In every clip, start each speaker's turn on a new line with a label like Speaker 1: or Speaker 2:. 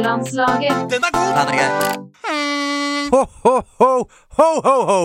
Speaker 1: Landslaget.
Speaker 2: Den er god!
Speaker 3: Den er gøy.
Speaker 4: Ho, ho, ho, ho, ho, ho.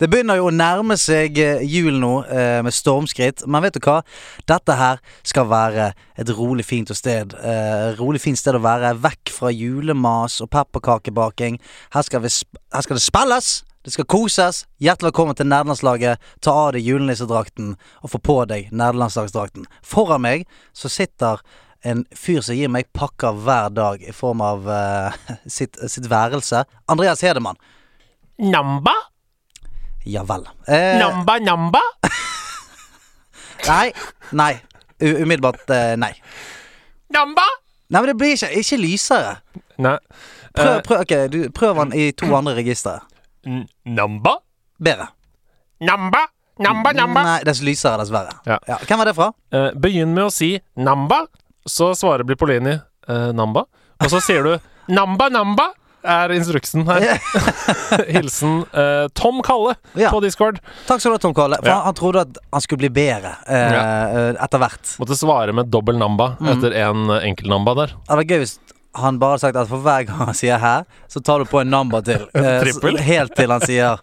Speaker 4: Det begynner jo å nærme seg eh, jul nå eh, med stormskritt, men vet du hva? Dette her skal være et rolig fint og sted. Eh, rolig fint sted å være. Vekk fra julemas og pepperkakebaking. Her skal, vi sp her skal det spilles! Det skal koses. Hjertelig velkommen til nerdelandslaget. Ta av deg julenissedrakten og få på deg nerdelandslagsdrakten. Foran meg så sitter en fyr som gir meg pakker hver dag i form av eh, sitt, sitt værelse. Andreas Hedemann.
Speaker 5: Namba?
Speaker 4: Ja vel. Eh,
Speaker 5: Namba, namba?
Speaker 4: Nei. Nei. U umiddelbart eh, nei.
Speaker 5: Namba?
Speaker 4: Nei, men det blir ikke, ikke lysere.
Speaker 5: Nei. Eh,
Speaker 4: Prøv, prøv, ok, du, prøv den i to andre registre.
Speaker 5: N- Namba?
Speaker 4: Bedre.
Speaker 5: Namba? Namba, namba?
Speaker 4: Nei, dess lysere, dessverre.
Speaker 5: Ja.
Speaker 4: Hvem var det fra?
Speaker 5: Eh, begynn med å si namba, så svarer Blipolini eh, namba. Og så sier du namba, namba, er instruksen her. Hilsen eh, Tom Kalle
Speaker 4: Ja.
Speaker 5: på Discord.
Speaker 4: Takk skal du ha, Tom Kalle. For
Speaker 5: Ja.
Speaker 4: han, han trodde at han skulle bli bedre eh, etter hvert.
Speaker 5: Måtte svare med dobbel namba etter en eh, enkel namba der.
Speaker 4: Det hadde vært gøy hvis han bare hadde sagt at for hver gang han sier 'hæ', så tar du på en number til. Eh,
Speaker 5: trippel?
Speaker 4: så- helt til han sier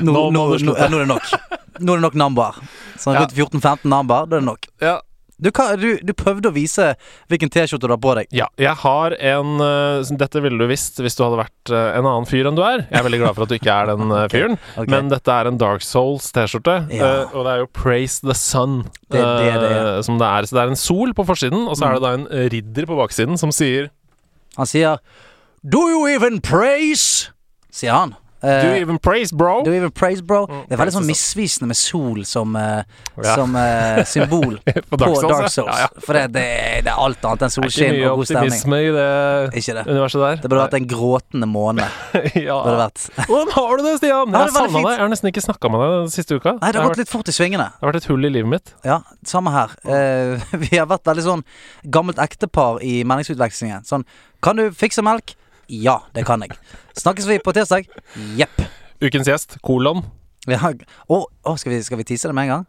Speaker 4: nå,
Speaker 5: Nå
Speaker 4: nå,
Speaker 5: må
Speaker 4: nå, nå,
Speaker 5: du slutte.»
Speaker 4: ja, 'Nå er det nok'. Nå er det nok number. Sånn
Speaker 5: Ja.
Speaker 4: rundt 14-15 number, da er det nok.
Speaker 5: Ja.
Speaker 4: Du, hva- du, du prøvde å vise hvilken T-skjorte du har på deg.
Speaker 5: jeg har en eh, sånn, Dette ville du visst hvis du hadde vært eh, en annen fyr enn du er. Jeg er veldig glad for at du ikke er den eh, fyren,
Speaker 4: Ok.
Speaker 5: men dette er en Dark Souls-T-skjorte.
Speaker 4: Ja.
Speaker 5: eh, og det er jo 'Praise the Sun'
Speaker 4: Det er det det Mm. er.
Speaker 5: eh, som det er. Så det er en sol på forsiden, og så er det da en eh, ridder på baksiden som sier
Speaker 4: Han sier 'Do you even praise?' sier han. Eh,
Speaker 5: Do you even praise, bro?
Speaker 4: Do you even praise, bro? det er veldig
Speaker 5: praise
Speaker 4: sånn
Speaker 5: the
Speaker 4: misvisende med sol som, eh,
Speaker 5: Ja.
Speaker 4: som eh, symbol på
Speaker 5: På Dark
Speaker 4: Dark
Speaker 5: Souls,
Speaker 4: Souls.
Speaker 5: ja. Ja, ja.
Speaker 4: For det, det, det er alt annet enn
Speaker 5: Det er ikke
Speaker 4: solskinn
Speaker 5: mye
Speaker 4: og god stemning.
Speaker 5: optimisme i det
Speaker 4: Ikke det.
Speaker 5: universet der.
Speaker 4: Det burde vært en gråtende måne. Burde det
Speaker 5: ja.
Speaker 4: vært.
Speaker 5: Hvordan har du det, Stian?
Speaker 4: Ja, det
Speaker 5: Jeg
Speaker 4: var
Speaker 5: savna
Speaker 4: det
Speaker 5: deg.
Speaker 4: fint.
Speaker 5: Jeg har nesten ikke snakka med deg den siste uka.
Speaker 4: Nei, det
Speaker 5: det,
Speaker 4: har
Speaker 5: har
Speaker 4: gått
Speaker 5: vært,
Speaker 4: litt fort i svingene.
Speaker 5: det har vært et hull i livet mitt.
Speaker 4: Ja, Samme her. Eh, vi har vært veldig sånn gammelt ektepar i meningsutvekslingen. Sånn Kan du fikse melk? Ja, det kan jeg. Snakkes vi på tirsdag? Jepp.
Speaker 5: Ukens gjest, kolon.
Speaker 4: Ja. Å, å, skal, vi, skal vi tease det med en gang?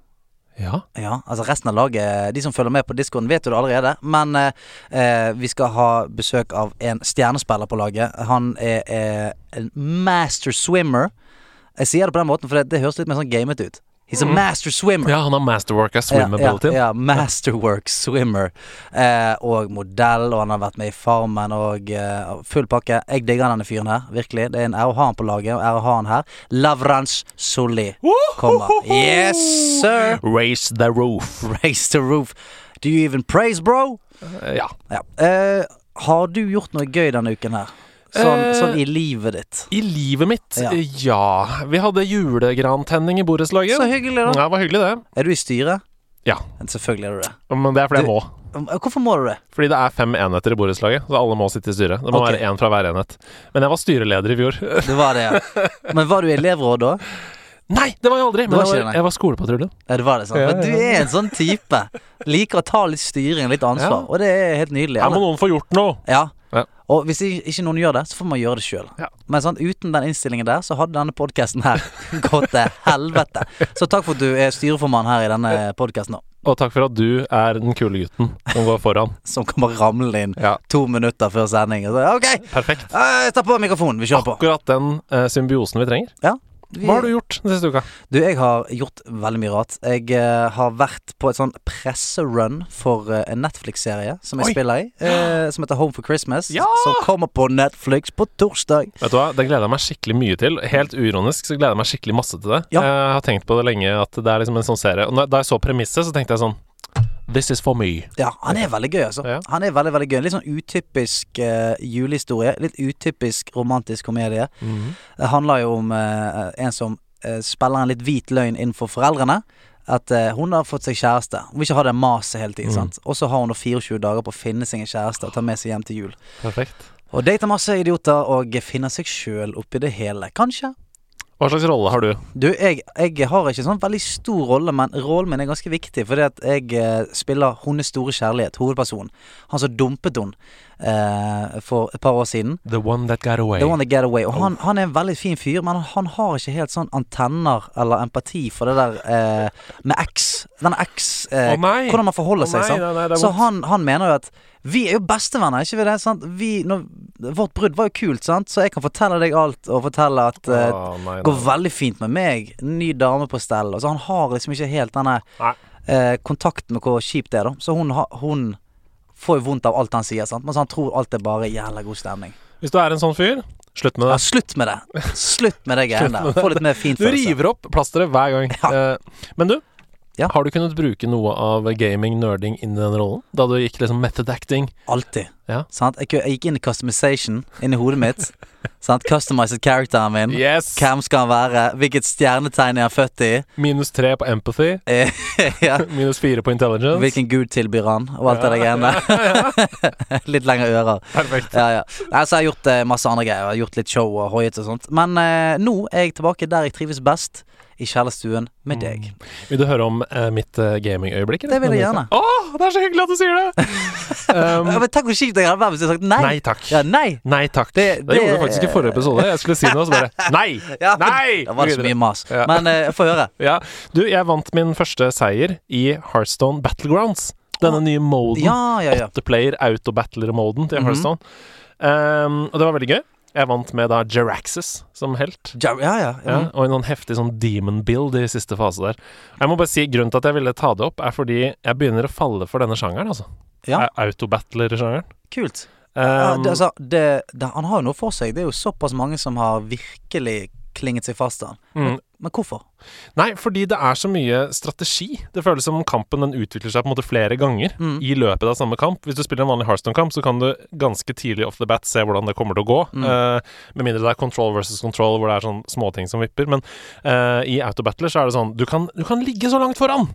Speaker 5: Ja.
Speaker 4: Ja, altså resten av laget, de som følger med på discoen, vet jo det allerede. Men eh, eh, vi skal ha besøk av en stjernespiller på laget. Han er eh, en master swimmer. Jeg sier det på den måten, for det, det høres litt mer sånn gamet ut. He's a master swimmer.
Speaker 5: ja, han har masterwork av
Speaker 4: ja,
Speaker 5: swim-abilityen.
Speaker 4: ja, masterwork swimmer. Eh, og modell, og han har vært med i Farmen og eh, full pakke. Jeg digger denne fyren her, virkelig. Det er en ære å ha han på laget, og ære å ha han her. Lavrans Solli kommer. Yes, sir!
Speaker 5: Raise the roof.
Speaker 4: Raise the roof. Do you even praise, bro?
Speaker 5: Ja.
Speaker 4: Ja. Eh, har du gjort noe gøy denne uken her? Sånn,
Speaker 5: Eh.
Speaker 4: sånn i livet ditt.
Speaker 5: I livet mitt,
Speaker 4: Ja.
Speaker 5: ja. Vi hadde julegrantenning i borettslaget.
Speaker 4: Så hyggelig,
Speaker 5: Ja,
Speaker 4: da.
Speaker 5: det var hyggelig, det.
Speaker 4: Er du i styret?
Speaker 5: Ja.
Speaker 4: Selvfølgelig er du det.
Speaker 5: Men det er fordi jeg
Speaker 4: Du-
Speaker 5: må.
Speaker 4: Eh, Hvorfor må du det?
Speaker 5: Fordi det er fem enheter i borettslaget, så alle må sitte i styret. Det må
Speaker 4: Ok.
Speaker 5: være én fra hver enhet. Men jeg var styreleder i fjor.
Speaker 4: Det var det, ja. Men var du i elevråd da?
Speaker 5: nei, det var jeg aldri!
Speaker 4: Det
Speaker 5: Men
Speaker 4: var
Speaker 5: jeg
Speaker 4: ikke det,
Speaker 5: var,
Speaker 4: nei.
Speaker 5: jeg var skolepatrulje.
Speaker 4: Ja, det var det, sant.
Speaker 5: Ja, ja,
Speaker 4: Men du
Speaker 5: ja.
Speaker 4: er en sånn type. Liker å ta litt styring og litt ansvar,
Speaker 5: Ja.
Speaker 4: og det er helt nydelig.
Speaker 5: Her må noen få gjort noe!
Speaker 4: Ja.
Speaker 5: Ja.
Speaker 4: Og hvis i- ikke noen gjør det, så får man gjøre det sjøl.
Speaker 5: Ja.
Speaker 4: Men sant, uten den innstillingen der, så hadde denne podkasten her gått til helvete. Så takk for at du er styreformann her i denne podkasten nå,
Speaker 5: Og takk for at du er den kule gutten som går foran.
Speaker 4: som kommer ramlende inn
Speaker 5: Ja.
Speaker 4: to minutter før sending. Og så, OK,
Speaker 5: Perfekt.
Speaker 4: eh, jeg tar på mikrofonen. Vi kjører på.
Speaker 5: Akkurat den eh, symbiosen vi trenger.
Speaker 4: Ja. Vi,
Speaker 5: Hva har du gjort den siste uka?
Speaker 4: Du, jeg har gjort veldig mye rart. Jeg eh, har vært på et sånn presserun for eh, en Netflix-serie som jeg
Speaker 5: Oi.
Speaker 4: spiller i, eh, som heter Home for Christmas,
Speaker 5: Ja!
Speaker 4: som kommer på Netflix på torsdag.
Speaker 5: Vet du hva, Det gleder jeg meg skikkelig mye til. Helt uironisk så gleder jeg meg skikkelig masse til det. Eh,
Speaker 4: Ja.
Speaker 5: Jeg har tenkt på det lenge, at det er liksom en sånn serie. Og når- da jeg så premisset, så tenkte jeg sånn This is for me.
Speaker 4: Ja, han er veldig gøy, altså.
Speaker 5: Ja.
Speaker 4: Han er veldig, veldig gøy Litt sånn utypisk eh, julehistorie. Litt utypisk romantisk komedie.
Speaker 5: Mhm.
Speaker 4: Det handler jo om eh, en som eh, spiller en litt hvit løgn innenfor foreldrene. At eh, hun har fått seg kjæreste. Hun vil ikke ha det maset hele tiden. sant? Og så har hun da 24 dager på å finne seg en kjæreste og ta med seg hjem til jul.
Speaker 5: Perfekt.
Speaker 4: Og dater masse idioter og finner seg sjøl oppi det hele. Kanskje.
Speaker 5: Hva slags rolle har du?
Speaker 4: Du, jeg, jeg har ikke sånn veldig stor rolle, men rollen min er ganske viktig. Fordi at jeg eh, spiller hennes store kjærlighet, hovedpersonen. Han som dumpet henne eh, for et par år siden.
Speaker 5: The one that got away.
Speaker 4: The One That Get Away. Og han, han er en veldig fin fyr, men han har ikke helt sånn antenner eller empati for det der eh, med X. Den X eh,
Speaker 5: Å, nei.
Speaker 4: Hvordan man
Speaker 5: Å,
Speaker 4: forholder
Speaker 5: nei,
Speaker 4: seg. sant?
Speaker 5: nei, nei, det er
Speaker 4: Så
Speaker 5: vondt.
Speaker 4: han, han mener jo at vi er jo bestevenner, ikke vi det? Sant? Vi, når, vårt brudd var jo kult, sant? så jeg kan fortelle deg alt og fortelle at eh,
Speaker 5: Å, nei, nei.
Speaker 4: går veldig fint med meg. Ny dame på stell. Altså, han har liksom ikke helt denne
Speaker 5: Nei.
Speaker 4: eh, kontakten med hvor kjipt det er, da. Så hun, har- hun får jo vondt av alt han sier, sant? mens han tror alt er bare jævla god stemning.
Speaker 5: Hvis du er en sånn fyr, slutt med
Speaker 4: Ja,
Speaker 5: det.
Speaker 4: slutt med det. Slutt med det greiene der. Få litt mer fin
Speaker 5: Du
Speaker 4: følelse.
Speaker 5: river opp plasteret hver gang. Eh, Men du,
Speaker 4: Ja.
Speaker 5: har du kunnet bruke noe av gaming-nerding inn i den rollen? Da du gikk liksom method acting?
Speaker 4: Alltid.
Speaker 5: Ja.
Speaker 4: Sant? Jeg, kø- jeg gikk inn i customization inni hodet mitt. sant? Customized characteren min.
Speaker 5: Yes!
Speaker 4: Hvem skal han være? Hvilket stjernetegn er han født i?
Speaker 5: Minus tre på empathy,
Speaker 4: Eh, ja.
Speaker 5: minus fire på intelligence.
Speaker 4: Hvilken gud tilbyr han, og alt det der greiene der. litt lengre ører.
Speaker 5: Perfekt.
Speaker 4: ja, ja. Nei, så jeg har gjort eh, masse andre greier. Jeg har gjort litt show og hoiet og sånt. Men eh, nå er jeg tilbake der jeg trives best, i kjellerstuen med deg.
Speaker 5: Vil du høre om eh, mitt eh, gamingøyeblikk? eller?
Speaker 4: Det vil jeg gjerne.
Speaker 5: Å, det er så hyggelig at du sier det! Um,
Speaker 4: Ja, men tenk hvor kjipt jeg hadde vært hvis jeg hadde sagt nei.
Speaker 5: nei takk.
Speaker 4: Ja, nei.
Speaker 5: Nei takk. Det,
Speaker 4: det-
Speaker 5: gjorde du faktisk i forrige episode. Jeg skulle si noe, så bare Nei!
Speaker 4: Ja, men
Speaker 5: Nei!
Speaker 4: Da var det så mye mas.
Speaker 5: Ja.
Speaker 4: Men eh, få høre.
Speaker 5: Ja. Du, jeg vant min første seier i Heartstone Battlegrounds. Denne nye moden.
Speaker 4: Ja, ja, ja.
Speaker 5: Åtteplayer autobattler-moden til
Speaker 4: Mhm.
Speaker 5: Heartstone. Um, og det var veldig gøy. Jeg vant med da Jeraxes som helt.
Speaker 4: Ja, ja. ja.
Speaker 5: Ja,
Speaker 4: Mm.
Speaker 5: og en sånn heftig sånn demon build i siste fase der. Jeg må bare si Grunnen til at jeg ville ta det opp, er fordi jeg begynner å falle for denne sjangeren, altså.
Speaker 4: Ja.
Speaker 5: Au- Autobattler-sjangeren.
Speaker 4: Kult. Ja,
Speaker 5: Um,
Speaker 4: det, altså, det, det, han har jo noe for seg. Det er jo såpass mange som har virkelig klinget seg fast til han.
Speaker 5: mm.
Speaker 4: Men hvorfor?
Speaker 5: Nei, fordi det er så mye strategi. Det føles som kampen den utvikler seg på en måte flere ganger
Speaker 4: Mm.
Speaker 5: i løpet av samme kamp. Hvis du spiller en vanlig Hearthstone-kamp, så kan du ganske tidlig off the bat se hvordan det kommer til å gå.
Speaker 4: Mm.
Speaker 5: Eh, med mindre det er control versus control, hvor det er sånn småting som vipper. Men eh, i autobattler så er det sånn du kan, du kan ligge så langt foran!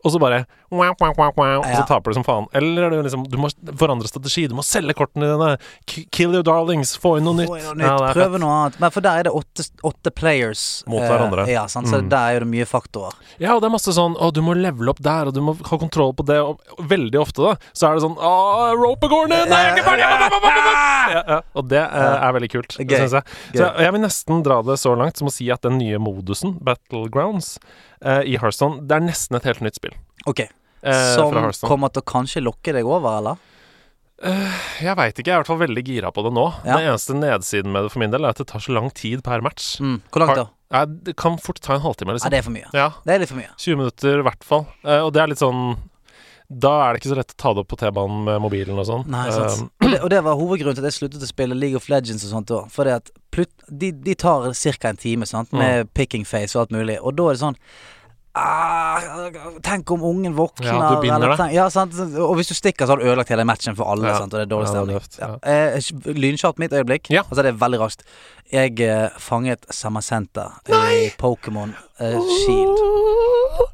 Speaker 5: Og så bare wow, wow, wow, wow, Og
Speaker 4: Ja.
Speaker 5: så taper du som faen. Eller er det liksom, du må forandre strategi. Du må selge kortene dine. K- Kill your darlings. Få inn noe nytt.
Speaker 4: Få inn noe
Speaker 5: Ja,
Speaker 4: nytt.
Speaker 5: det er fett.
Speaker 4: Prøve noe annet. Men for der er det åtte, åtte players.
Speaker 5: Mot
Speaker 4: eh,
Speaker 5: hverandre.
Speaker 4: ja, sant? Så
Speaker 5: Mm.
Speaker 4: der er jo det mye faktorer.
Speaker 5: Ja, og det er masse sånn Å, du må levele opp der, og du må ha kontroll på det. Og veldig ofte, da, så er det sånn Å, rope går ned! Nei, jeg er ikke ferdig! Ja, ja, ja, ja, ja. Og det eh, er veldig kult,
Speaker 4: Gøy.
Speaker 5: syns jeg. Så
Speaker 4: Gøy.
Speaker 5: jeg- jeg vil nesten dra det så langt som å si at den nye modusen, Battlegrounds, eh, i Hearthstone, det er nesten et helt nytt spill.
Speaker 4: Ok,
Speaker 5: eh,
Speaker 4: Som
Speaker 5: fra Hearthstone.
Speaker 4: kommer til å kanskje lokke deg over, eller?
Speaker 5: Jeg veit ikke, jeg er i hvert fall veldig gira på det nå.
Speaker 4: Ja.
Speaker 5: Den eneste nedsiden med det for min del er at det tar så lang tid per match.
Speaker 4: Mm. Hvor langt da?
Speaker 5: Nei, det kan fort ta en halvtime,
Speaker 4: Ja,
Speaker 5: liksom.
Speaker 4: det er for mye.
Speaker 5: Ja,
Speaker 4: Det er litt for mye.
Speaker 5: 20 minutter i hvert fall. Eh, og det er litt sånn Da er det ikke så lett å ta det opp på T-banen med mobilen og sånn.
Speaker 4: Nei,
Speaker 5: Eh,
Speaker 4: sant. Og det, og det var hovedgrunnen til at jeg sluttet å spille League of Legends og sånt òg. Fordi at plut, de, de tar ca. en time sant?
Speaker 5: Mm.
Speaker 4: med picking face og alt mulig, og da er det sånn ah, Tenk om ungen våkner
Speaker 5: Ja, du binder
Speaker 4: eller
Speaker 5: deg.
Speaker 4: tenk, ja, sant? Og hvis du stikker, så har du ødelagt hele matchen for alle,
Speaker 5: Ja.
Speaker 4: sant? og det er dårlig
Speaker 5: Ja, det er
Speaker 4: stemning.
Speaker 5: tøft,
Speaker 4: Ja, Eh, Lynkjapt mitt øyeblikk.
Speaker 5: Ja.
Speaker 4: Altså, det er veldig raskt. Jeg eh, fanget Samasenta i Pokémon eh, Shield.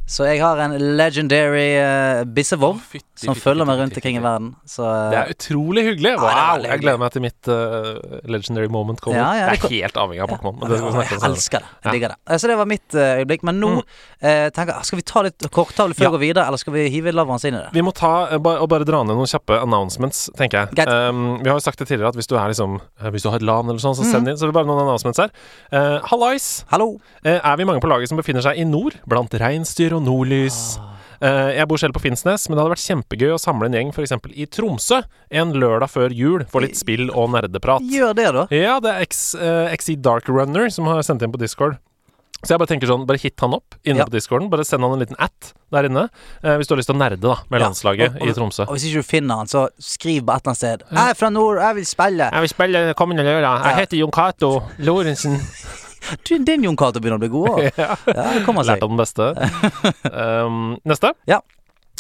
Speaker 4: Så jeg har en legendary eh, Bissevov som følger meg rundt omkring i verden. Så eh,
Speaker 5: Det er utrolig hyggelig. Wow,
Speaker 4: Ja, det er veldig
Speaker 5: jeg gleder meg til mitt eh, legendary moment kommer.
Speaker 4: Ja, ja,
Speaker 5: det
Speaker 4: det
Speaker 5: er
Speaker 4: kom-
Speaker 5: helt avhengig av Pokémon. men det skal vi
Speaker 4: Jeg
Speaker 5: snakke om senere.
Speaker 4: elsker det.
Speaker 5: Ja. Mm.
Speaker 4: Jeg digger det. Eh, Så det var mitt eh, øyeblikk. Men nå eh, tenker jeg Skal vi ta litt korktavle før
Speaker 5: Ja.
Speaker 4: vi går videre, eller skal vi hive lavvanns inn i det?
Speaker 5: Vi må ta, eh, ba- og bare dra ned noen kjappe announcements, tenker jeg.
Speaker 4: Greit.
Speaker 5: Um, vi har jo sagt det tidligere at hvis du, er liksom, eh, hvis du har et LAN eller sånn, så
Speaker 4: Mhm.
Speaker 5: send inn. Så vi bare noen announcements her. Eh, Hallais!
Speaker 4: Hallo!
Speaker 5: Eh, er vi mange på laget som befinner seg i nord, blant reinsdyr og nordlys. Eh, jeg bor selv på Finnsnes, men det hadde vært kjempegøy å samle en gjeng f.eks. i Tromsø en lørdag før jul for litt spill og nerdeprat.
Speaker 4: Gjør det, da.
Speaker 5: Ja, det er X, eh, XE Dark Runner som har sendt inn på Discord. Så jeg bare tenker sånn, bare hit han opp inne
Speaker 4: Ja.
Speaker 5: på Discorden. Bare send han en liten at der inne eh, hvis du har lyst til å nerde da med
Speaker 4: Ja,
Speaker 5: landslaget
Speaker 4: og- og-
Speaker 5: i Tromsø.
Speaker 4: Og hvis ikke du finner han, så skriv på et eller annet sted. 'Jeg er fra nord, jeg vil spille'.
Speaker 5: Jeg vil spille kommende lørdag.
Speaker 4: Ja.
Speaker 5: Jeg heter Jon Cato Lorentzen.
Speaker 4: Du, din Jon Cato begynner å bli god òg.
Speaker 5: Ja.
Speaker 4: Ja, det kommer seg.
Speaker 5: Lært av den beste. um, neste.
Speaker 4: Ja.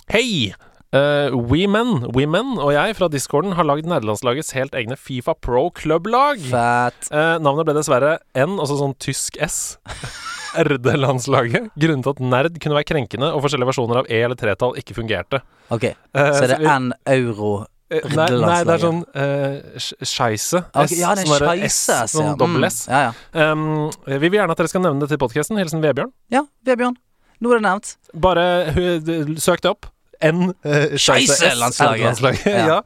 Speaker 5: Hei! Uh, Women, Women og jeg fra discorden har lagd nerdelandslagets helt egne Fifa Pro Club-lag.
Speaker 4: Fett.
Speaker 5: Eh, navnet ble dessverre N, altså sånn tysk S. Erdelandslaget. Grunnen til at nerd kunne være krenkende og forskjellige versjoner av E- eller tretall ikke fungerte.
Speaker 4: Ok,
Speaker 5: Eh,
Speaker 4: så er det
Speaker 5: vi-
Speaker 4: N euro.
Speaker 5: eh, Nei, nei, det er sånn
Speaker 4: Erdelandslaget.
Speaker 5: uh, Scheisse.
Speaker 4: Ok,
Speaker 5: S,
Speaker 4: ja, det er
Speaker 5: sånn derre
Speaker 4: scheisse,
Speaker 5: S,
Speaker 4: altså, ja.
Speaker 5: Sånn dobbel
Speaker 4: Mm,
Speaker 5: S.
Speaker 4: Ja, ja.
Speaker 5: Um, vi vil gjerne at dere skal nevne det til podkasten. Hilsen Vebjørn.
Speaker 4: ja Vebjørn. Nå er det nevnt.
Speaker 5: Bare hu- d- søk det opp. N. eh,
Speaker 4: Scheisse-landslaget.
Speaker 5: Scheisse-landslaget, ja.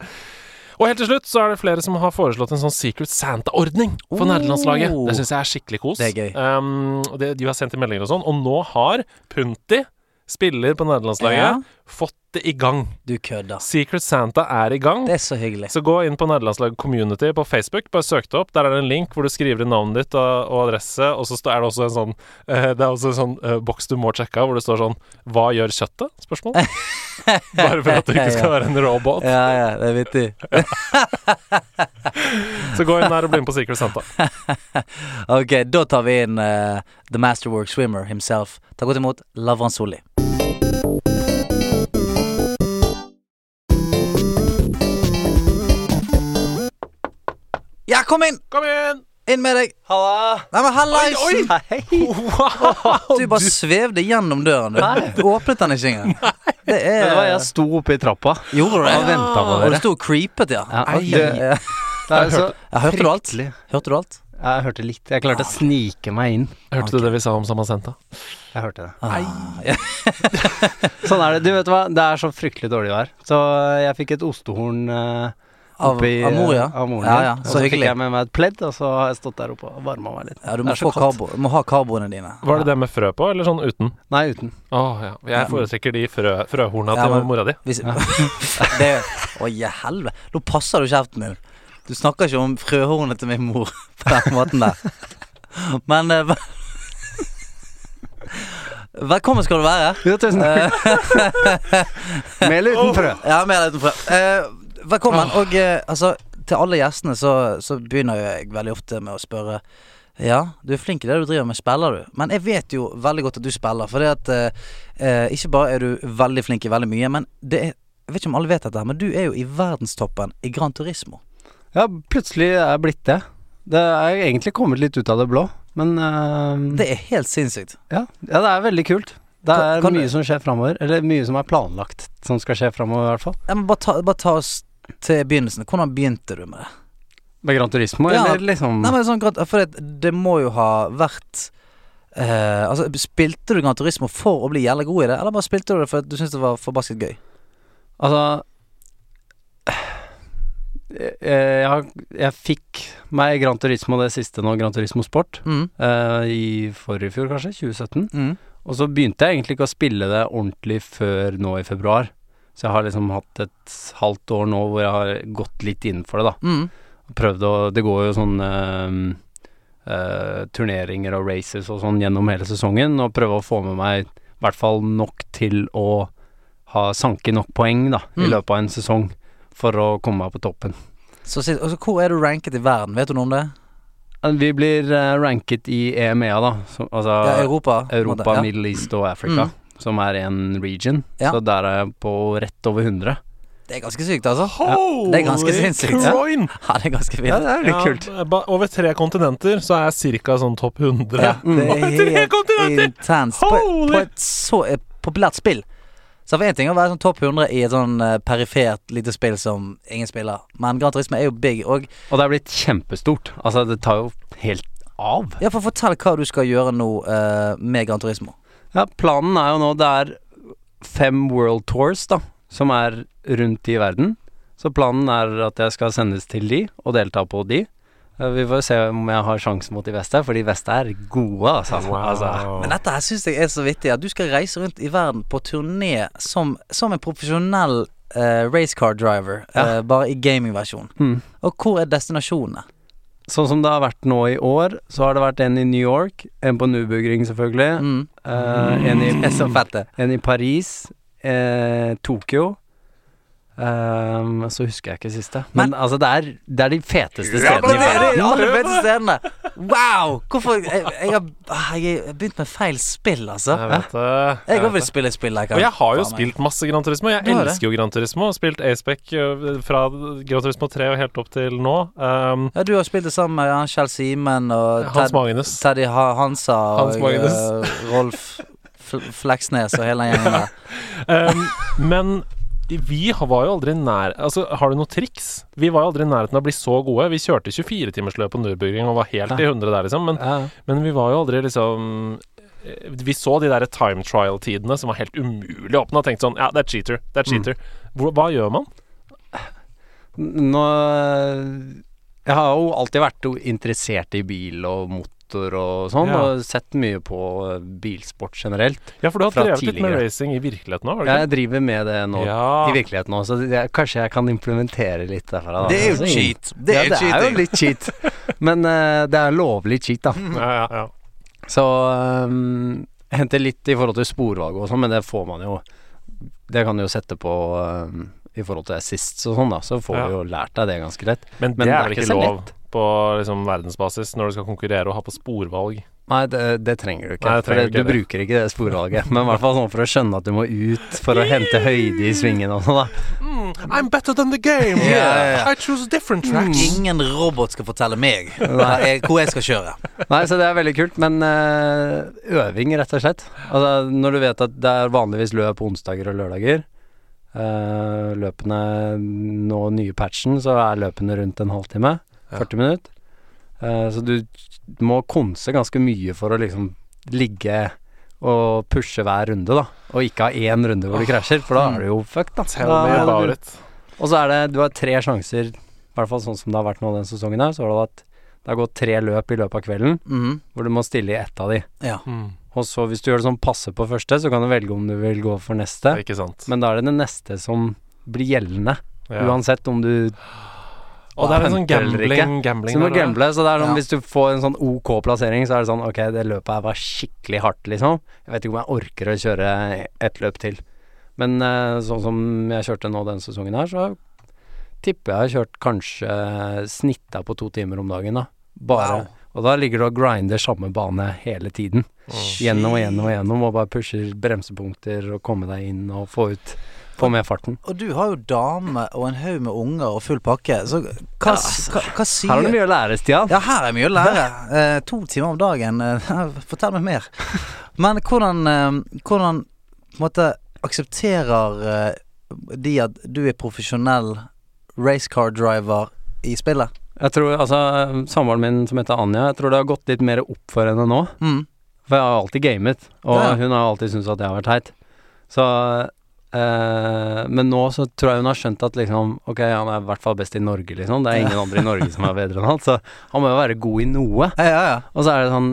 Speaker 5: Og helt til slutt så er det flere som har foreslått en sånn Secret Santa-ordning for
Speaker 4: Oh.
Speaker 5: nederlandslaget. Det syns jeg er skikkelig kos.
Speaker 4: Det er gøy.
Speaker 5: Um, og det, de har sendt inn meldinger og sånn, og nå har Punti, spiller på nederlandslaget,
Speaker 4: Ja.
Speaker 5: fått det i gang.
Speaker 4: Du kødder.
Speaker 5: Secret Santa er i gang.
Speaker 4: Det er så hyggelig.
Speaker 5: Så gå inn på Nederlandslaget Community på Facebook. Bare søk det opp. Der er det en link hvor du skriver inn navnet ditt og, og adresse, og så sta- er det også en sånn eh, Det er også en sånn eh, boks du må sjekke av, hvor det står sånn Hva gjør kjøttet? Spørsmål. Bare for at du ikke skal være en robot.
Speaker 4: Ja, ja, det er vittig.
Speaker 5: Så gå inn der og bli med på Secret Santa.
Speaker 4: Ok, da tar vi inn eh, The Masterwork Swimmer himself. Ta godt imot Lavran Solli. Ja, kom inn!
Speaker 5: Kom igjen!
Speaker 4: Inn med deg!
Speaker 1: Halla!
Speaker 4: Nei, men hallaisen!
Speaker 1: Hei!
Speaker 5: Wow!
Speaker 4: Du bare svevde gjennom døren. Du, du åpnet den ikke engang. Det
Speaker 1: Vet du hva, jeg
Speaker 4: er
Speaker 1: sto oppe i trappa.
Speaker 4: Gjorde du
Speaker 1: Jeg
Speaker 4: det?
Speaker 1: ventet på
Speaker 4: Og du
Speaker 1: dere.
Speaker 4: sto og creepet, ja.
Speaker 1: Ja,
Speaker 4: Ei.
Speaker 1: det-
Speaker 4: Ja,
Speaker 1: Det er så
Speaker 4: Hørte du alt?
Speaker 1: fryktelig.
Speaker 4: Hørte du alt?
Speaker 1: Jeg hørte litt. Jeg klarte å snike meg inn.
Speaker 5: Hørte du det vi sa om Samacenta?
Speaker 1: Jeg hørte det.
Speaker 4: Ah,
Speaker 1: Sånn er det. Du vet hva, det er så fryktelig dårlig vær. Så eh, jeg fikk et ostehorn eh,
Speaker 4: Av,
Speaker 1: oppi
Speaker 4: av mor, ja.
Speaker 1: Av moren
Speaker 4: ja,
Speaker 1: min.
Speaker 4: ja.
Speaker 1: Og
Speaker 4: Så
Speaker 1: så fikk
Speaker 4: hyggelig.
Speaker 1: jeg med meg et pledd, og så har jeg stått der oppe og varma meg litt.
Speaker 4: Ja, du
Speaker 1: Det
Speaker 4: må,
Speaker 1: er
Speaker 4: få
Speaker 1: så kaldt.
Speaker 4: karbo, må ha karboene dine.
Speaker 5: Var det det med frø på, eller sånn uten?
Speaker 1: Nei, uten.
Speaker 5: Å ja. Jeg foretrekker de frø, frøhorna
Speaker 4: Ja,
Speaker 5: til
Speaker 4: men-
Speaker 5: mora di.
Speaker 4: Hvis, det Å, i helvete. Nå passer du kjeften din. Du snakker ikke om frøhornet til min mor på den måten der. Men eh, vel- Velkommen skal du være.
Speaker 1: Jo, tusen takk.
Speaker 4: Eh.
Speaker 1: med eller uten frø.
Speaker 4: Ja, mer uten frø. Eh, velkommen. Og eh, altså, til alle gjestene så, så begynner jo jeg veldig ofte med å spørre Ja, du er flink i det du driver med, spiller du? Men jeg vet jo veldig godt at du spiller, for det at eh, eh, Ikke bare er du veldig flink i veldig mye, men det er jeg vet ikke om alle vet dette, her, men du er jo i verdenstoppen i Gran Turismo.
Speaker 1: Ja, plutselig er jeg blitt det. Det er jo egentlig kommet litt ut av det blå, men eh,
Speaker 4: Det er helt sinnssykt.
Speaker 1: Ja, ja det er veldig kult. Det
Speaker 4: Kan-
Speaker 1: er
Speaker 4: kan
Speaker 1: mye
Speaker 4: du-
Speaker 1: som skjer framover. Eller mye som er planlagt som skal skje framover, i hvert fall.
Speaker 4: Ja, men bare, ta, bare ta oss til begynnelsen. Hvordan begynte du med det?
Speaker 1: Med Gran Turismo,
Speaker 4: Ja.
Speaker 1: eller liksom
Speaker 4: Nei, men sånn, Gran- For det, det må jo ha vært eh, Altså, Spilte du Gran Turismo for å bli jævla god i det, eller bare spilte du det fordi du syntes det var forbasket gøy?
Speaker 1: Altså jeg, Eh, jeg, har- jeg fikk meg Gran Turismo det siste nå, Gran Turismo Sport.
Speaker 4: Mm.
Speaker 1: eh, I forrige fjor, kanskje. 2017.
Speaker 4: Mm.
Speaker 1: Og så begynte jeg egentlig ikke å spille det ordentlig før nå i februar. Så jeg har liksom hatt et halvt år nå hvor jeg har gått litt inn for det, da.
Speaker 4: Mm.
Speaker 1: prøvd å Det går jo sånn ehm, eh, turneringer og races og sånn gjennom hele sesongen, og prøve å få med meg i hvert fall nok til å ha sanke nok poeng da i
Speaker 4: Mm.
Speaker 1: løpet av en sesong for å komme meg på toppen.
Speaker 4: Så, sit- altså, hvor er du ranket i verden? Vet du noe om det?
Speaker 1: Eh, Vi blir eh, ranket i EMEA, da. Som, altså
Speaker 4: Ja, Europa? på en
Speaker 1: Europa,
Speaker 4: måte. ja. Mm.
Speaker 1: Middle East og Africa, som er en region.
Speaker 4: Ja.
Speaker 1: Så der er jeg på rett over 100.
Speaker 4: Det er ganske sykt, altså.
Speaker 5: Holy
Speaker 4: det er ganske sinnssykt.
Speaker 5: croin!
Speaker 4: Ja, det er ganske fint.
Speaker 1: det er
Speaker 5: Ja, ba- Over tre kontinenter så er jeg ca. sånn topp 100.
Speaker 4: Ja,
Speaker 1: Mm.
Speaker 5: Oi, tre
Speaker 4: det er helt
Speaker 5: kontinenter!
Speaker 4: intenst. På, på
Speaker 5: Holy!
Speaker 4: et så eh, populært spill. Så for én ting er å være sånn topp 100 i et sånn eh, perifert lite spill som ingen spiller, men Gran Turisme er jo big. Og
Speaker 1: Og det er blitt kjempestort. Altså, det tar jo helt av.
Speaker 4: ja, for Fortell hva du skal gjøre nå eh, med Gran Turismo.
Speaker 1: Ja, planen er jo nå Det er fem world tours da Som er rundt i verden Så planen er at jeg skal sendes til de Og delta på de Eh, Vi får se om jeg har sjansen mot de beste For de beste er gode altså, altså.
Speaker 4: Men dette her syns jeg er så vittig. At du skal reise rundt i verden på turné som, som en profesjonell eh, racecar driver, eh, bare i gamingversjon.
Speaker 5: Hmm.
Speaker 1: Mm.
Speaker 4: Og hvor er destinasjonene?
Speaker 1: Sånn som det har vært nå i år Så har det vært en i New York En på Nubugring selvfølgelig
Speaker 4: Mm.
Speaker 1: eh, en, i,
Speaker 4: Så fett, det.
Speaker 1: en i Paris eh, Tokyo eh, Så husker jeg ikke siste Men, altså det er, det er de feteste
Speaker 4: Ja,
Speaker 1: stedene i
Speaker 4: men det
Speaker 1: verden
Speaker 4: er de aller beste stedene. Wow! Hvorfor Jeg, jeg, har, ah, jeg har begynt med feil spill, altså.
Speaker 5: Jeg vet det.
Speaker 4: Jeg òg
Speaker 5: vet
Speaker 4: vil
Speaker 5: det.
Speaker 4: spille et spill.
Speaker 5: Og jeg har jo
Speaker 4: faen meg.
Speaker 5: spilt masse Gran Turismo. Jeg
Speaker 4: Du har det.
Speaker 5: elsker jo Gran Turismo. Har Spilt Aspec eh, fra Gran Turismo 3 og helt opp til nå. Um,
Speaker 4: Ja, du har spilt det sammen med ja, Kjell Simen og
Speaker 5: Hans
Speaker 4: Ted,
Speaker 5: Magnus.
Speaker 4: Teddy ha Hansa og
Speaker 5: Hans Magnus.
Speaker 4: eh, Rolf Fl- Fleksnes og hele den gjengen der.
Speaker 5: Um, men vi har- var jo aldri nær Altså, har du noe triks? Vi var jo aldri i nærheten av å bli så gode. Vi kjørte 24-timersløp på Nürburgring og var helt i 100 der, liksom. Men,
Speaker 1: Ja.
Speaker 5: men vi var jo aldri liksom eh, vi så de der time trial-tidene som
Speaker 4: Mm.
Speaker 5: var helt umulig å åpne, og tenkte sånn Ja, det er cheater. Det er cheater. Hvor, hva gjør man?
Speaker 1: Nå Jeg har jo alltid vært jo interessert i bil og motor og sånn,
Speaker 5: Ja.
Speaker 1: og sett mye på eh, bilsport generelt.
Speaker 5: Ja, for du har
Speaker 1: Fra
Speaker 5: drevet litt med
Speaker 1: tidligere.
Speaker 5: racing i virkeligheten òg, har du ikke?
Speaker 1: Jeg driver med det nå, i
Speaker 5: Ja.
Speaker 1: virkeligheten nå, så jeg, kanskje jeg kan implementere litt derfra. da.
Speaker 4: Det er jo
Speaker 1: Altså, ingen-
Speaker 4: cheat. Det
Speaker 1: ja,
Speaker 4: er,
Speaker 1: det er jo
Speaker 4: cheating.
Speaker 1: litt cheat, men eh, det er lovlig cheat, da.
Speaker 4: Mm.
Speaker 5: Ja, ja, ja.
Speaker 1: Så um, henter litt i forhold til sporvalg og sånn, men det får man jo Det kan du jo sette på um, i forhold til assists og sånn, da, så får
Speaker 5: Ja.
Speaker 1: du jo lært deg det ganske lett.
Speaker 5: Men
Speaker 1: Men
Speaker 5: det er vel ikke
Speaker 1: så
Speaker 5: lov
Speaker 1: lett.
Speaker 5: på liksom, verdensbasis når du skal konkurrere og ha på sporvalg.
Speaker 1: Nei, det, det trenger du ikke.
Speaker 5: Nei, det trenger
Speaker 1: for
Speaker 5: du
Speaker 1: det,
Speaker 5: ikke
Speaker 1: du bruker ikke det sporvalget. Men i hvert fall sånn for å skjønne at du må ut for å hente høyde i svingen og sånn, da.
Speaker 5: Mm. I'm better than the game!
Speaker 4: Yeah.
Speaker 5: I choose different
Speaker 1: Mm.
Speaker 4: Ingen robot skal fortelle meg hva jeg, hvor jeg skal kjøre.
Speaker 1: Nei, så det er veldig kult. Men eh, øving, rett og slett. Altså, når du vet at det er vanligvis løp på onsdager og lørdager. eh, løpene nå nye patchen, så er løpene rundt en halvtime.
Speaker 5: Ja.
Speaker 1: 40 minutter. Eh, så du må konse ganske mye for å liksom ligge og pushe hver runde, da. Og ikke ha én runde hvor du krasjer, for da er du jo fucked, da.
Speaker 5: Tell
Speaker 1: Da
Speaker 5: me
Speaker 1: er du-
Speaker 5: about it.
Speaker 1: og så er det Du har tre sjanser, i hvert fall sånn som det har vært nå den sesongen her, så har det vært det har gått tre løp i løpet av kvelden
Speaker 4: Mhm.
Speaker 1: hvor du må stille i ett av de.
Speaker 4: Ja.
Speaker 5: Mm.
Speaker 1: Og så hvis du gjør det sånn passe på første, så kan du velge om du vil gå for
Speaker 5: Det er
Speaker 1: neste.
Speaker 5: ikke sant.
Speaker 1: Men da er det det neste som blir gjeldende,
Speaker 5: Ja.
Speaker 1: uansett om du
Speaker 5: Og det er en sånn
Speaker 1: Henter eller ikke.
Speaker 5: gambling, gambling
Speaker 1: Så du må
Speaker 5: der, da.
Speaker 1: gamble. Så det er sånn,
Speaker 4: Ja.
Speaker 1: hvis du får en sånn ok plassering, så er det sånn Ok, det løpet her var skikkelig hardt, liksom. Jeg vet ikke om jeg orker å kjøre ett løp til. Men eh, sånn som jeg kjørte nå denne sesongen her, så tipper jeg har kjørt kanskje snitta på to timer om dagen, da. Bare.
Speaker 4: Wow.
Speaker 1: Og da ligger du og grinder samme bane hele tiden.
Speaker 5: Mm.
Speaker 1: Gjennom og gjennom og gjennom, og bare pusher bremsepunkter og komme deg inn og få ut Få med farten.
Speaker 4: Og du har jo dame og en haug med unger og full pakke, så hva, s- hva, hva
Speaker 1: altså, Her har du
Speaker 4: sier
Speaker 1: mye å lære, Stian.
Speaker 4: Ja, her er mye å lære. Eh, to timer om dagen. Eh, fortell meg mer. Men hvordan, eh, hvordan på en måte, aksepterer eh, de at du er profesjonell racecar-driver i spillet?
Speaker 1: Jeg tror, altså, Samboeren min som heter Anja, jeg tror det har gått litt mer opp for henne nå.
Speaker 4: Mm.
Speaker 1: For jeg har alltid gamet, og
Speaker 4: Ja.
Speaker 1: hun har alltid syntes at jeg har vært teit. Så eh, Men nå så tror jeg hun har skjønt at liksom Ok, han er i hvert fall best i Norge, liksom. Det er ingen andre i Norge som er bedre enn han, så han må jo være god i noe.
Speaker 4: Ja, ja, ja.
Speaker 1: Og så er det sånn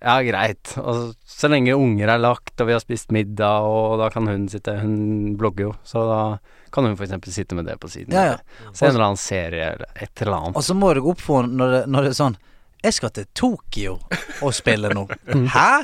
Speaker 1: Ja, greit. Altså, så lenge unger er lagt, og vi har spist middag, og da kan hun sitte Hun blogger jo, så da kan hun f.eks. sitte med det på siden.
Speaker 4: Ja, ja.
Speaker 1: eller Se en eller annen serie eller et eller annet.
Speaker 4: Og så må du gå opp for henne når, det- når det er sånn Jeg skal til Tokyo og spille nå.
Speaker 1: Mm.
Speaker 4: Hæ?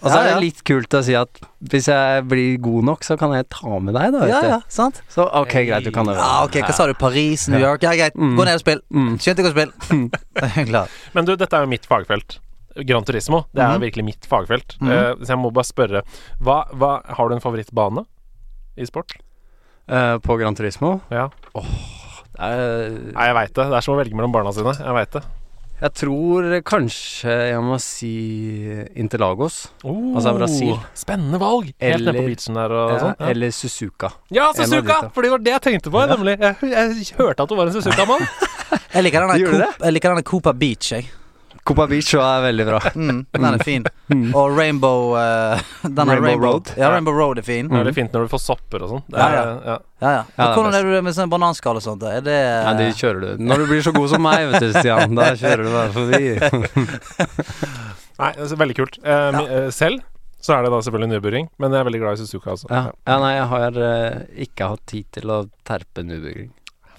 Speaker 1: Og så er
Speaker 4: Ja, ja.
Speaker 1: det litt kult å si at hvis jeg blir god nok, så kan jeg ta med deg, da. vet
Speaker 4: Ja,
Speaker 1: du.
Speaker 4: ja, sant?
Speaker 1: Så ok, greit, du kan øve.
Speaker 4: Ja, ok, Hva sa du? Paris, New
Speaker 1: Ja.
Speaker 4: York? Ja, greit.
Speaker 1: Mm.
Speaker 4: Gå ned og spill.
Speaker 1: Mm.
Speaker 4: Skjønte ikke å spille. Klar.
Speaker 5: Men du, dette er jo mitt fagfelt. Gran Turismo. Det er
Speaker 4: Mhm.
Speaker 5: virkelig mitt fagfelt.
Speaker 4: Mhm.
Speaker 5: Eh, så jeg må bare spørre hva, hva, Har du en favorittbane i sport?
Speaker 1: Eh, på Gran Turismo?
Speaker 5: Ja.
Speaker 1: Det er-
Speaker 5: Nei, jeg veit det. Det er som å velge mellom barna sine. Jeg veit det.
Speaker 1: jeg tror kanskje jeg må si Interlagos.
Speaker 5: Oh,
Speaker 1: Altså, Brasil.
Speaker 5: Spennende valg! Helt nede
Speaker 1: Eller-
Speaker 5: på beachen der og
Speaker 1: Ja,
Speaker 5: sånn. Ja.
Speaker 1: altså. Eller Suzuka.
Speaker 5: ja,
Speaker 1: en av de
Speaker 5: Suzuka!
Speaker 1: to.
Speaker 5: For det var det jeg tenkte på,
Speaker 1: Ja.
Speaker 5: nemlig. Jeg, jeg hørte at du var en Suzuka-mann.
Speaker 4: Jeg liker den der
Speaker 1: Gjorde du
Speaker 4: Coop- jeg liker den der Cooper Beach, jeg.
Speaker 1: Copa Beach er veldig bra.
Speaker 4: Mm, den er fin.
Speaker 1: Mm.
Speaker 4: Og Rainbow eh, den er
Speaker 1: Rainbow
Speaker 4: Rainbow,
Speaker 1: Road. Mm.
Speaker 4: Ja, Rainbow Road er fin.
Speaker 5: Det er veldig fint når du får sopper og sånn. Det
Speaker 4: Ja,
Speaker 5: er- ja.
Speaker 4: Ja, ja.
Speaker 1: Ja, det er
Speaker 4: Men hvordan
Speaker 1: best.
Speaker 4: er du med sånn bananskall og sånt? da? Er det
Speaker 1: Nei, det kjører du. Når du blir så god som meg, vet du, Stian, da kjører du bare forbi.
Speaker 5: Nei, det er veldig kult. Eh, mi- eh, Selv så er det da selvfølgelig nyburing, men jeg er veldig glad i Suzuka altså. også.
Speaker 1: Ja, ja nei, jeg har eh, ikke hatt tid til å terpe Nubugring.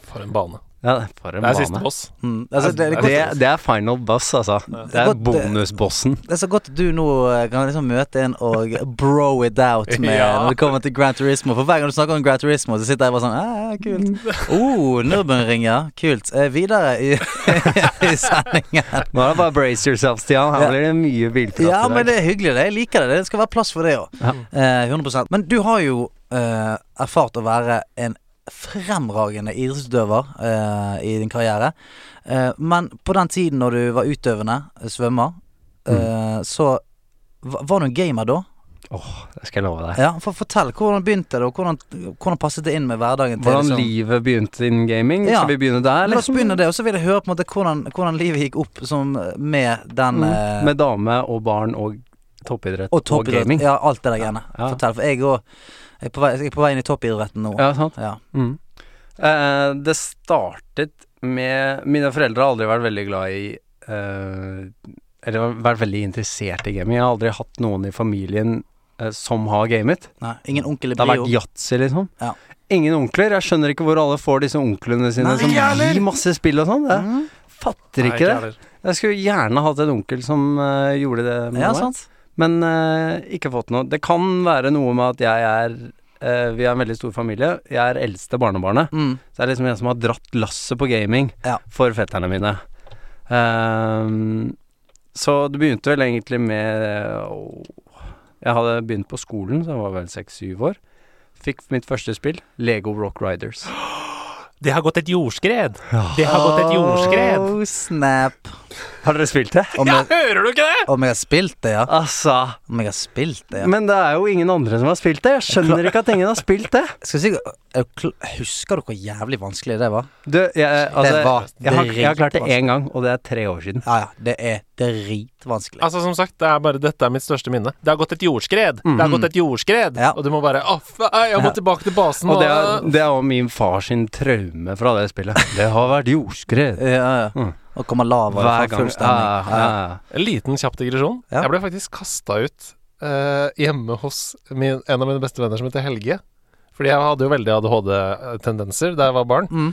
Speaker 5: For en bane.
Speaker 1: Ja, for en
Speaker 5: Det er
Speaker 1: bane.
Speaker 5: siste boss.
Speaker 4: Mm, altså, det, er godt,
Speaker 1: det, det er final boss, altså. Det er
Speaker 4: Godt, eh,
Speaker 1: bonusbossen.
Speaker 4: det er så godt du nå eh, kan liksom møte en og bro it out med
Speaker 5: Ja.
Speaker 4: når det kommer til Grand Turismo. For hver gang du snakker om Grand Turismo, så sitter jeg bare sånn ah, ja, Kult. Oh, Nürburgring, ja. Kult. Eh, videre i, i sendingen.
Speaker 1: Nå er det bare brace yourself, Stian. Her
Speaker 4: Ja.
Speaker 1: blir det mye bilprat
Speaker 4: Ja,
Speaker 1: i
Speaker 4: men
Speaker 1: dag.
Speaker 4: det er hyggelig. det Jeg liker det. Det skal være plass for det òg.
Speaker 1: Ja.
Speaker 4: Eh, 100 Men du har jo eh, erfart å være en fremragende idrettsutøver eh, i din karriere. Eh, men på den tiden når du var utøvende eh, svømmer, eh, så va- var du en gamer da?
Speaker 1: Det skal jeg love deg.
Speaker 4: Ja, for Fortell, hvordan begynte det, og hvordan, hvordan passet det inn med hverdagen? til
Speaker 1: Hvordan
Speaker 4: liksom-
Speaker 1: livet begynte innen gaming.
Speaker 4: Ja.
Speaker 1: Skal vi begynne der?
Speaker 4: La oss
Speaker 1: liksom?
Speaker 4: begynne det, og så vil jeg høre på en måte hvordan, hvordan livet gikk opp som, eh, med den eh,
Speaker 1: Mm. Med dame og barn og toppidrett
Speaker 4: Og toppidrett.
Speaker 1: gaming.
Speaker 4: ja, alt det der greiene.
Speaker 1: Ja.
Speaker 4: Fortell, for jeg òg er, på vei- jeg er på vei inn i toppidretten nå.
Speaker 1: Ja, sant.
Speaker 4: Ja.
Speaker 1: Mm. Eh, det startet med Mine foreldre har aldri vært veldig glad i eh, Eller vært veldig interessert i gaming. Jeg har aldri hatt noen i familien eh, som har gamet.
Speaker 4: Nei, ingen onkel i
Speaker 1: Det har
Speaker 4: Brio.
Speaker 1: vært yatzy, liksom.
Speaker 4: Ja.
Speaker 1: Ingen onkler. Jeg skjønner ikke hvor alle får disse onklene sine
Speaker 4: Nei,
Speaker 1: som
Speaker 4: jeg heller.
Speaker 1: gir masse spill og sånn. Jeg
Speaker 4: Mm.
Speaker 1: fatter ikke det. Jeg skulle gjerne hatt en onkel som eh, gjorde det med
Speaker 4: Ja,
Speaker 1: meg.
Speaker 4: sant.
Speaker 1: Men eh, ikke fått noe. Det kan være noe med at jeg er eh, Vi er en veldig stor familie. Jeg er eldste barnebarnet.
Speaker 4: Mm.
Speaker 1: Så det er liksom jeg som har dratt lasset på gaming
Speaker 4: Ja.
Speaker 1: for fetterne mine. Ehm, så det begynte vel egentlig med åh, Jeg hadde begynt på skolen, så jeg var vel seks-syv år. Fikk mitt første spill, Lego Rock Riders.
Speaker 5: Det har gått et jordskred! Det har gått et jordskred!
Speaker 4: Oh, snap.
Speaker 1: Har dere spilt det?
Speaker 4: Om jeg,
Speaker 5: hører du ikke det?!
Speaker 4: om jeg har spilt det, ja.
Speaker 1: Altså.
Speaker 4: Om jeg har spilt det, ja.
Speaker 1: Men det er jo ingen andre som har spilt det. Jeg skjønner ikke at ingen har spilt det.
Speaker 4: Skal jeg si, er du kl- husker du hvor jævlig vanskelig det var?
Speaker 1: Du, jeg, altså,
Speaker 4: det var
Speaker 1: Jeg har, jeg har klart det
Speaker 4: dritvanskelig.
Speaker 1: én gang, og det er tre år siden.
Speaker 4: Ja, ja. Det er dritvanskelig.
Speaker 5: Altså, som sagt, det er bare dette er mitt største minne. Det har gått et jordskred! Det
Speaker 1: Mhm.
Speaker 5: har gått et jordskred!
Speaker 4: Ja.
Speaker 5: Og du må bare Å, fa- ei, jeg må tilbake til basen!
Speaker 1: Og det er,
Speaker 5: og-
Speaker 1: det er jo min far sin traume fra det spillet. Det har vært jordskred.
Speaker 4: Ja, ja.
Speaker 1: Mm.
Speaker 4: Og kommer lava
Speaker 1: Hver
Speaker 4: fra
Speaker 1: gang.
Speaker 4: full stemning.
Speaker 1: Ja,
Speaker 4: Ja,
Speaker 1: ja, ja.
Speaker 5: En liten kjapp digresjon.
Speaker 4: Ja.
Speaker 5: Jeg ble faktisk kasta ut eh, hjemme hos min, en av mine beste venner som heter Helge. Fordi jeg hadde jo veldig ADHD-tendenser da jeg var barn.
Speaker 4: Mm.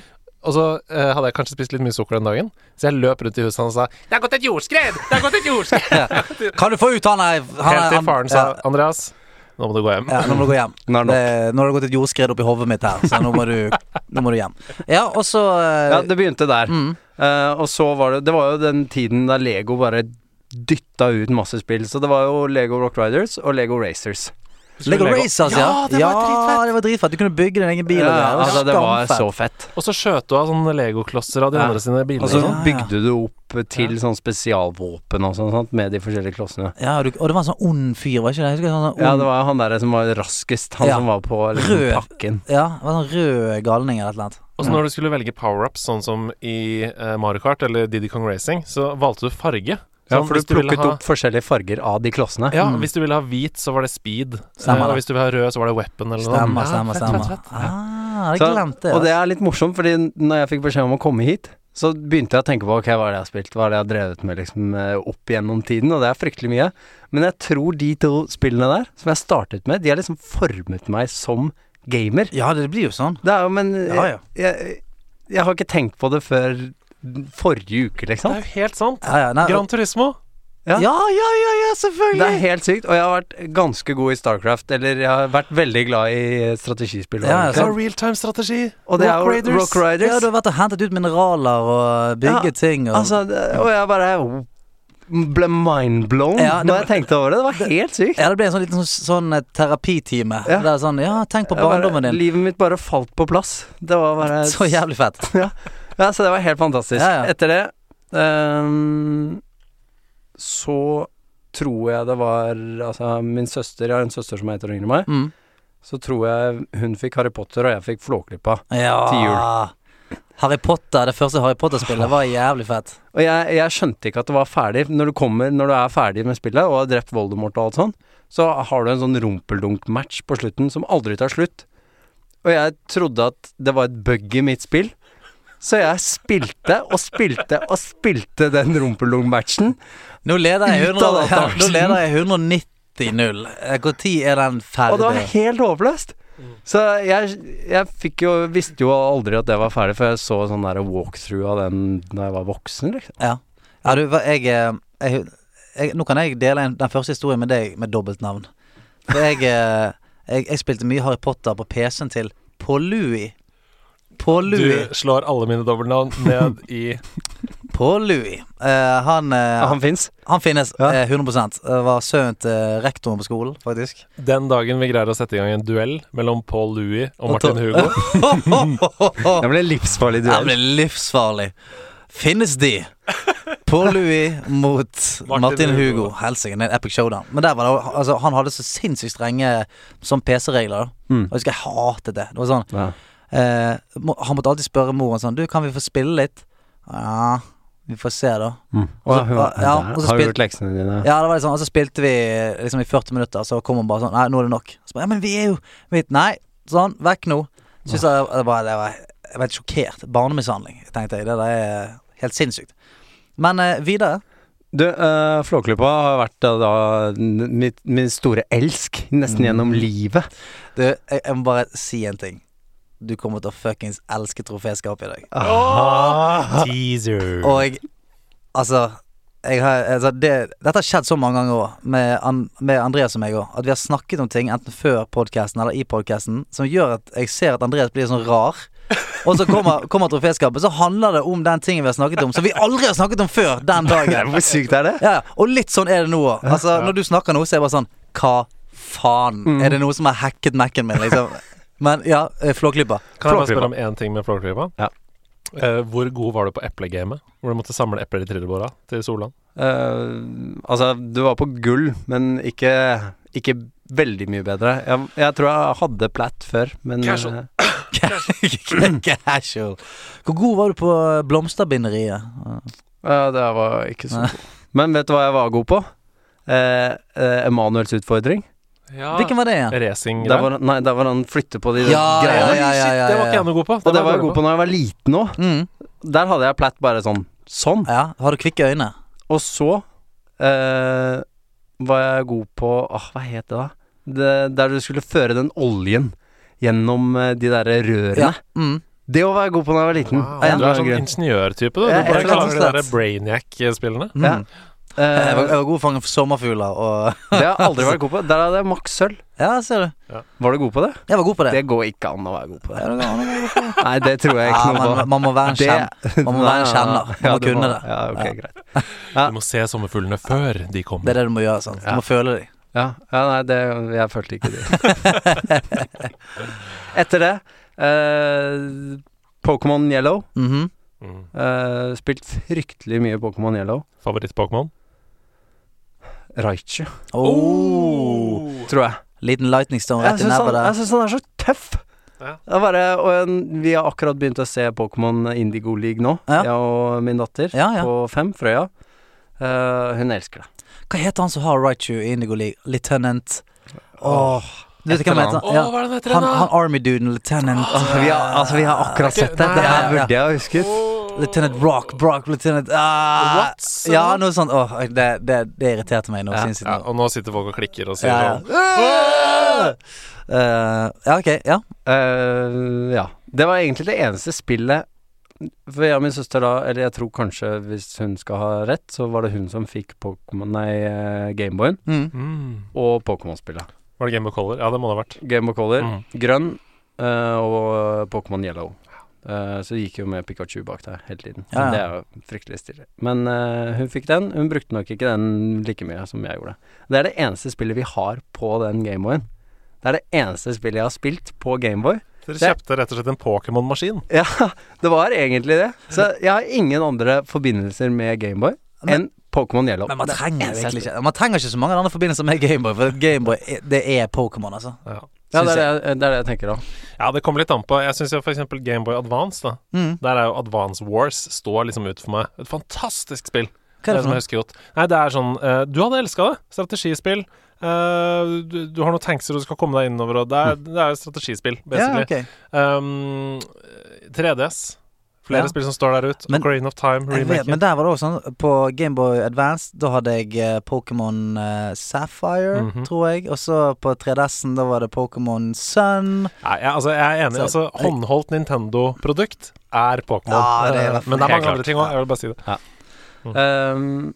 Speaker 5: Og så eh, hadde jeg kanskje spist litt mye sukker den dagen, så jeg løp rundt i huset hans og sa 'Det har gått et jordskred!' Det har gått et jordskred!
Speaker 4: Kan du få ut han her? Han
Speaker 5: Helt
Speaker 4: er-
Speaker 5: til
Speaker 4: han-
Speaker 5: faren sa 'Andreas, nå må du gå hjem'.
Speaker 4: Ja, nå må du gå hjem.
Speaker 1: Nå er det nok.
Speaker 4: Det- nå har det gått et jordskred opp i hodet mitt her, så nå må du, nå må du hjem. Ja, og så eh,
Speaker 1: ja, det begynte der.
Speaker 4: mm,
Speaker 1: Eh, og så var det Det var jo den tiden da Lego bare dytta ut masse spill. Så det var jo Lego Rock Riders og Lego Racers.
Speaker 4: Lego Racers, ja.
Speaker 5: Ja, det var dritfett.
Speaker 4: det var dritfett. Du kunne bygge din egen bil. og greier.
Speaker 1: Ja, altså, det var
Speaker 4: skamfett.
Speaker 1: så fett.
Speaker 5: Og så skjøt du av sånne legoklosser av de
Speaker 1: Ja. Altså-
Speaker 5: andre sine biler.
Speaker 1: Og så
Speaker 5: og sånn.
Speaker 4: ja.
Speaker 1: bygde du opp til sånn spesialvåpen og sånn sant, med de forskjellige klossene.
Speaker 4: Ja, og, du, og det var en sånn ond fyr, var ikke det? Jeg husker sånn, sånn ond,
Speaker 1: Ja, det var jo han der som var raskest, han
Speaker 4: Ja.
Speaker 1: som var på liksom,
Speaker 4: Rød.
Speaker 1: pakken.
Speaker 4: ja, det var en sånn rød galning eller et eller annet.
Speaker 5: Og så når du skulle velge power-ups, sånn som i eh, Mario Kart eller Didi Kong Racing, så valgte du farge.
Speaker 1: Ja,
Speaker 5: Sånn,
Speaker 1: for
Speaker 5: hvis
Speaker 1: du
Speaker 5: ville
Speaker 1: plukket
Speaker 5: ha-
Speaker 1: opp forskjellige farger av de klossene.
Speaker 5: Ja,
Speaker 4: Mm.
Speaker 5: hvis du ville ha hvit, så var det speed.
Speaker 4: Stemmer det.
Speaker 5: Eh, og hvis du ville ha rød, så var det weapon eller
Speaker 4: Stemmer,
Speaker 5: noe.
Speaker 4: stemmer,
Speaker 5: ja,
Speaker 4: stemmer.
Speaker 5: Fett, fett, fett.
Speaker 4: Ah, jeg
Speaker 1: Så-
Speaker 4: glemte
Speaker 1: Og det
Speaker 4: det.
Speaker 1: er litt morsomt, fordi når jeg fikk beskjed om å komme hit, så begynte jeg å tenke på ok, hva er det jeg har spilt, hva er det jeg har drevet med liksom, eh, opp gjennom tiden, og det er fryktelig mye. Men jeg tror de to spillene der, som jeg startet med, de har liksom formet meg som gamer.
Speaker 4: Ja, det blir jo sånn.
Speaker 1: Det er jo, men jeg,
Speaker 4: Ja, ja.
Speaker 1: Jeg, jeg har ikke tenkt på det før forrige uke,
Speaker 5: Det
Speaker 1: liksom.
Speaker 5: er jo helt sant.
Speaker 4: Ja, ja, nei,
Speaker 5: Gran Turismo.
Speaker 1: Ja.
Speaker 4: ja, ja, ja, ja,
Speaker 1: Det er
Speaker 4: selvfølgelig.
Speaker 1: helt sykt, og jeg har vært ganske god i Starcraft, eller jeg har vært veldig glad i eh, strategispill.
Speaker 4: Ja, ja,
Speaker 5: Det
Speaker 1: egentlig.
Speaker 5: var realtime-strategi.
Speaker 1: og det er
Speaker 5: Rock
Speaker 1: jo
Speaker 5: Raiders.
Speaker 1: Rock Riders.
Speaker 4: Ja, du har vært og hentet ut mineraler og bygget ting og
Speaker 1: Altså, det, og jeg bare ble mindblown
Speaker 4: Ja, det
Speaker 1: når
Speaker 4: var-
Speaker 1: jeg tenkte over det. Det var helt sykt.
Speaker 4: Ja, det ble en sånn liten sånn, sånn eh, terapitime.
Speaker 1: Ja.
Speaker 4: Der sånn, ja, tenk på
Speaker 1: Jeg bare,
Speaker 4: barndommen din.
Speaker 1: livet mitt bare falt på plass. Det var bare
Speaker 4: Så jævlig fett.
Speaker 1: Ja, så det var helt fantastisk.
Speaker 4: Ja, ja.
Speaker 1: Etter det ehm, så tror jeg det var Altså, min søster Jeg har en søster som er ett år yngre enn meg.
Speaker 4: Mm.
Speaker 1: Så tror jeg hun fikk Harry Potter, og jeg fikk Flåklypa.
Speaker 4: Ja.
Speaker 1: Til
Speaker 4: Harry Potter, det første Harry Potter-spillet var jævlig fett.
Speaker 1: Og jeg, jeg skjønte ikke at det var ferdig. Når du kommer, når du er ferdig med spillet og har drept Voldemort og alt sånn, så har du en sånn rumpeldunk-match på slutten som aldri tar slutt. Og jeg trodde at det var et bug i mitt spill. Så jeg spilte og spilte og spilte den rumpeldunk-matchen.
Speaker 4: Nå leder jeg,
Speaker 1: Ut
Speaker 4: 100, ja,
Speaker 1: av datamaskin.
Speaker 4: nå leder jeg 190-0. Når Eh, er den
Speaker 1: Og det Mm.
Speaker 4: ferdig?
Speaker 1: var helt håpløst. Så jeg, jeg fikk jo, visste jo aldri at det var ferdig, for jeg så sånn der walkthrough av den da jeg var voksen. Liksom.
Speaker 4: Ja, ja du, hva- jeg, eh, jeg, jeg Nå kan jeg dele en, den første historien med deg med dobbeltnavn. For jeg, eh, jeg, jeg spilte mye Harry Potter på PC-en til Paul-Louis. Paul-Louis.
Speaker 5: Du slår alle mine dobbeltnavn ned i
Speaker 4: Paul-Louis. Eh, han, eh, han,
Speaker 1: Han fins.
Speaker 4: finnes
Speaker 1: Ja.
Speaker 4: eh, 100 eh, Var sønnen til rektoren på skolen, faktisk.
Speaker 5: den dagen vi greier å sette i gang en duell mellom Paul Louis og
Speaker 4: Og to-
Speaker 5: Martin Hugo.
Speaker 1: Det ble livsfarlig
Speaker 4: Det
Speaker 1: duell.
Speaker 4: blir livsfarlig. Finnes de? Paul-Louis mot Martin,
Speaker 5: Martin
Speaker 4: Hugo.
Speaker 5: Hugo.
Speaker 4: Helsike, det er en epic showdown. Men der var det, jo- altså, han hadde så sinnssykt strenge sånn PC-regler. da.
Speaker 1: Mm.
Speaker 4: Og Jeg husker jeg hatet det. Det var sånn
Speaker 1: Ja.
Speaker 4: eh, må- Han måtte alltid spørre moren sånn Du, kan vi få spille litt? Ja, vi får se, da.
Speaker 1: Mm.
Speaker 4: Og så-
Speaker 1: Å, hun-
Speaker 4: ja, og så
Speaker 1: har
Speaker 4: spil-
Speaker 1: du gjort leksene dine?
Speaker 4: Ja, det var liksom, og så spilte vi liksom i 40 minutter, så kom hun bare sånn Nei, nå er det nok. Så bare, ja, men vi er jo vi, Nei, sånn, vekk nå. Syns jeg det var, det var jeg var helt sjokkert. Barnemishandling, tenkte jeg. Det der er helt sinnssykt. Men eh, videre
Speaker 1: Du, uh, Flåklypa har vært eh, da n- mitt, min store elsk nesten gjennom livet.
Speaker 4: Du, jeg, jeg må bare si en ting. Du kommer til å fuckings elske troféskapet i dag.
Speaker 5: Teaser.
Speaker 4: Og jeg Altså, jeg har, altså det, dette har skjedd så mange ganger òg, med, An- med Andreas og meg òg. At vi har snakket om ting enten før podkasten eller i podkasten som gjør at jeg ser at Andreas blir sånn rar. Og så kommer, kommer troféskapet, så handler det om den tingen vi har snakket om som vi aldri har snakket om før den dagen.
Speaker 1: Hvor sykt er det?
Speaker 4: Ja, ja. og litt sånn er det nå òg. Altså, når du snakker nå, så er jeg bare sånn Hva faen? Er det noe som har hacket Mac-en min, liksom? Men ja, eh, Flåklypa.
Speaker 5: Kan jeg bare
Speaker 1: Flåklypa.
Speaker 5: spørre om én ting med Flåklypa?
Speaker 1: Ja.
Speaker 5: Eh, hvor god var du på eplegamet? Hvor du måtte samle epler i trillebåra til Solan?
Speaker 1: Eh, altså, du var på gull, men ikke, ikke veldig mye bedre. Jeg, jeg tror jeg hadde platt før, men
Speaker 5: Casual.
Speaker 1: eh,
Speaker 4: Casual. Hvor god var du på blomsterbinderiet?
Speaker 1: ja, det var ikke så god. Men vet du hva jeg var god på? Eh, eh, Emanuels utfordring.
Speaker 5: Ja.
Speaker 4: Hvilken var det igjen?
Speaker 5: Racing
Speaker 1: Der var, han- nei, der var han flytte på de
Speaker 4: Ja, ja,
Speaker 1: greiene.
Speaker 4: ja, ja, ja,
Speaker 5: Shit, det var
Speaker 4: ja.
Speaker 5: ikke jeg noe god på.
Speaker 1: Og det var jeg god på når jeg var liten òg.
Speaker 4: Mm.
Speaker 1: Der hadde jeg platt bare sånn. Sånn.
Speaker 4: Ja, har du kvikke øyne?
Speaker 1: Og så eh, var jeg god på åh, Hva het det, da? Det, der du skulle føre den oljen gjennom eh, de derre rørene.
Speaker 4: Mm.
Speaker 1: Det å være god på da jeg var liten.
Speaker 5: Wow. Du
Speaker 1: av en eller
Speaker 5: er
Speaker 1: annen
Speaker 5: sånn
Speaker 1: grunn.
Speaker 5: ingeniørtype, du. Du
Speaker 1: Ja,
Speaker 5: bare
Speaker 1: jeg-
Speaker 4: rett
Speaker 5: klarer de
Speaker 4: og
Speaker 5: der
Speaker 4: slett.
Speaker 5: brainiac-spillene.
Speaker 4: Mm.
Speaker 1: Ja.
Speaker 4: Jeg, var,
Speaker 1: Eh,
Speaker 4: jeg var god fanger for sommerfugler og
Speaker 1: det har jeg aldri vært god på. Der hadde jeg maks sølv.
Speaker 4: Ja, ser du.
Speaker 1: Var du god på det?
Speaker 4: Jeg var god på det.
Speaker 1: Det går ikke an å være god på
Speaker 4: Ja,
Speaker 1: det.
Speaker 4: det var-
Speaker 1: Nei, det tror jeg
Speaker 4: Ja,
Speaker 1: ikke noe
Speaker 4: man,
Speaker 1: på.
Speaker 4: man må være en kjenner. man må være en kjenner. Man må kunne det.
Speaker 1: Ja, ok, greit.
Speaker 5: Du må se sommerfuglene før de
Speaker 4: Det er
Speaker 5: kommer.
Speaker 4: det du må gjøre. sant? Du
Speaker 1: Ja.
Speaker 4: må føle dem.
Speaker 1: Ja, ja nei, det, jeg følte ikke det. Etter det eh, Pokémon Yellow.
Speaker 4: Mhm.
Speaker 5: Mm.
Speaker 1: Eh, spilt fryktelig mye Pokémon Yellow.
Speaker 5: Favoritt-Pokémon?
Speaker 1: Raichu,
Speaker 4: oh.
Speaker 1: tror jeg.
Speaker 4: Liten lightning stone
Speaker 1: Jeg
Speaker 4: rett i
Speaker 1: syns
Speaker 4: nebbet
Speaker 1: han, jeg
Speaker 4: der.
Speaker 1: synes han er så sånn- tøff.
Speaker 5: Ja.
Speaker 1: Det er bare, og en, vi har akkurat begynt å se Pokémon Indigo League nå,
Speaker 4: Ja.
Speaker 1: jeg og min datter
Speaker 4: Ja, ja.
Speaker 1: på fem, Frøya. Eh, hun elsker det.
Speaker 4: Hva heter han som har Raichu i Indigo League? Lieutenant Åh. Du vet
Speaker 1: Et
Speaker 4: ikke hva han
Speaker 1: eller
Speaker 4: heter?
Speaker 5: Å,
Speaker 4: Ja.
Speaker 5: hva er det den heter
Speaker 4: Han,
Speaker 5: igjen,
Speaker 4: han
Speaker 5: da?
Speaker 4: Army-duden, Lieutenant
Speaker 1: Altså, vi, har, altså, vi har akkurat sett det. Det her
Speaker 4: Nei, ja.
Speaker 1: burde jeg ha husket.
Speaker 4: Lieutenant Brock, Brock, Lieutenant ah,
Speaker 5: What?
Speaker 4: Ja, noe sånt. Åh, det, det, det irriterte meg nå.
Speaker 1: Ja. sånn.
Speaker 4: sinnssykt
Speaker 5: Ja,
Speaker 4: nå.
Speaker 5: og nå sitter folk og klikker og sier
Speaker 4: Ja,
Speaker 5: sånn
Speaker 4: ja. Eh, ja, ok. Ja.
Speaker 1: Eh, ja. Det var egentlig det eneste spillet For jeg og min søster da, eller jeg tror kanskje hvis hun skal ha rett, så var det hun som fikk Pokémon, nei, eh, Gameboyen
Speaker 4: Mm.
Speaker 5: mm.
Speaker 1: og Pokémon-spillet.
Speaker 5: Var det Game of Color? Ja, det må det ha vært.
Speaker 1: Gameboy Color,
Speaker 5: Mm.
Speaker 1: grønn eh, og Pokémon Yellow. Eh, så gikk jo med Pikachu bak der hele tiden. Så
Speaker 4: Ja, ja.
Speaker 1: Det er jo fryktelig stille. Men eh, hun fikk den. Hun brukte nok ikke den like mye som jeg gjorde. Det er det eneste spillet vi har på den Gameboyen. Det er det eneste spillet jeg har spilt på Gameboy.
Speaker 5: Dere
Speaker 1: Det-
Speaker 5: kjøpte rett og slett en Pokémon-maskin.
Speaker 1: Ja, det var egentlig det. Så jeg har ingen andre forbindelser med Gameboy enn Pokémon Yellow.
Speaker 4: Men man
Speaker 1: Det er
Speaker 4: trenger
Speaker 1: eneste jeg
Speaker 4: virkelig ikke Man trenger ikke så mange andre forbindelser med Gameboy, for Gameboy er- det er Pokémon, altså.
Speaker 5: Ja.
Speaker 1: Ja, det
Speaker 4: Synes
Speaker 1: er det, jeg, det er det jeg tenker da.
Speaker 5: ja, det kommer litt an på. Jeg syns f.eks. Gameboy Advance, da.
Speaker 4: Mm.
Speaker 5: Der er jo Advance Wars står liksom ut for meg. Et fantastisk spill.
Speaker 4: Hva er det for
Speaker 5: som
Speaker 4: noe?
Speaker 5: jeg husker godt. Nei, det er sånn eh, Du hadde elska det. Strategispill. Eh, du, du har noen tanks og du skal komme deg innover, og det er, det er jo strategispill,
Speaker 4: Mm. Ja,
Speaker 5: basically.
Speaker 4: ok.
Speaker 5: Um, 3DS. Flere
Speaker 4: Ja.
Speaker 5: spill som står der ute.
Speaker 4: Men-
Speaker 5: Ocarina of Time,
Speaker 4: Jeg vet, men
Speaker 5: remaken.
Speaker 4: der var det også sånn På Gameboy Advance, da hadde jeg eh, Pokémon eh, Sapphire,
Speaker 5: Mhm.
Speaker 4: tror jeg. Og så på 3DS-en, da var det Pokémon Sun.
Speaker 5: Nei, jeg, altså, jeg er enig.
Speaker 4: Så-
Speaker 5: Altså, håndholdt Nintendo-produkt er Pokémon.
Speaker 4: Ja, det er i hvert
Speaker 5: Eh,
Speaker 4: fall-
Speaker 5: men det er
Speaker 1: Helt
Speaker 5: mange andre
Speaker 1: klart.
Speaker 5: ting òg. Jeg vil bare si det.
Speaker 1: Ehm,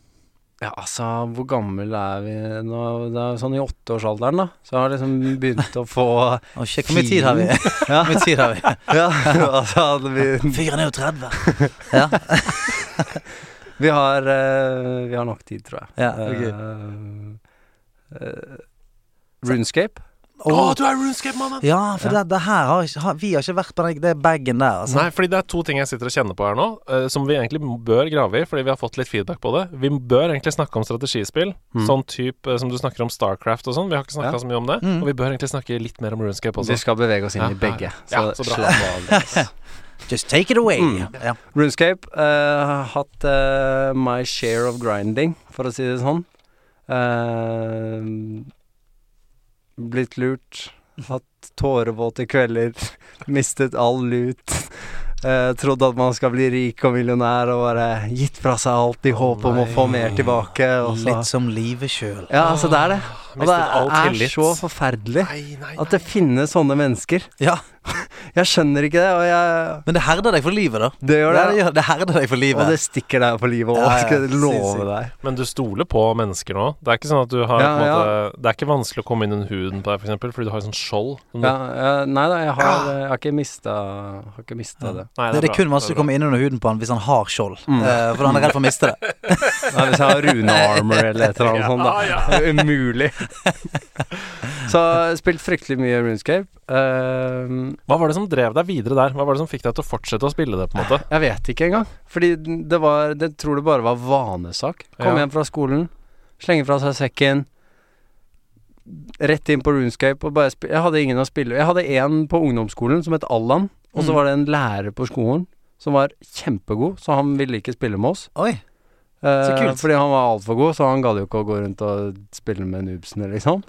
Speaker 1: ja, altså, hvor gammel er vi nå? Det er sånn i åtteårsalderen, da. Så jeg har liksom begynt å få
Speaker 4: Å, shit, hvor mye tid har vi?
Speaker 1: Fin.
Speaker 4: Hvor mye tid har vi?
Speaker 1: Ja, altså hadde vi
Speaker 4: Fyren er jo 30. Ja,
Speaker 1: Vi har, eh, vi har nok tid, tror jeg.
Speaker 4: ja ok.
Speaker 1: Eh, eh, Runescape.
Speaker 5: Å,
Speaker 4: Åh,
Speaker 5: du er RuneScape-mannen!
Speaker 4: Ja, for
Speaker 1: Ja.
Speaker 4: Det, det her har ikke har, Vi har ikke vært på den, det bagen der, altså.
Speaker 5: Nei, fordi det er to ting jeg sitter og kjenner på her nå, eh, som vi egentlig bør grave i, fordi vi har fått litt feedback på det. Vi bør egentlig snakke om strategispill,
Speaker 1: Mm.
Speaker 5: sånn type eh, som du snakker om Starcraft og sånn. Vi har ikke snakka
Speaker 1: Ja.
Speaker 5: så mye om det.
Speaker 4: Mm.
Speaker 5: Og vi bør egentlig snakke litt mer om RuneScape
Speaker 1: Vi
Speaker 5: også.
Speaker 1: skal bevege oss inn
Speaker 5: Ja,
Speaker 1: i begge.
Speaker 5: ja, ja. Ja, så bra.
Speaker 1: slapp av.
Speaker 4: Just take it away.
Speaker 1: Mm.
Speaker 4: Ja.
Speaker 1: Runescape eh, har hatt eh, my share of grinding, for å si det sånn. Eh, blitt lurt, Hatt tårevåte kvelder, mistet all lut. Eh, trodd at man skal bli rik og millionær og bare gitt fra seg alt i håp om å få mer tilbake. Og så.
Speaker 4: Litt som livet sjøl.
Speaker 1: Ja, altså det er det. Og det
Speaker 5: Mistet all
Speaker 1: er
Speaker 5: tillit.
Speaker 1: så forferdelig
Speaker 5: Nei, nei,
Speaker 1: at det finnes sånne mennesker.
Speaker 4: Ja,
Speaker 1: Jeg skjønner ikke det, og jeg
Speaker 4: men det herder deg for livet, da.
Speaker 1: Det gjør det.
Speaker 4: gjør- det herder deg for
Speaker 1: Og
Speaker 4: livet.
Speaker 1: det stikker deg på livet òg,
Speaker 4: Ja, ja,
Speaker 1: skal jeg love
Speaker 4: sinnssykt.
Speaker 1: deg.
Speaker 5: Men du stoler på mennesker nå? Det er ikke sånn at du har
Speaker 1: Ja,
Speaker 5: på en måte, Det er ikke vanskelig å komme inn under huden på deg, for eksempel, fordi du har sånn skjold. som du-
Speaker 1: Ja, ja, nei da, jeg har,
Speaker 4: Ah.
Speaker 1: jeg har ikke mista, har ikke mista det.
Speaker 5: Nei,
Speaker 4: Det, det
Speaker 5: bra,
Speaker 4: er kun vanskelig
Speaker 5: det
Speaker 4: å komme inn under huden på han hvis han har skjold. Eh, for han er redd for å miste det.
Speaker 1: Nei, hvis jeg har Rune Armor eller et eller annet sånt, da. Umulig. Så jeg har spilt fryktelig mye Runescape. Ehm,
Speaker 5: Hva var det som drev deg videre der? Hva var det som fikk deg til å fortsette å spille det, på en måte?
Speaker 1: jeg vet ikke engang. Fordi det var Det tror det bare var vanesak. Kom
Speaker 5: Ja.
Speaker 1: hjem fra skolen, slenge fra seg sekken. Rett inn på Runescape og bare spi- Jeg hadde ingen å spille Jeg hadde en på ungdomsskolen som het Allan, og så
Speaker 4: Mm.
Speaker 1: var det en lærer på skolen som var kjempegod, så han ville ikke spille med oss.
Speaker 4: Oi.
Speaker 1: Eh,
Speaker 4: kult.
Speaker 1: Fordi han var altfor god, så han gadd jo ikke å gå rundt og spille med noobsene, liksom.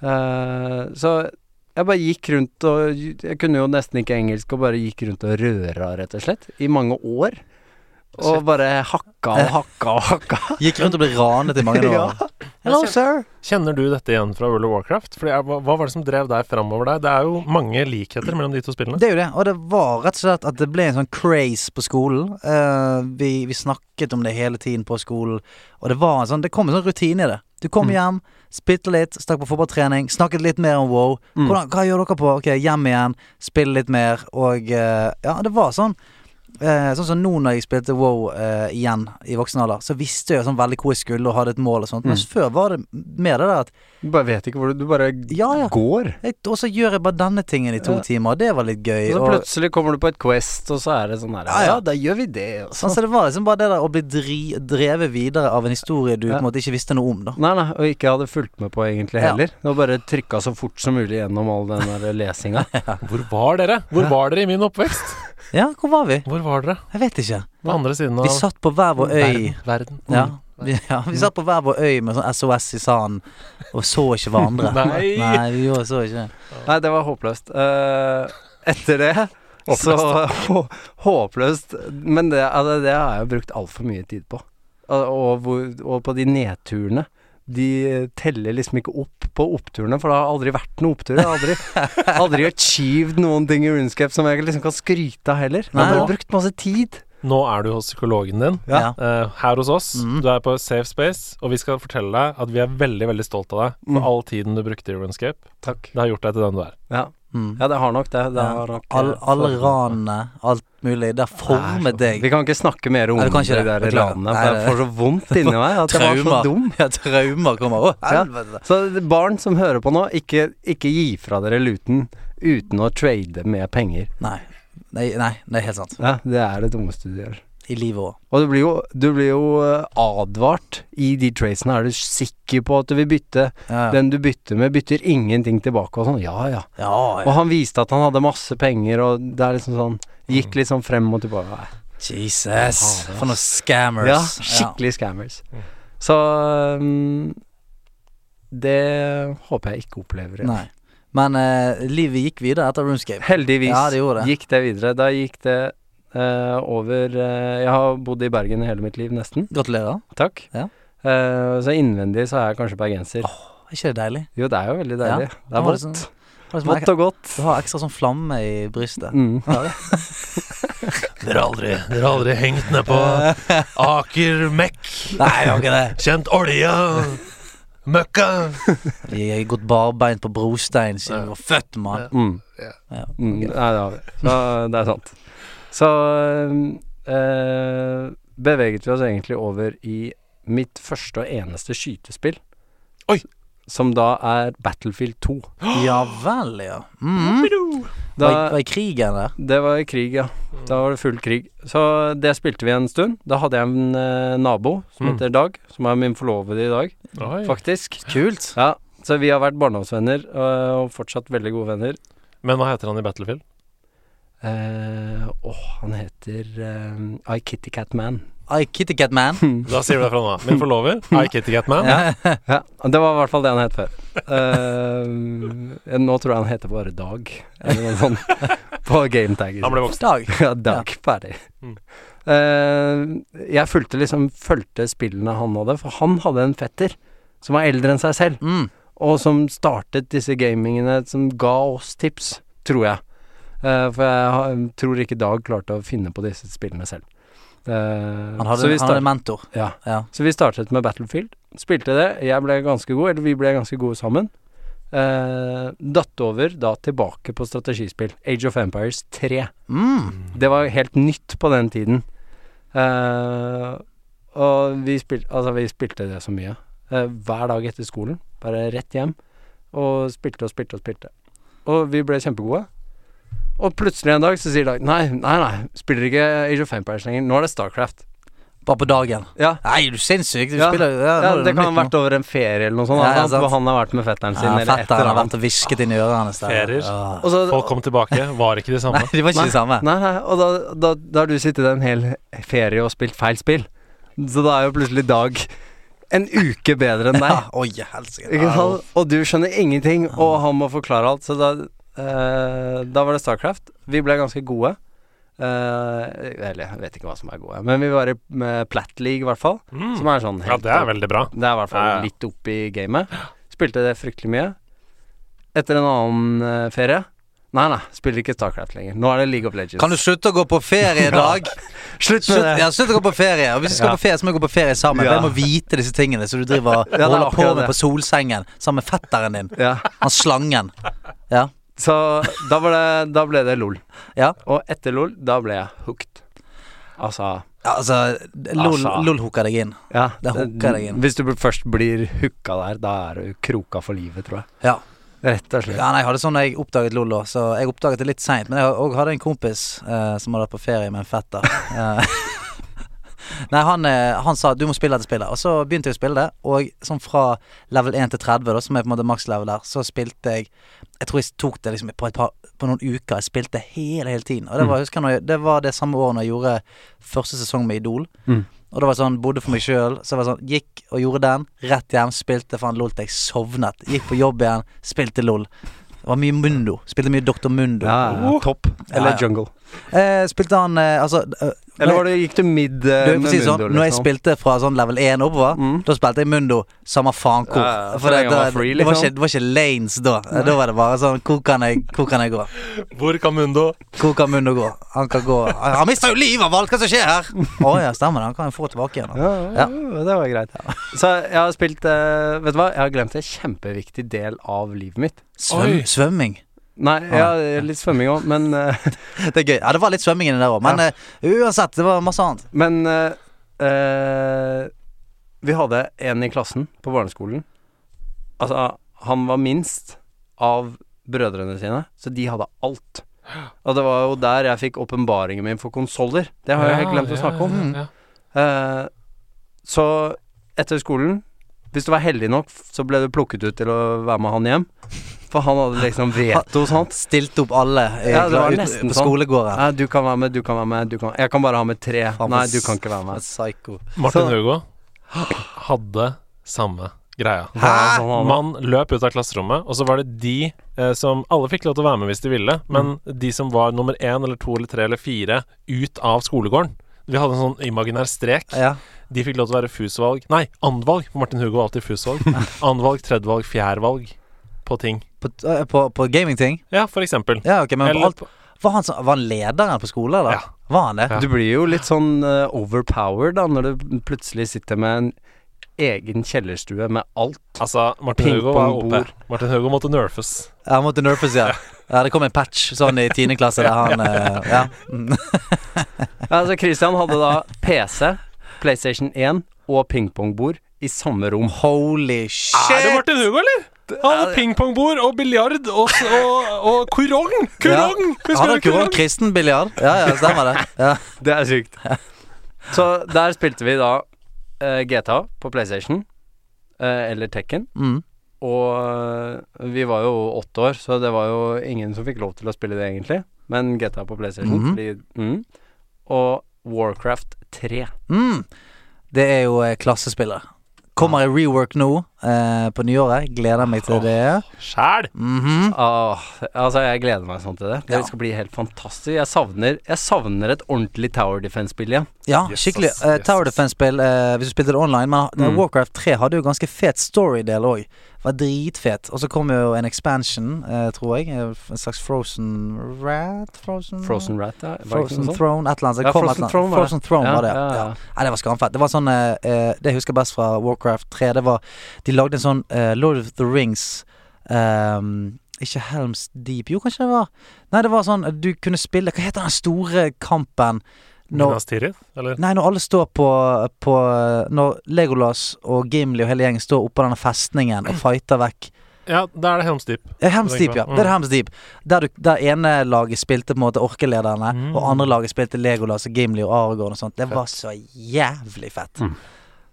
Speaker 1: Eh, så jeg bare gikk rundt og Jeg kunne jo nesten ikke engelsk og bare gikk rundt og røra, rett og slett, i mange år. Og bare hakka og hakka og hakka.
Speaker 4: Gikk rundt og ble ranet i mange
Speaker 1: Ja.
Speaker 4: år. Hello, sir.
Speaker 5: Kjenner du dette igjen fra World of Warcraft? Fordi, jeg- hva, hva var det som drev deg framover der? Det er jo mange likheter mellom de to spillene.
Speaker 4: Det er jo det. Og det var rett og slett at det ble en sånn craze på skolen. Eh, vi, vi snakket om det hele tiden på skolen, og det var en sånn Det kom en sånn rutine i det. Du kom hjem, spilte litt, stakk på fotballtrening, snakket litt mer om wow.
Speaker 1: Mm.
Speaker 4: Hvordan, hva gjør dere på? Ok, hjem igjen, spille litt mer, og eh, Ja, det var sånn. Eh, sånn som nå når jeg spilte wow eh, igjen i voksen alder, så visste jeg sånn veldig hvor jeg skulle og hadde et mål og sånt. Mens før var det mer det der at
Speaker 1: Du bare vet ikke hvor du Du bare
Speaker 4: Ja, ja.
Speaker 1: går.
Speaker 4: jeg, Og så gjør jeg bare denne tingen i to
Speaker 1: Ja.
Speaker 4: timer, og det var litt gøy.
Speaker 1: Og så
Speaker 4: og-
Speaker 1: plutselig kommer du på et Quest, og så er det sånn her
Speaker 4: Ja, ja.
Speaker 1: Ja, da gjør vi det, og
Speaker 4: Sånn, så det var liksom bare det der å bli dri, drevet videre av en historie du
Speaker 1: Ja.
Speaker 4: på en måte ikke visste noe om, da.
Speaker 1: Nei, nei, og ikke hadde fulgt med på egentlig
Speaker 4: Ja.
Speaker 1: heller. Det var bare trykka så fort som mulig gjennom all den der lesinga.
Speaker 5: Hvor var dere? Hvor var dere i min oppvekst?
Speaker 4: Ja, hvor var vi?
Speaker 5: Hvor var dere?
Speaker 4: Jeg vet ikke.
Speaker 5: På andre siden av
Speaker 4: Vi satt på hver vår øy.
Speaker 5: verden. verden. Mm.
Speaker 4: Ja,
Speaker 1: Mm.
Speaker 4: vi, ja, vi satt på hver vår øy med sånn SOS i sanden og så ikke hverandre.
Speaker 5: Nei.
Speaker 4: Nei, vi gjorde så ikke det.
Speaker 1: Nei, det var håpløst. Eh, etter det så hå- Håpløst. Men det, altså, det har jeg jo brukt altfor mye tid på. Og, og, hvor- og på de nedturene. De teller liksom ikke opp på oppturene, for det har aldri vært noen opptur. Jeg har aldri, aldri achieved noen ting i Runescape som jeg liksom kan skryte av heller. Jeg har
Speaker 4: Nei.
Speaker 1: bare brukt masse tid.
Speaker 5: Nå er du hos psykologen din.
Speaker 4: Ja.
Speaker 5: eh, her hos oss.
Speaker 4: Mm.
Speaker 5: Du er på Safe Space, og vi skal fortelle deg at vi er veldig veldig stolt av deg for
Speaker 1: Mm.
Speaker 5: all tiden du brukte i RuneScape.
Speaker 1: Takk.
Speaker 5: Det har gjort deg til den du er.
Speaker 1: Ja,
Speaker 4: Mm.
Speaker 1: ja det har nok det. det
Speaker 4: Ja.
Speaker 1: har nok, eh,
Speaker 4: All, alle
Speaker 1: formet meg.
Speaker 4: ranene, alt mulig. Det har formet deg.
Speaker 1: Vi kan ikke snakke mer om
Speaker 4: Nei,
Speaker 1: de
Speaker 4: du kan ikke
Speaker 1: der
Speaker 4: det. Beklager.
Speaker 1: ranene, for
Speaker 4: Nei,
Speaker 1: jeg
Speaker 4: det-
Speaker 1: får så vondt inni meg at jeg var så
Speaker 4: Traumer.
Speaker 1: dum.
Speaker 4: Ja, traumer kommer. Å,
Speaker 1: Ja.
Speaker 4: helvete.
Speaker 1: Så det- barn som hører på nå, ikke, ikke gi fra dere luten uten å trade med penger.
Speaker 4: Nei. Nei, nei, det er helt sant.
Speaker 1: Ja, det er det dummeste du gjør.
Speaker 4: I livet òg.
Speaker 1: Og du blir jo, du blir jo eh, advart i de tradesene. Er du sikker på at du vil bytte?
Speaker 4: Ja, ja.
Speaker 1: Den du bytter med, bytter ingenting tilbake og sånn. Ja, ja.
Speaker 4: ja,
Speaker 1: Og
Speaker 4: ja.
Speaker 1: han viste at han hadde masse penger, og det er liksom sånn Gikk litt sånn frem og tilbake. Nei.
Speaker 4: Jesus. For noen
Speaker 1: Ja,
Speaker 4: scammers.
Speaker 1: skikkelig scammers.
Speaker 5: Mm.
Speaker 1: Så mm, Det håper jeg ikke opplever igjen.
Speaker 4: Nei. Men eh, livet gikk videre etter RuneScape.
Speaker 1: Heldigvis
Speaker 4: Ja, det gjorde det.
Speaker 1: gikk det videre. Da gikk det eh, over eh, Jeg har bodd i Bergen hele mitt liv, nesten.
Speaker 4: Gratulerer.
Speaker 1: Takk.
Speaker 4: Ja.
Speaker 1: Eh, så innvendig så er jeg kanskje bergenser.
Speaker 4: Er ikke det deilig?
Speaker 1: Jo, det er jo veldig deilig. Det
Speaker 4: Ja,
Speaker 1: er
Speaker 4: var det
Speaker 1: vått.
Speaker 4: sånn- Har du,
Speaker 1: Vått og godt.
Speaker 4: du har ekstra sånn flamme i brystet.
Speaker 1: Mm.
Speaker 5: Dere har aldri, dere har aldri hengt ned på Aker Mek,
Speaker 4: Nei, det var ikke det.
Speaker 5: kjent olja, møkka
Speaker 4: Vi har gått barbeint på brostein siden vi var født, mann.
Speaker 1: Mm.
Speaker 4: Ja.
Speaker 1: Mm. Nei, det har vi. Så eh, det er sant. Så eh, beveget vi oss egentlig over i mitt første og eneste skytespill.
Speaker 5: Oi.
Speaker 1: Som da er Battlefield 2.
Speaker 4: Ja vel, ja. Mm.
Speaker 1: Da,
Speaker 4: Var, var i krigen der?
Speaker 1: det var i krig, ja.
Speaker 5: Mm.
Speaker 1: Da var det full krig. Så det spilte vi en stund. Da hadde jeg en eh, nabo som
Speaker 5: Mm.
Speaker 1: heter Dag, som er min forlovede i dag,
Speaker 5: Oi.
Speaker 1: faktisk.
Speaker 4: Kult.
Speaker 1: Ja, så vi har vært barndomsvenner, øh, og fortsatt veldig gode venner.
Speaker 5: Men hva heter han i Battlefield?
Speaker 1: Eh, Åh, han heter eh, I Kitty Cat Man.
Speaker 4: I Kitty Cat Man.
Speaker 1: Mm.
Speaker 5: Da sier vi det fra nå av. Min forlover, I Kitty Cat Man.
Speaker 1: Ja, det var i hvert fall det han het før. Eh, nå tror jeg han heter bare Dag, eller noe sånt, på gametaggen.
Speaker 5: Han ble voksen.
Speaker 4: Dag.
Speaker 1: Ja, Dag. Ferdig.
Speaker 5: Mm.
Speaker 1: Eh, jeg fulgte liksom fulgte spillene han hadde, for han hadde en fetter som var eldre enn seg selv,
Speaker 4: Mm.
Speaker 1: og som startet disse gamingene, som ga oss tips, tror jeg. Eh, for jeg ha- tror ikke Dag klarte å finne på disse spillene selv. Eh,
Speaker 4: Han hadde, han
Speaker 1: så vi
Speaker 4: hadde
Speaker 1: startet,
Speaker 4: en mentor.
Speaker 1: ja.
Speaker 4: Ja.
Speaker 1: Så vi startet med Battlefield, spilte det, jeg ble ganske god, eller vi ble ganske gode sammen. Eh, datt over da tilbake på strategispill, Age of Empires 3.
Speaker 4: Mm.
Speaker 1: Det var helt nytt på den tiden. Eh, og vi spilte, altså vi spilte det så mye. Eh, hver dag etter skolen, bare rett hjem. Og spilte og spilte og spilte. Og vi ble kjempegode. Og plutselig en dag så sier Dag Nei, nei, nei, spiller ikke Age of Empires lenger. Nå er det Starcraft.
Speaker 4: Bare på dagen.
Speaker 1: Ja,
Speaker 4: Nei, er du sinnssyk? Du
Speaker 1: Ja.
Speaker 4: spiller jo ja, nå
Speaker 1: ja
Speaker 4: er
Speaker 1: Det
Speaker 4: noe
Speaker 1: kan ha
Speaker 4: nytt
Speaker 1: vært over en ferie eller noe sånt.
Speaker 4: Ja,
Speaker 1: at
Speaker 4: sant.
Speaker 1: han- han har vært med fetteren
Speaker 4: nå.
Speaker 1: sin
Speaker 4: ja,
Speaker 1: eller et
Speaker 4: Fetteren
Speaker 1: eller
Speaker 4: har vært
Speaker 1: annet.
Speaker 4: og hvisket inn i ørene hans. der.
Speaker 5: Ferier.
Speaker 4: Ja.
Speaker 1: Og så,
Speaker 5: Folk kom tilbake, var ikke de samme.
Speaker 4: Nei, de var ikke de samme.
Speaker 1: Nei, nei, og da, da, da har du sittet en hel ferie og spilt feil spill. Så da er jo plutselig Dag en uke bedre enn deg.
Speaker 4: Ja, oi, helsike.
Speaker 1: Ikke
Speaker 4: Au.
Speaker 1: sant? Og du skjønner ingenting, og han må forklare alt. Så da, eh, da var det Starcraft. Vi ble ganske gode. Eh, eller jeg vet ikke hva som er gode, men vi var i med Plat League, i hvert fall. Som
Speaker 5: Mm.
Speaker 1: er sånn
Speaker 5: Ja,
Speaker 1: helt
Speaker 5: det er veldig bra.
Speaker 1: det er i hvert fall
Speaker 5: Ja, ja.
Speaker 1: litt opp i gamet. Spilte det fryktelig mye. Etter en annen eh, ferie Nei, nei, spiller ikke Starcraft lenger. Nå er det League of Legends.
Speaker 4: Kan du slutte å gå på ferie i dag?
Speaker 1: Slutt med
Speaker 4: Slutt,
Speaker 1: det!
Speaker 4: ja, slutt å gå på ferie. Og hvis du skal
Speaker 5: Ja.
Speaker 4: på ferie, så må du gå på ferie sammen. For
Speaker 1: Ja.
Speaker 4: Jeg må vite disse tingene, så du driver og
Speaker 1: det er
Speaker 4: holder på
Speaker 1: akkurat
Speaker 4: med
Speaker 1: det.
Speaker 4: på solsengen sammen med fetteren din.
Speaker 1: Ja.
Speaker 4: Han slangen. Ja.
Speaker 1: Så da, var det, da ble det LOL.
Speaker 4: Ja.
Speaker 1: Og etter LOL, da ble jeg hooked. Altså
Speaker 4: Ja, Altså, LOL,
Speaker 1: Altså.
Speaker 4: LOL hooker deg inn.
Speaker 1: Ja.
Speaker 4: Det hooker deg inn.
Speaker 1: Hvis du først blir hooka der, da er du kroka for livet, tror jeg.
Speaker 4: Ja.
Speaker 1: Rett og slett.
Speaker 4: ja nei, jeg hadde sånn da jeg oppdaget LOL òg, så jeg oppdaget det litt seint. Men jeg har- og hadde en kompis eh, som hadde vært på ferie med en fetter. Eh, Nei, han, eh, han sa du må spille dette spillet, og så begynte jeg å spille det. Og sånn fra level 1 til 30, da, som er på en måte makslevel der, så spilte jeg Jeg tror jeg tok det liksom på, et par, på noen uker. Jeg spilte hele, hele tiden. Og det var, jeg husker når jeg, det var det samme året når jeg gjorde første sesong med Idol.
Speaker 1: Mm.
Speaker 4: Og det var sånn, bodde for meg sjøl. Så det var sånn, gikk og gjorde den. Rett hjem, spilte faen LOL til jeg sovnet. Gikk på jobb igjen, spilte LOL. Det var mye Mundo. Spilte mye Dr. Mundo.
Speaker 1: Ja, ja, ja. Topp.
Speaker 4: Uh.
Speaker 1: Eller
Speaker 4: Ja, ja.
Speaker 1: jungle.
Speaker 4: Eh, spilte han eh, Altså eh,
Speaker 1: Eller var det, gikk du mid eh,
Speaker 4: du, jeg får si det sånn,
Speaker 1: Mundo,
Speaker 4: Når jeg
Speaker 1: liksom?
Speaker 4: spilte fra sånn level 1 oppover,
Speaker 1: Mm.
Speaker 4: da spilte jeg Mundo samme faen hvor.
Speaker 1: Ja, ja, så
Speaker 4: for det,
Speaker 1: lenge
Speaker 4: da,
Speaker 1: han var free,
Speaker 4: det, var
Speaker 1: liksom.
Speaker 4: ikke, det var ikke lanes da. Da var det bare sånn Hvor kan jeg, hvor kan jeg gå?
Speaker 5: Hvor kan Mundo?
Speaker 4: Hvor kan Mundo gå? Han kan gå Han han mister jo livet av alt! Hva som skjer her? Å ja, stemmer det. Han kan jo få tilbake igjen. da.
Speaker 1: Ja, ja, ja, det var greit. Så jeg har spilt eh, Vet du hva, jeg har glemt en kjempeviktig del av livet mitt.
Speaker 4: Svøm,
Speaker 5: Oi.
Speaker 4: svømming.
Speaker 1: Nei,
Speaker 4: Ah.
Speaker 1: ja, litt svømming òg, men, eh,
Speaker 4: Det er gøy. Ja, det var litt svømming inni der òg, men
Speaker 1: Ja.
Speaker 4: eh, uansett, det var masse annet.
Speaker 1: men eh, eh, Vi hadde en i klassen på barneskolen. Altså, han var minst av brødrene sine, så de hadde alt. Og det var jo der jeg fikk åpenbaringen min for konsoller. Det har jeg helt glemt å snakke om.
Speaker 5: Ja,
Speaker 1: Eh, Så etter skolen Hvis du var heldig nok Så ble du plukket ut til å være med han hjem For han hadde liksom veto og sånt
Speaker 4: Stilte opp alle eh,
Speaker 1: Ja, det var
Speaker 4: ut-
Speaker 1: nesten
Speaker 4: på
Speaker 1: sånn.
Speaker 4: skolegården.
Speaker 1: Nei, du kan være med, du kan være med du kan. Jeg kan bare ha med tre
Speaker 4: Faen,
Speaker 1: Nei,
Speaker 4: for
Speaker 1: du kan ikke være med
Speaker 4: Psyko.
Speaker 5: Martin
Speaker 1: Så-
Speaker 5: Hugo hadde samme greia.
Speaker 1: Det var sånn han var.
Speaker 5: Man løp ut av klasserommet, og så var det de eh, som Alle fikk lov til å være med hvis de ville, men
Speaker 1: Mm.
Speaker 5: de som var nummer én eller to eller tre eller fire ut av skolegården Vi hadde en sånn imaginær strek.
Speaker 4: Ja.
Speaker 5: De fikk lov til å være FUS-valg Nei, andvalg, for Martin Hugo var alltid FUS-valg. Andvalg, tredjevalg, fjerdevalg på ting.
Speaker 4: På, eh, på, på gamingting?
Speaker 5: Ja, for eksempel.
Speaker 4: Ja, ok, men
Speaker 5: Eller
Speaker 4: alt,
Speaker 5: på-
Speaker 4: var, han, så- var han lederen på skolen, eller?
Speaker 5: Ja.
Speaker 4: Var han det?
Speaker 5: Ja.
Speaker 1: Du blir jo litt sånn eh, overpowered da Når du plutselig sitter med en egen kjellerstue Med alt
Speaker 5: Altså, Martin Hugo var OP.
Speaker 1: Pingpongbord.
Speaker 5: Martin Hugo måtte nerfes.
Speaker 4: Ja, han måtte nerfes, ja. ja. Det kom en patch sånn i tiende klasse der han eh, Ja. Mm.
Speaker 1: Altså Christian hadde da PC Playstation 1 og pingpongbord I samme rom
Speaker 4: Holy
Speaker 5: Er det
Speaker 4: shit!
Speaker 5: Martin Hugo, eller? Han hadde pingpongbord og biljard og, s- og, og kurong! Kurong! Husker
Speaker 4: Han har
Speaker 5: du kurong?
Speaker 4: kurong kristen biljard. Ja, ja, stemmer det. Ja.
Speaker 1: Det er sykt. Så der spilte vi da eh, GTA på PlayStation, eh, eller Tekken.
Speaker 4: Mm.
Speaker 1: Og eh, vi var jo åtte år, så det var jo ingen som fikk lov til å spille det, egentlig. Men GTA på PlayStation.
Speaker 4: Mhm.
Speaker 1: Fordi, mm. Og Warcraft 3.
Speaker 4: Mm. Det er jo eh, klassespillere. Kommer i rework nå. eh, på nyåret. Gleder meg til det.
Speaker 5: Sjæl!
Speaker 4: Mhm.
Speaker 1: Åh, altså jeg gleder meg sånn til det. Det
Speaker 4: Ja.
Speaker 1: skal bli helt fantastisk. Jeg savner, jeg savner et ordentlig Tower Defense-spill igjen.
Speaker 4: Ja,
Speaker 5: Yes,
Speaker 4: skikkelig.
Speaker 5: ass.
Speaker 4: Eh,
Speaker 5: Yes,
Speaker 4: Tower
Speaker 5: ass.
Speaker 4: Defense-spill eh, hvis du spilte det online. Men
Speaker 1: Mm.
Speaker 4: Warcraft 3 hadde jo ganske fet story-del òg. Var dritfet. Og så kom jo en expansion, eh, tror jeg. eh, En slags Frozen Rat? Frozen,
Speaker 1: Frozen Rat, ja.
Speaker 4: Mm.
Speaker 1: Var det ikke
Speaker 4: Frozen
Speaker 1: noe sånt?
Speaker 4: Throne, et eller annet. som
Speaker 1: Ja,
Speaker 4: kom et
Speaker 1: Frozen
Speaker 4: eller annet.
Speaker 1: Throne var det.
Speaker 4: Frozen Throne var det. Ja,
Speaker 1: ja, ja.
Speaker 4: Nei, det var skamfett. Det var sånn eh, eh, Det jeg husker best fra Warcraft 3, det var De lagde en sånn eh, Lord of the Rings ehm, Ikke Helms Deep Jo, kanskje det var Nei, det var sånn eh, Du kunne spille Hva heter den store kampen når
Speaker 5: Minas Tirith, eller?
Speaker 4: Nei, når alle står på, på Når Legolas og Gimli og hele gjengen står oppå denne festningen og fighter vekk
Speaker 5: Ja, da er det Helms Deep.
Speaker 4: Eh, Helms Deep, ja.
Speaker 5: Mm.
Speaker 4: Det er Helms Deep. Der, du, der ene laget spilte på en måte orkelederne,
Speaker 5: Mm.
Speaker 4: og andre laget spilte Legolas og Gimli og Aragorn og sånt. Det var så jævlig fett.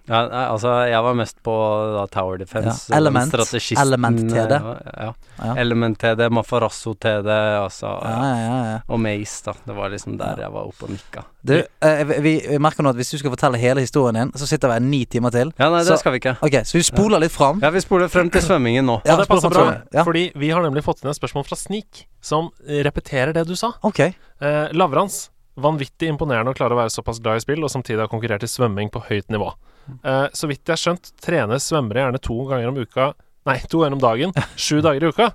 Speaker 1: Ja, nei, altså, jeg var mest på da, Tower Defense.
Speaker 4: Ja,
Speaker 1: eh,
Speaker 4: Element.
Speaker 1: strategisten,
Speaker 4: Element TD.
Speaker 1: eh, Ja,
Speaker 4: Ja.
Speaker 1: ja. Element TD, Mafarasso TD, altså.
Speaker 4: Ja, ja, ja, ja.
Speaker 1: Og Maze, da. Det var liksom der jeg var oppe og nikka.
Speaker 4: Du, eh, vi, vi merker nå at hvis du skal fortelle hele historien din, så sitter vi her ni timer til.
Speaker 1: Ja, nei,
Speaker 4: Så-
Speaker 1: det skal vi ikke.
Speaker 4: Ok, så vi spoler litt fram.
Speaker 1: Ja, vi spoler frem til svømmingen nå.
Speaker 4: Ja,
Speaker 5: og det
Speaker 4: spør
Speaker 5: passer
Speaker 4: for
Speaker 5: bra,
Speaker 4: sånn. Ja.
Speaker 5: fordi vi har nemlig fått inn et spørsmål fra Snik, som repeterer det du sa.
Speaker 4: Ok.
Speaker 5: Eh, Lavrans. Vanvittig imponerende å klare å være såpass glad i spill, og samtidig ha konkurrert i svømming på høyt nivå. Eh, så vidt jeg har skjønt, trener svømmere gjerne to ganger om uka Nei, to ganger om dagen. Sju dager i uka.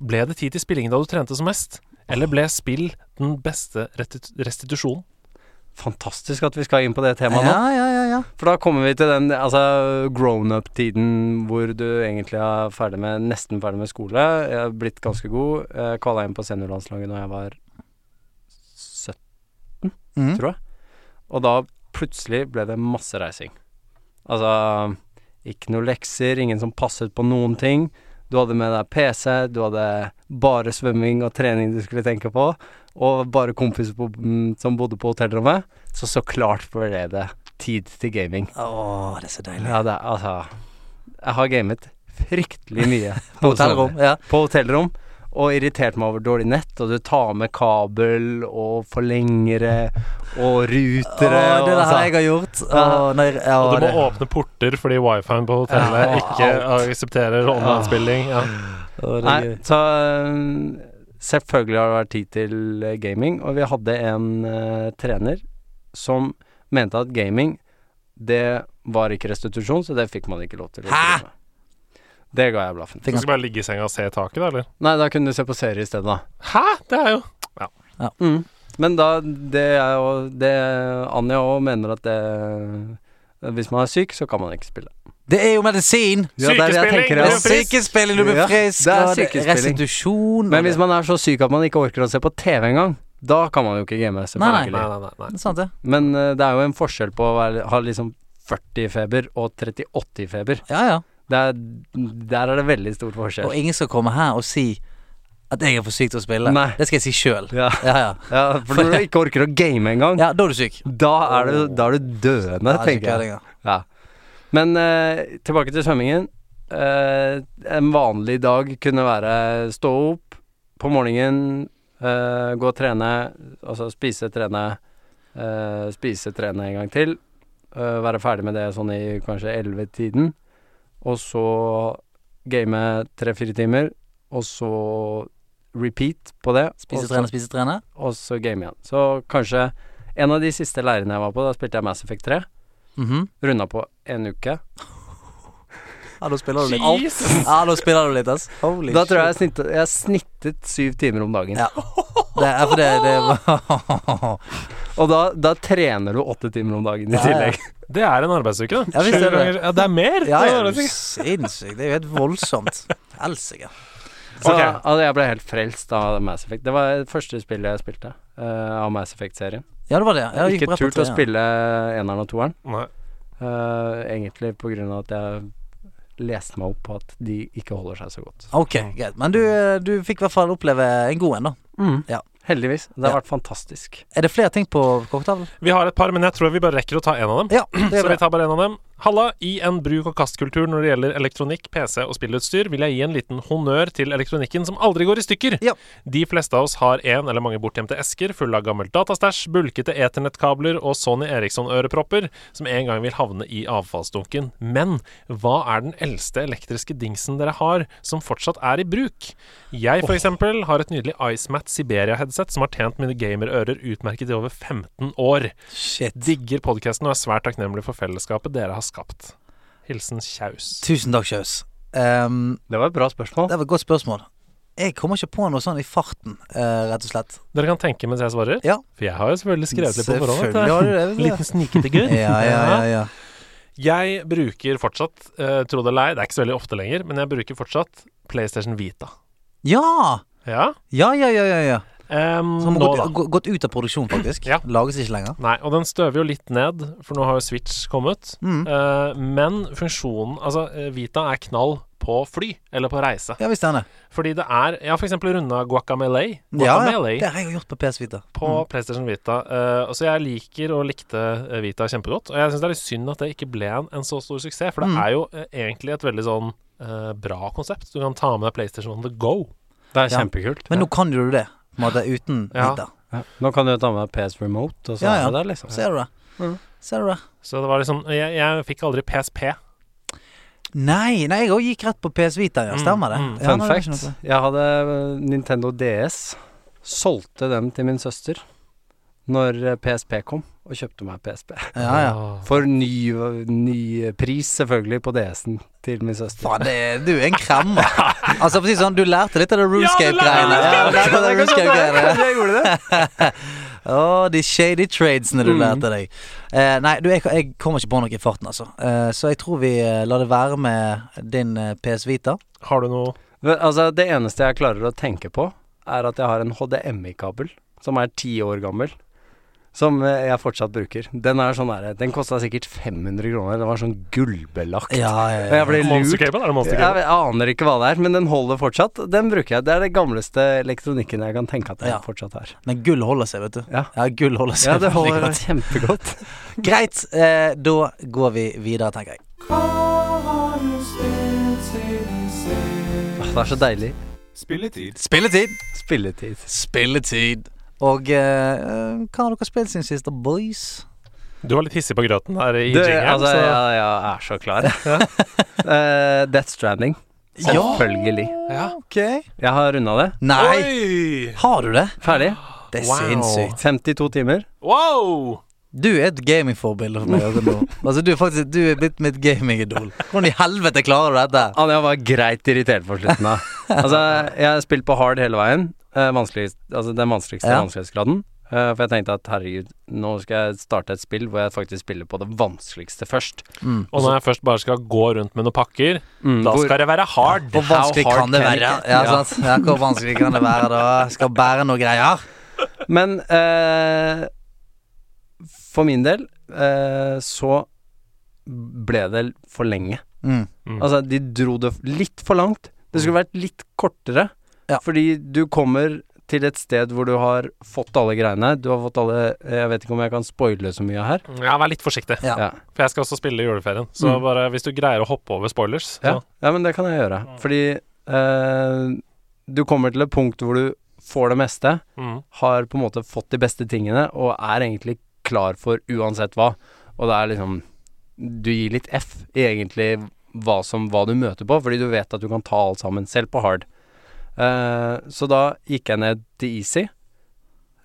Speaker 5: Ble det tid til spilling da du trente som mest? Eller ble spill den beste restitu- restitusjonen?
Speaker 1: Fantastisk at vi skal inn på det temaet nå.
Speaker 4: Ja, ja, ja, ja.
Speaker 1: For da kommer vi til den altså, grown-up-tiden hvor du egentlig er ferdig med, nesten ferdig med skole. Jeg har blitt ganske god. Jeg kvala inn på seniorlandslaget da jeg var 17,
Speaker 4: Mm.
Speaker 1: tror jeg. Og da plutselig ble det masse reising. Altså ikke noe lekser, ingen som passet på noen ting. Du hadde med deg PC, du hadde bare svømming og trening du skulle tenke på, og bare kompiser på, mm, som bodde på hotellrommet. Så så klart ble det tid til gaming.
Speaker 4: Åh, det er så deilig.
Speaker 1: Ja, det er altså Jeg har gamet fryktelig mye
Speaker 4: På hotellrom. Ja.
Speaker 1: på hotellrom. Og irritert meg over dårlig nett, og du tar med kabel og forlengere
Speaker 4: Åh,
Speaker 1: og rutere
Speaker 4: det er
Speaker 1: og
Speaker 4: det her
Speaker 1: altså.
Speaker 4: jeg har gjort. Åh, når, jeg- ja,
Speaker 5: Og du må
Speaker 4: det.
Speaker 5: åpne porter fordi wifien på hotellet
Speaker 1: Ja,
Speaker 5: ikke aksepterer online-spilling. Ja.
Speaker 4: Åh, det er
Speaker 1: Nei,
Speaker 4: gøy.
Speaker 1: så øhm, selvfølgelig har det vært tid til eh, gaming, og vi hadde en eh, trener som mente at gaming, det var ikke restitusjon, så det fikk man ikke lov til å
Speaker 4: Hæ?
Speaker 1: drive med. Det ga jeg blaffen.
Speaker 5: Du skal bare ligge i senga og se i taket, da, eller?
Speaker 1: Nei, da kunne du se på serie i stedet, da.
Speaker 5: Hæ? Det er jo
Speaker 1: Mm. Men da, det er jo det Anja òg mener at det Hvis man er syk, så kan man ikke spille.
Speaker 4: Det er jo medisin!
Speaker 5: Ja, det er det jeg tenker,
Speaker 4: Det
Speaker 5: ja.
Speaker 4: er sykespilling, du blir
Speaker 1: Ja,
Speaker 4: frisk,
Speaker 1: det er
Speaker 4: og det er
Speaker 1: sykespilling.
Speaker 4: restitusjon
Speaker 1: Men hvis man er så syk at man ikke orker å se på TV engang, da kan man jo ikke game.
Speaker 4: Nei,
Speaker 1: selvfølgelig.
Speaker 5: Nei, nei, nei. nei.
Speaker 4: Det er sant, det.
Speaker 1: Men eh, det er jo en forskjell på å være, ha liksom 40 i feber og 38 i feber.
Speaker 4: Ja, ja.
Speaker 1: Det er, der er det veldig stor forskjell.
Speaker 4: Og ingen skal komme her og si at jeg er for syk til å spille.
Speaker 1: Nei.
Speaker 4: Det skal jeg si sjøl.
Speaker 1: Ja,
Speaker 4: Ja, ja.
Speaker 1: ja, for når du ikke orker å game engang,
Speaker 4: ja, da er du syk.
Speaker 1: da, er du- da er du døende,
Speaker 4: Ja,
Speaker 1: tenker jeg.
Speaker 4: kødding, ja.
Speaker 1: Ja. Men eh, tilbake til svømmingen. Eh, en vanlig dag kunne være stå opp på morgenen, eh, gå og trene, altså spise, trene, eh, spise, trene en gang til. eh, være ferdig med det sånn i kanskje 11-tiden. Og så game tre-fire timer, og så repeat på det.
Speaker 4: Spise,
Speaker 1: og så-
Speaker 4: trene, spise, trene.
Speaker 1: Og så game igjen. Så kanskje en av de siste leirene jeg var på, da spilte jeg Mass Effect 3.
Speaker 4: Mhm.
Speaker 1: Runda på en uke.
Speaker 4: Ja, da spiller du litt.
Speaker 5: Jesus!
Speaker 4: Ja, da spiller du litt, ass. Holy
Speaker 1: Da tror jeg jeg snittet, jeg snittet syv timer om dagen.
Speaker 4: Ja. Det er for det, det var
Speaker 1: Og da, da trener du åtte timer om dagen i
Speaker 4: Ja, ja.
Speaker 1: tillegg.
Speaker 5: Det er en arbeidsuke, da.
Speaker 4: Ja, visst
Speaker 5: Sju
Speaker 4: er det det.
Speaker 5: ganger- Ja, det er mer!
Speaker 4: Ja,
Speaker 5: Det er
Speaker 4: ja,
Speaker 5: en
Speaker 4: du
Speaker 5: arbeidsuke.
Speaker 4: sinnssyk. Det er jo helt voldsomt. Helsike.
Speaker 1: Så
Speaker 5: Ok.
Speaker 1: altså, jeg ble helt frelst av Mass Effect. Det var det første spillet jeg spilte eh, av Mass Effect-serien.
Speaker 4: Ja, det var det. Ja, det gikk
Speaker 1: Ikke
Speaker 4: rett på
Speaker 1: turt å
Speaker 4: treeren.
Speaker 1: spille eneren og toeren,
Speaker 5: Nei.
Speaker 1: eh, egentlig på grunn av at jeg leste meg opp på at de ikke holder seg så godt.
Speaker 4: Ok, greit. Men du, eh, du fikk i hvert fall oppleve en god en, da. Ja.
Speaker 1: Heldigvis. Det har
Speaker 4: Mm. Ja.
Speaker 1: vært fantastisk.
Speaker 4: Er det flere ting på kokketavlen?
Speaker 5: Vi har et par, men jeg tror vi bare rekker å ta en av dem.
Speaker 4: Ja, det
Speaker 5: Så
Speaker 4: er bra.
Speaker 5: vi tar bare en av dem. Halla! I en bruk og kastkultur når det gjelder elektronikk, PC og spillutstyr, vil jeg gi en liten honnør til elektronikken som aldri går i stykker.
Speaker 4: Ja.
Speaker 5: De fleste av oss har en eller mange bortgjemte esker fulle av gammelt datastæsj, bulkete eternettkabler og Sony Eriksson-ørepropper som en gang vil havne i avfallsdunken. Men hva er den eldste elektriske dingsen dere har som fortsatt er i bruk? Jeg for eksempel har et nydelig IceMat Siberia-headset som har tjent mine gamerører utmerket i over 15 år.
Speaker 4: Shit.
Speaker 5: Digger podkasten og er svært takknemlig for fellesskapet dere har skapt. Hilsen Kjaus.
Speaker 4: Tusen takk, Kjøs. Ehm,
Speaker 1: Det var et bra spørsmål.
Speaker 4: det var et godt spørsmål. Jeg kommer ikke på noe sånn i farten, eh, rett og slett.
Speaker 5: Dere kan tenke mens jeg svarer,
Speaker 4: Ja.
Speaker 5: for jeg har jo selvfølgelig skrevet litt på forhånd.
Speaker 4: Selvfølgelig har
Speaker 5: vet
Speaker 4: du det.
Speaker 5: du. Liten snikete
Speaker 4: Ja,
Speaker 5: gutt.
Speaker 4: ja, ja, ja.
Speaker 5: Jeg bruker fortsatt, eh, tro det eller ei, det er ikke så veldig ofte lenger, men jeg bruker fortsatt PlayStation Vita.
Speaker 4: Ja!
Speaker 5: Ja.
Speaker 4: Ja, ja, ja, ja. ja.
Speaker 5: Em,
Speaker 4: Som har
Speaker 5: nå,
Speaker 4: gått,
Speaker 5: da.
Speaker 4: gå- gått ut av produksjon, faktisk.
Speaker 5: Ja.
Speaker 4: Lages ikke lenger.
Speaker 5: Nei, og den støver jo litt ned, for nå har jo Switch kommet.
Speaker 4: Mm.
Speaker 5: Eh, men funksjonen Altså, eh, Vita er knall på fly, eller på reise.
Speaker 4: Ja visst er det.
Speaker 5: Fordi det er Jeg har f.eks. runda Guacamele.
Speaker 4: Ja, ja.
Speaker 5: Guacamele
Speaker 4: Det har jeg jo gjort på PS Vita.
Speaker 5: på PlayStation Vita. Eh, og så jeg liker og likte eh, Vita kjempegodt. Og jeg syns det er litt synd at det ikke ble en, en så stor suksess, for det
Speaker 4: Mm.
Speaker 5: er jo eh, egentlig et veldig sånn eh, bra konsept. Du kan ta med deg PlayStation on the go.
Speaker 1: Det er
Speaker 4: Ja.
Speaker 1: kjempekult.
Speaker 4: Men nå kan du det, på en måte, uten
Speaker 5: Ja.
Speaker 4: Vita.
Speaker 1: Ja. Nå kan du jo ta med deg PS Remote, og så
Speaker 4: Ja, ja.
Speaker 1: er det der, liksom.
Speaker 4: Ser du det?
Speaker 1: Mm.
Speaker 4: Ser du det?
Speaker 5: Så det var liksom Jeg, jeg fikk aldri PSP.
Speaker 4: Nei, nei, jeg òg gikk rett på PS Vita, ja.
Speaker 5: Mm,
Speaker 4: Stemmer det.
Speaker 5: mm.
Speaker 4: Ja, nei, det
Speaker 1: Fun
Speaker 4: var ikke
Speaker 1: fact.
Speaker 4: noe.
Speaker 1: Jeg hadde eh, Nintendo DS. Solgte den til min søster når eh, PSP kom, og kjøpte meg PSP.
Speaker 4: Ja, ja.
Speaker 5: Åh.
Speaker 1: For ny, ny pris, selvfølgelig, på DS-en til min søster.
Speaker 4: Faen, det er, du er en kremmer. altså, for å si det sånn, du lærte litt av det
Speaker 5: Ja, du lærte
Speaker 4: Runescape-greiene.
Speaker 5: det
Speaker 4: Ja,
Speaker 5: Runescape!
Speaker 4: det var det Runescape-greiene.
Speaker 1: Jeg gjorde det.
Speaker 4: Å, de shady tradesene du
Speaker 1: Mm.
Speaker 4: lærte deg. Eh, nei, du, jeg, jeg kommer ikke på noe i farten, altså. Eh, så jeg tror vi eh, lar det være med din eh, PS Vita.
Speaker 5: Har du noe
Speaker 1: Men, altså, det eneste jeg klarer å tenke på, er at jeg har en HDMI-kabel som er ti år gammel. Som eh, jeg fortsatt bruker. Den er sånn der, den kosta sikkert 500 kroner. Den var sånn gullbelagt.
Speaker 4: Ja,
Speaker 1: Og jeg ble lurt.
Speaker 5: Monster Cable? Er det Monster
Speaker 1: Jeg,
Speaker 5: Cable?
Speaker 1: jeg aner ikke hva det er, men den holder fortsatt. Den bruker jeg. Det er det gamleste elektronikken jeg kan tenke at jeg
Speaker 4: Ja.
Speaker 1: fortsatt har.
Speaker 4: Men gull holder seg, vet du.
Speaker 1: Ja.
Speaker 4: Ja, gull holder seg.
Speaker 1: Ja, det
Speaker 4: veldig
Speaker 1: holder
Speaker 4: godt.
Speaker 1: kjempegodt.
Speaker 4: Greit, eh, da går vi videre, tenker jeg.
Speaker 1: Åh, Det er så deilig.
Speaker 2: Spilletid.
Speaker 4: Spilletid!
Speaker 1: Spilletid.
Speaker 4: Spilletid. Og eh, eh, hva har dere spilt siden sist, da, boys?
Speaker 5: Du var litt hissig på grøten her i
Speaker 1: Du,
Speaker 5: jingeren.
Speaker 1: altså,
Speaker 5: så-
Speaker 1: jeg, jeg er så klar. Eh, Death Stranding. Selvfølgelig.
Speaker 5: Ja.
Speaker 4: Ok.
Speaker 1: Jeg har runda det.
Speaker 4: Nei!
Speaker 5: Oi!
Speaker 4: Har du det?
Speaker 1: Ferdig.
Speaker 4: Det er
Speaker 5: Wow.
Speaker 4: sinnssykt.
Speaker 1: 52 timer.
Speaker 5: Wow!
Speaker 4: Du er et gamingforbilde for meg. Altså, nå. altså Du er faktisk Du er blitt mitt gamingidol. Hvordan i helvete klarer du dette?
Speaker 1: Altså, jeg var greit irritert på slutten av. Altså, jeg har spilt på hard hele veien. Eh, vanskelig, altså den vanskeligste
Speaker 4: Ja.
Speaker 1: vanskelighetsgraden. Eh, for jeg tenkte at herregud, nå skal jeg starte et spill hvor jeg faktisk spiller på det vanskeligste først.
Speaker 4: Mm.
Speaker 5: Og når jeg først bare skal gå rundt med noen pakker,
Speaker 1: Mm,
Speaker 5: da
Speaker 1: hvor-
Speaker 5: skal det være hard.
Speaker 4: Hvor vanskelig
Speaker 1: How hard
Speaker 4: kan det
Speaker 1: can it
Speaker 4: være?
Speaker 1: get?
Speaker 4: Ja,
Speaker 1: Ja.
Speaker 4: sant? ja, Hvor vanskelig kan det være da? Skal bære noe greier?
Speaker 1: Men eh, for min del eh, så ble det for lenge.
Speaker 4: Mm.
Speaker 5: Mm.
Speaker 1: Altså, de dro det litt for langt. Det skulle vært litt kortere.
Speaker 4: Ja.
Speaker 1: Fordi du kommer til et sted hvor du har fått alle greiene. Du har fått alle eh, Jeg vet ikke om jeg kan spoile så mye her.
Speaker 5: Ja, vær litt forsiktig,
Speaker 4: Ja.
Speaker 1: Ja.
Speaker 5: for jeg skal også spille i juleferien. Så
Speaker 1: Mm.
Speaker 5: bare hvis du greier å hoppe over spoilers så.
Speaker 1: Ja, ja men det kan jeg gjøre. Fordi eh, du kommer til et punkt hvor du får det meste,
Speaker 5: Mm.
Speaker 1: har på en måte fått de beste tingene, og er egentlig klar for uansett hva. Og det er liksom Du gir litt F i egentlig hva, som, hva du møter på, fordi du vet at du kan ta alt sammen, selv på hard. Eh, så da gikk jeg ned til easy,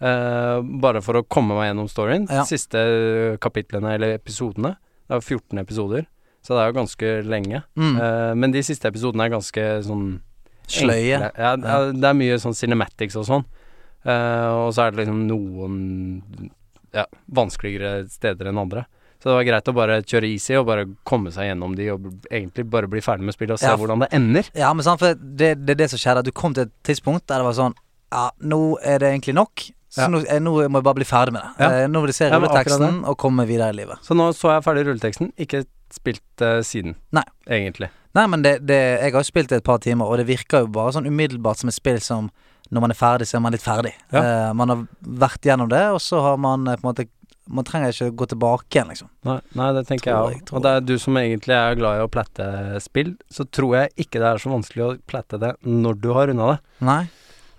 Speaker 1: eh, bare for å komme meg gjennom storyen.
Speaker 4: Ja.
Speaker 1: Siste kapitlene, eller episodene. Det er 14 episoder, så det er jo ganske lenge.
Speaker 4: Mm.
Speaker 1: Eh, men de siste episodene er ganske sånn
Speaker 4: Sløye.
Speaker 1: enkle. Ja, det er, det er mye sånn cinematics og sånn. Eh, og så er det liksom noen ja, vanskeligere steder enn andre. Så det var greit å bare kjøre easy og bare komme seg gjennom de og b- egentlig bare bli ferdig med spillet og se
Speaker 4: Ja.
Speaker 1: hvordan det ender.
Speaker 4: Ja, men sant, for det, det er det som skjedde. at Du kom til et tidspunkt der det var sånn Ja, nå er det egentlig nok. Så
Speaker 1: Ja.
Speaker 4: nå, eh, nå må jeg bare bli ferdig med det.
Speaker 1: Ja.
Speaker 4: Eh, Nå vil jeg se
Speaker 1: Ja, men akkurat
Speaker 4: rulleteksten og komme videre i livet.
Speaker 1: Så nå så jeg ferdig rulleteksten, ikke spilt eh, siden,
Speaker 4: Nei.
Speaker 1: egentlig.
Speaker 4: Nei, men det, det, jeg har jo spilt det et par timer, og det virker jo bare sånn umiddelbart som et spill som når man er ferdig, så er man litt ferdig.
Speaker 1: Ja.
Speaker 4: Eh, man har vært gjennom det, og så har man eh, på en måte man trenger ikke gå tilbake igjen, liksom.
Speaker 1: Nei, nei, det tenker
Speaker 4: Tror
Speaker 1: jeg
Speaker 4: jeg,
Speaker 1: òg.
Speaker 4: tror
Speaker 1: Og det er du som egentlig er glad i å plette spill, så tror jeg ikke det er så vanskelig å plette det når du har runda det.
Speaker 4: Nei,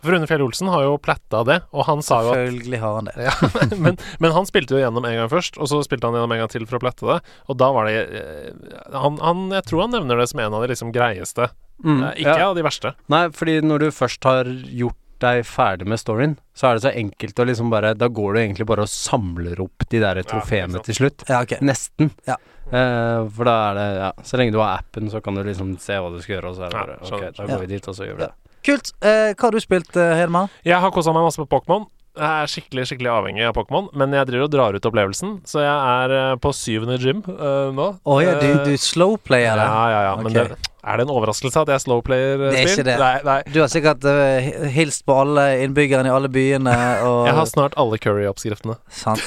Speaker 5: For Rune Fjell Olsen har jo pletta det, og han sa jo at
Speaker 4: selvfølgelig har han det.
Speaker 5: ja, men, men han spilte jo gjennom en gang først, og så spilte han gjennom en gang til for å plette det. Og da var det eh, han, han, Jeg tror han nevner det som en av de liksom greieste.
Speaker 4: Mm,
Speaker 5: Eh, Ikke
Speaker 1: ja.
Speaker 5: av de verste.
Speaker 1: Nei, fordi når du først har gjort deg ferdig med storyen, så er det så enkelt å liksom bare Da går du egentlig bare og samler opp de der trofeene
Speaker 5: sant.
Speaker 1: til slutt.
Speaker 4: Ja, ok.
Speaker 1: Nesten.
Speaker 4: Ja.
Speaker 1: Eh, for da er det Ja, så lenge du har appen, så kan du liksom se hva du skal gjøre, og så er
Speaker 5: Ja,
Speaker 1: det bare
Speaker 5: skjønner,
Speaker 1: Ok, da
Speaker 4: skjønner.
Speaker 1: går vi dit, og så gjør vi
Speaker 4: Ja.
Speaker 1: det.
Speaker 4: Kult. Eh, hva har du spilt, eh, Hedman?
Speaker 5: Jeg har kosa meg masse på Pokémon. Jeg er skikkelig skikkelig avhengig av Pokémon, men jeg driver og drar ut opplevelsen. Så jeg er eh, på syvende gym eh, nå. Eh,
Speaker 4: Å ja, du, du slowplayer
Speaker 5: Ja,
Speaker 4: det.
Speaker 5: ja, ja. Men
Speaker 4: Ok.
Speaker 5: det, er det en overraskelse at jeg er slowplayer-spill?
Speaker 4: Det er ikke det.
Speaker 5: Nei, nei.
Speaker 4: Du har sikkert eh, hi- hilst på alle innbyggerne i alle byene og
Speaker 5: Jeg har snart alle curry-oppskriftene.
Speaker 4: Sant.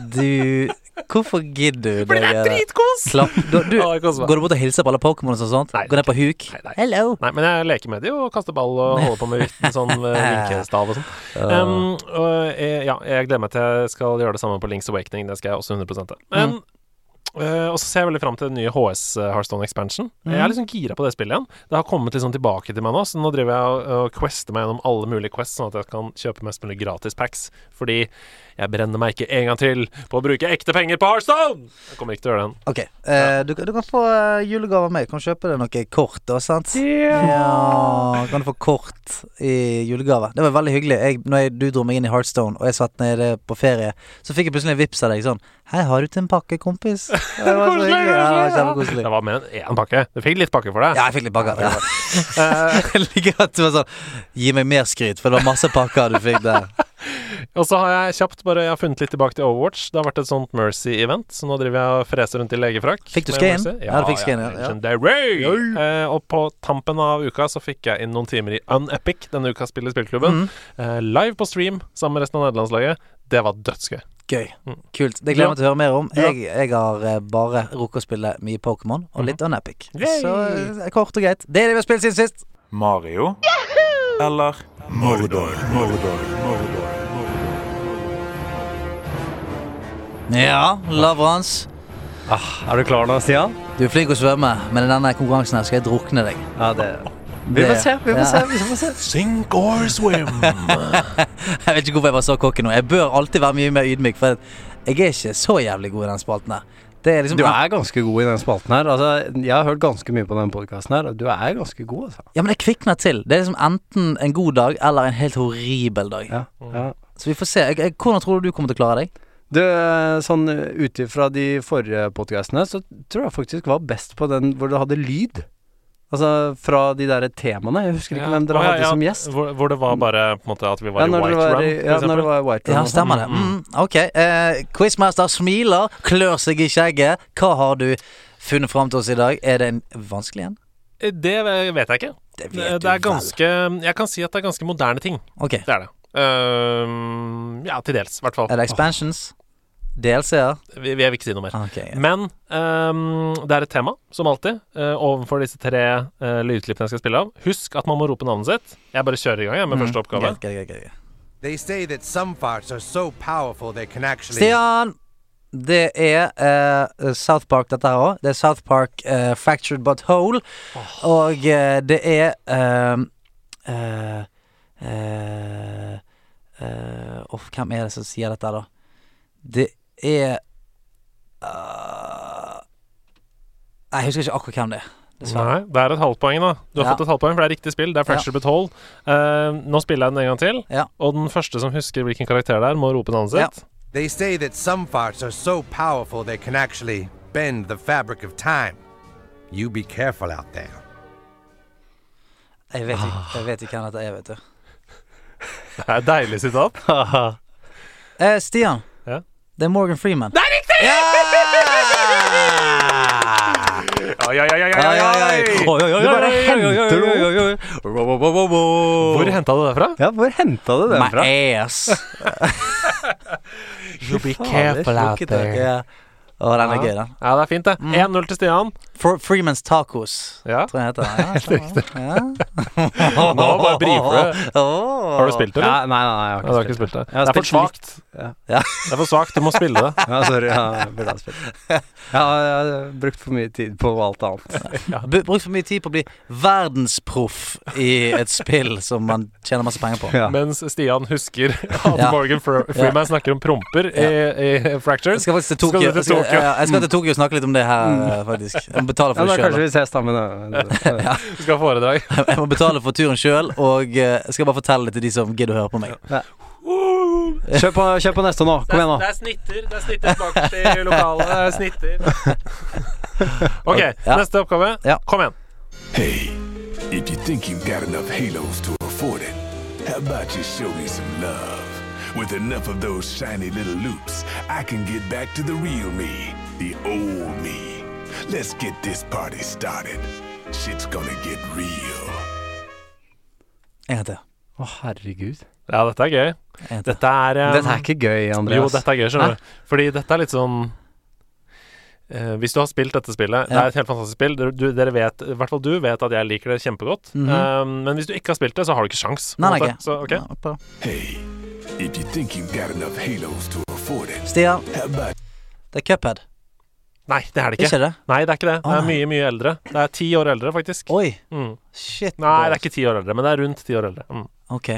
Speaker 4: Du Hvorfor gidder du det? Gere?
Speaker 5: dritkos!
Speaker 4: Klapp. Du, du,
Speaker 5: Å, jeg koser meg.
Speaker 4: går du bort og hilser på alle Pokémon og sånt?
Speaker 5: Nei.
Speaker 4: Går ned på huk?
Speaker 5: Nei, nei.
Speaker 4: Hello.
Speaker 5: Nei, men jeg leker med de og kaster ball og holder på med vitten, sånn eh, vinkestav og sånn. Um, og jeg, ja, jeg gleder meg til jeg skal gjøre det samme på Links Awakening. Det skal jeg også 100 til. Men eh, Og så ser jeg veldig fram til den nye HS eh, Hearthstone Expansion. Jeg er liksom gira på det spillet igjen. Det har kommet liksom tilbake til meg nå, så nå driver jeg og, og quester meg gjennom alle mulige quests, sånn at jeg kan kjøpe mest mulig gratis packs. Fordi jeg brenner meg ikke en gang til på å bruke ekte penger på Hearthstone! Jeg kommer ikke til å gjøre det.
Speaker 4: Ok, eh, du, du kan få eh, julegave av meg. Kan kjøpe deg noe kort, da, sant? Ja, kan du få kort i julegave. Det var veldig hyggelig. Jeg, når jeg, du dro meg inn i Heartstone, og jeg satt nede på ferie, så fikk jeg plutselig en vips av deg sånn Hei, har du til en pakke, kompis? Det var så
Speaker 5: Koselig,
Speaker 4: hyggelig. Ja, det var
Speaker 5: koselig,
Speaker 4: kjempekoselig.
Speaker 5: Det var mer enn én pakke. Du fikk litt pakke for det. Eh,
Speaker 4: Ja, jeg fikk litt pakker. Ja. Jeg liker at du var sånn Gi meg mer skryt, for det var masse pakker du fikk der.
Speaker 5: Og så har jeg kjapt bare Jeg har funnet litt tilbake til Overwatch. Det har vært et sånt Mercy-event, så nå driver jeg og freser rundt i legefrakk.
Speaker 4: Fikk du
Speaker 5: med
Speaker 4: skin?
Speaker 5: Mercy.
Speaker 4: Ja, du fikk skin, ja, ja.
Speaker 5: Legendary! Eh, og på tampen av uka så fikk jeg inn noen timer i Unepic, denne uka spiller
Speaker 4: Mm.
Speaker 5: Spillklubben. Eh, live på stream sammen med resten av nederlandslaget. Det var dødsgøy.
Speaker 4: Gøy.
Speaker 5: Mm.
Speaker 4: Kult. Det gleder jeg meg til å høre mer om.
Speaker 5: Ja.
Speaker 4: Jeg, jeg har eh, bare rukket å spille mye Pokémon og
Speaker 1: Mm.
Speaker 4: litt Unepic.
Speaker 5: Yay!
Speaker 4: Så eh, kort og greit. Det er det vi har spilt siden sist.
Speaker 2: Mario eller Mordor. Mordor. Mordor.
Speaker 4: Ja, Lavrans.
Speaker 1: Ah, er du klar nå, Stian?
Speaker 4: Du er flink til å svømme, men i denne konkurransen her skal jeg drukne deg.
Speaker 1: Ja, det Vi
Speaker 4: Det-
Speaker 1: får se, vi får
Speaker 4: ja.
Speaker 1: se. Vi får se.
Speaker 5: Sink or swim.
Speaker 4: Jeg vet ikke hvorfor jeg var så cocky nå. Jeg bør alltid være mye mer ydmyk, for jeg er ikke så jævlig god i den spalten her. Det er liksom
Speaker 1: Du er ganske god i den spalten her. Altså, jeg har hørt ganske mye på den podkasten her, og du er ganske god, altså.
Speaker 4: Ja, men jeg kvikner til. Det er liksom enten en god dag eller en helt horribel dag.
Speaker 1: Ja,
Speaker 5: Mm.
Speaker 1: ja.
Speaker 4: Så vi får se. Jeg, jeg, hvordan tror du du kommer til å klare deg?
Speaker 1: Du, eh, sånn eh, ut ifra de forrige podkastene, så tror jeg faktisk var best på den hvor du hadde lyd. Altså fra de derre temaene. Jeg husker ikke hvem dere hadde som gjest.
Speaker 5: Hvor, hvor det var bare på en måte at vi var
Speaker 1: Ja,
Speaker 5: i
Speaker 1: når det
Speaker 5: White
Speaker 1: var,
Speaker 5: Run,
Speaker 1: i-
Speaker 5: for
Speaker 1: ja, når det
Speaker 5: eksempel.
Speaker 1: var i White Run.
Speaker 4: Ja,
Speaker 1: og sånn.
Speaker 4: stemmer det. Mm, ok. Eh, Quizmaster smiler, klør seg i skjegget. Hva har du funnet fram til oss i dag? Er det en vanskelig en?
Speaker 5: Eh, Det vet jeg ikke.
Speaker 4: Det
Speaker 5: Det,
Speaker 4: vet
Speaker 5: det er
Speaker 4: du vel.
Speaker 5: ganske mm, Jeg kan si at det er ganske moderne ting.
Speaker 4: Ok.
Speaker 5: Det er det. Ehm, ja, til dels, i hvert fall.
Speaker 4: Er det expansions? DLC-er?
Speaker 5: Vi, vi jeg vil ikke si noe mer.
Speaker 4: Ok. ja.
Speaker 5: Men ehm, det er et tema, som alltid, eh, ovenfor disse tre eh, lydklippene jeg skal spille av. Husk at man må rope navnet sitt. Jeg bare kjører i gang jeg,
Speaker 4: Mm.
Speaker 5: med første oppgave.
Speaker 4: Greit, greit, greit, greit.
Speaker 3: They say that some farts are so powerful they can actually.
Speaker 4: Stian! Det er eh, South Park, dette her òg. Det er South Park eh, Fractured But Whole. Og eh, det er eh, eh, eh, eh, Uff, hvem er det som sier dette, da? Det er eh, Nei, Jeg husker ikke akkurat hvem det er. Dessverre.
Speaker 5: Nei, det er et halvpoeng, da. Du har
Speaker 4: Ja.
Speaker 5: fått et halvpoeng, for det er riktig spill. Det er Fracture But Whole. Eh, nå spiller jeg den en gang til,
Speaker 4: Ja.
Speaker 5: og den første som husker hvilken karakter det er, må rope navnet
Speaker 4: Ja.
Speaker 5: sitt.
Speaker 3: They say that some farts are so powerful they can actually bend the fabric of time. You be careful out there.
Speaker 4: Jeg vet ikke, jeg vet ikke hvem dette er, vet du.
Speaker 5: Det er et deilig sitat.
Speaker 4: Eh, Stian.
Speaker 5: Ja.
Speaker 4: Det er Morgan Freeman.
Speaker 5: Det er riktig! Oi, oi,
Speaker 4: Oi,
Speaker 5: oi, oi,
Speaker 4: oi, oi. Oi, oi, oi,
Speaker 1: Du bare
Speaker 4: oi, oi, oi,
Speaker 1: henter
Speaker 4: oi, oi,
Speaker 1: noe.
Speaker 4: oi.
Speaker 5: Hvor henta du det fra?
Speaker 1: Ja, hvor henta du den
Speaker 4: My
Speaker 1: fra?
Speaker 4: ass.
Speaker 5: You be
Speaker 1: careful out
Speaker 4: Lukket dere. Å, den er gøy, den.
Speaker 5: Ja, det er fint, det. 1-0 til Stian.
Speaker 4: For Freemans Tacos,
Speaker 5: Ja.
Speaker 4: tror jeg heter den. Ja, Helt riktig. Ja.
Speaker 5: Nå bare briefer du.
Speaker 4: Åh.
Speaker 5: Har du spilt det, eller?
Speaker 1: Ja, nei, nei, nei, jeg har
Speaker 5: Ja, du
Speaker 1: ikke,
Speaker 5: har ikke spilt det.
Speaker 1: Jeg har
Speaker 5: Det er for
Speaker 1: spilt litt.
Speaker 5: svakt.
Speaker 4: Ja.
Speaker 5: Det er for svakt. Du må spille det.
Speaker 1: Ja, sorry. Ja, jeg burde ha spilt det. Jeg har, jeg har brukt for mye tid på alt annet.
Speaker 4: Bu- Brukt for mye tid på å bli verdensproff i et spill som man tjener masse penger på.
Speaker 1: Ja.
Speaker 5: Mens Stian husker at
Speaker 4: Ja.
Speaker 5: Morgan Fre- Freeman snakker om promper i, i
Speaker 4: Jeg
Speaker 5: Fractures.
Speaker 4: skal faktisk til
Speaker 5: Skal
Speaker 4: Tokyo,
Speaker 5: du til
Speaker 4: jeg skal,
Speaker 5: Tokyo? Mm.
Speaker 4: ja, jeg skal til Tokyo og snakke litt om det her, eh, faktisk. Jeg må betale
Speaker 1: Ja,
Speaker 4: for
Speaker 1: da eh,
Speaker 4: det sjøl.
Speaker 1: kanskje vi ses sammen. da.
Speaker 5: Du skal ha foredrag.
Speaker 4: Jeg må betale for turen sjøl, og eh, jeg skal bare fortelle det til de som gidder å høre på meg.
Speaker 1: Kjør på, kjør på neste nå. Kom igjen, nå.
Speaker 5: snitter. Det er snitter bak i lokalet. Det er snitter. OK,
Speaker 4: Ja.
Speaker 5: neste oppgave.
Speaker 4: Ja.
Speaker 5: Kom igjen.
Speaker 6: Hey, if you think you've got enough halos to afford it, how about you show me some love? With enough of those shiny little loops, I can get back to the real me, the old me. Let's get this party started. Shit's gonna get real.
Speaker 4: En gang til.
Speaker 1: Å, herregud.
Speaker 5: Ja, dette er gøy.
Speaker 4: En gang til.
Speaker 5: Dette er um,
Speaker 1: Dette er ikke gøy,
Speaker 5: Jo,
Speaker 1: Andreas.
Speaker 5: dette er gøy, skjønner du. Fordi dette er litt sånn eh, hvis du har spilt dette spillet Det
Speaker 4: Ja.
Speaker 5: er et helt fantastisk spill. Dere, du, dere vet, I hvert fall du vet at jeg liker det kjempegodt. Um, men hvis du ikke har spilt det, så har du ikke sjans. på
Speaker 4: Nei,
Speaker 5: en
Speaker 4: nei,
Speaker 5: måte. Så, ok.
Speaker 4: ikke. Ja, bra.
Speaker 6: Hey, if you think you've got enough halos to afford it,
Speaker 4: Stian,
Speaker 6: how about
Speaker 4: det er Cuphead.
Speaker 5: Nei, det er det ikke.
Speaker 4: Ikke det?
Speaker 5: Nei, det er ikke det. Det
Speaker 4: Å,
Speaker 5: er
Speaker 4: nei.
Speaker 5: mye, mye eldre. Det er ti år eldre, faktisk.
Speaker 4: Oi.
Speaker 5: Mm.
Speaker 4: Shit.
Speaker 5: Nei, det er ikke ti år eldre, men det er rundt ti år eldre. Mm.
Speaker 4: Ok.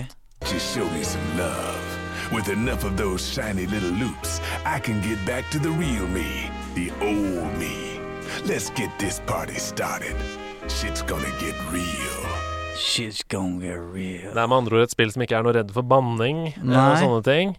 Speaker 6: you show me some love? With enough of those shiny little loops, I can get back to the real me, the old me. Let's get this party started. Shit's gonna get real.
Speaker 4: She's gonna get real.
Speaker 5: Det er med andre ord et spill som ikke er noe redd for banning eh,
Speaker 4: Nei.
Speaker 5: og sånne ting.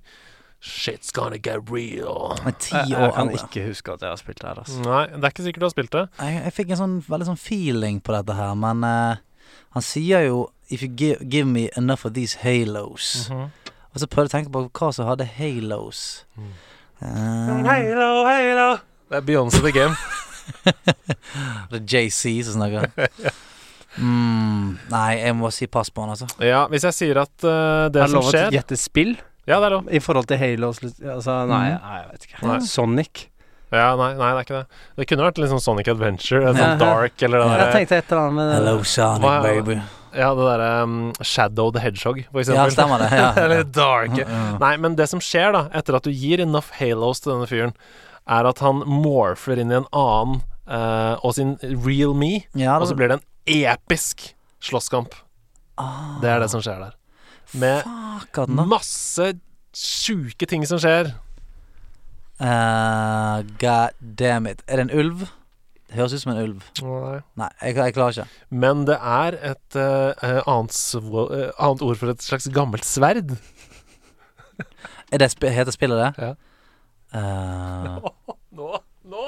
Speaker 5: Shit's gonna get real.
Speaker 4: Men ti
Speaker 5: Eh,
Speaker 1: Jeg,
Speaker 4: år
Speaker 1: jeg kan
Speaker 4: eldre.
Speaker 1: ikke huske at jeg har spilt det her, altså.
Speaker 5: Nei, det er ikke sikkert du har spilt det.
Speaker 4: Jeg, jeg fikk en sånn veldig sånn feeling på dette her, men eh, han sier jo If you give, give me enough of these halos.
Speaker 5: Mhm.
Speaker 4: Og så prøvde jeg å tenke på hva som hadde halos.
Speaker 5: Mm.
Speaker 4: Eh,
Speaker 5: Halo, halo. Det er Beyoncé the Game.
Speaker 4: det er JC som snakker. Mm, nei, jeg må si pass på han, altså.
Speaker 5: Ja, hvis jeg sier at eh, det
Speaker 1: Er det
Speaker 5: som
Speaker 1: lov å
Speaker 5: skjer
Speaker 1: gjette spill
Speaker 5: Ja, det er lov.
Speaker 1: i forhold til Halo? Altså, nei, nei, jeg vet ikke.
Speaker 5: Nei.
Speaker 1: Sonic.
Speaker 5: Ja, nei, nei, det er ikke det. Det kunne vært liksom Sonic Adventure, en sånn
Speaker 1: Ja.
Speaker 5: dark eller det
Speaker 1: Jeg
Speaker 5: derre
Speaker 1: tenkte et eller annet
Speaker 5: Eh,
Speaker 1: med det.
Speaker 4: Hello, Sonic,
Speaker 5: Hva er det?
Speaker 4: baby.
Speaker 5: Ja, det derre um, Shadow the Hedgehog, for eksempel.
Speaker 4: Ja, stemmer det. Ja.
Speaker 5: Det er litt dark. Nei, men det som skjer da, etter at du gir enough halos til denne fyren, er at han morfer inn i en annen eh, og sin real me,
Speaker 4: Ja,
Speaker 5: og
Speaker 4: det-
Speaker 5: så blir det en episk slåsskamp.
Speaker 4: Ah,
Speaker 5: Det er det som skjer der. Med
Speaker 4: Akkurat nå.
Speaker 5: masse sjuke ting som skjer.
Speaker 4: Eh, God damn it. Er det en ulv? Det høres ut som en ulv. Nei, jeg, jeg klarer ikke.
Speaker 5: Men det er et eh, eh, annet, svo- eh, annet ord for et slags gammelt sverd.
Speaker 4: Er det sp heter spillet det?
Speaker 5: Ja.
Speaker 4: Eh,
Speaker 5: Nå? Nå?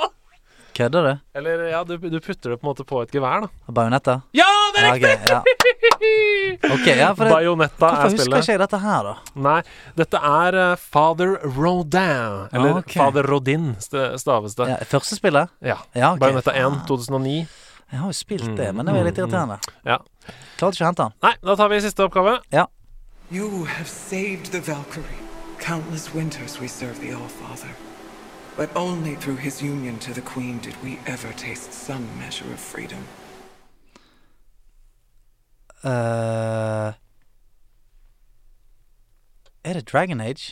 Speaker 4: kødder du?
Speaker 5: Eller ja, du, du putter det på en måte på et gevær, da.
Speaker 4: Bajonetter?
Speaker 5: Ja, det er
Speaker 4: Ja, ok, ja. Ok, ja, for det,
Speaker 5: Bajonetta
Speaker 4: hvorfor
Speaker 5: er
Speaker 4: husker
Speaker 5: spillet.
Speaker 4: ikke jeg dette her, da?
Speaker 5: Nei, dette er eh, Father Rodin. Eller
Speaker 4: Ah, ok.
Speaker 5: Father Rodin, st- staves det.
Speaker 4: Ja, første spillet?
Speaker 5: Ja.
Speaker 4: Ja, ok.
Speaker 5: Bajonetta 1, 2009.
Speaker 4: Jeg har jo
Speaker 5: Mm.
Speaker 4: spilt det, men det var litt irriterende.
Speaker 5: Ja.
Speaker 4: Klarte ikke å hente han.
Speaker 5: Nei, da tar vi siste oppgave.
Speaker 4: Ja.
Speaker 7: You have saved the Valkyrie. Countless winters we serve the Allfather. But only through his union to the Queen did we ever taste some measure of freedom.
Speaker 4: Eh, er det Dragon Age?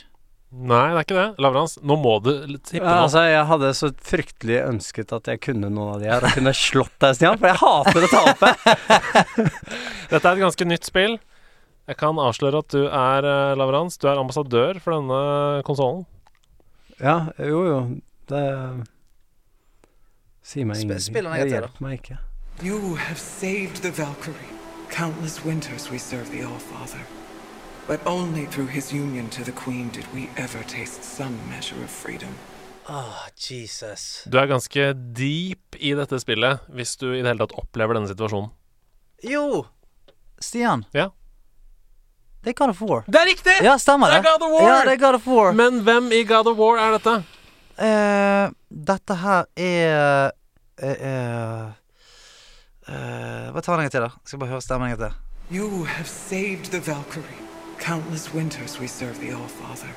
Speaker 5: Nei, det er ikke det. Lavrans, nå må du tippe
Speaker 1: Ja,
Speaker 5: nå.
Speaker 1: altså, jeg hadde så fryktelig ønsket at jeg kunne noen av de her og kunne slått deg, Stian, for jeg hater å tape.
Speaker 5: Dette er et ganske nytt spill. Jeg kan avsløre at du er eh, Lavrans. Du er ambassadør for denne konsollen.
Speaker 1: Ja, jo, jo. Det sier meg
Speaker 4: Sp-
Speaker 1: ingenting.
Speaker 4: spill den en gang
Speaker 1: Det
Speaker 4: til, da.
Speaker 1: hjelper meg ikke.
Speaker 7: You have saved the Valkyrie. Countless winters we serve the Allfather. But only through his union to the Queen did we ever taste some measure of freedom.
Speaker 4: Åh, Jesus.
Speaker 5: Du er ganske deep i dette spillet hvis du i det hele tatt opplever denne situasjonen.
Speaker 4: Jo! Stian,
Speaker 5: Ja.
Speaker 4: det er God of War.
Speaker 5: Det er riktig!
Speaker 4: Ja, stemmer
Speaker 5: Det
Speaker 4: det.
Speaker 5: er God of War!
Speaker 4: Ja, det er God of War.
Speaker 5: Men hvem i God of War er dette?
Speaker 4: Eh, dette her er eh, eh, eh, Hva tar den en gang til, da? Jeg skal bare høre stemmen en gang til.
Speaker 7: You have saved the Valkyrie. Countless winters we serve the Allfather.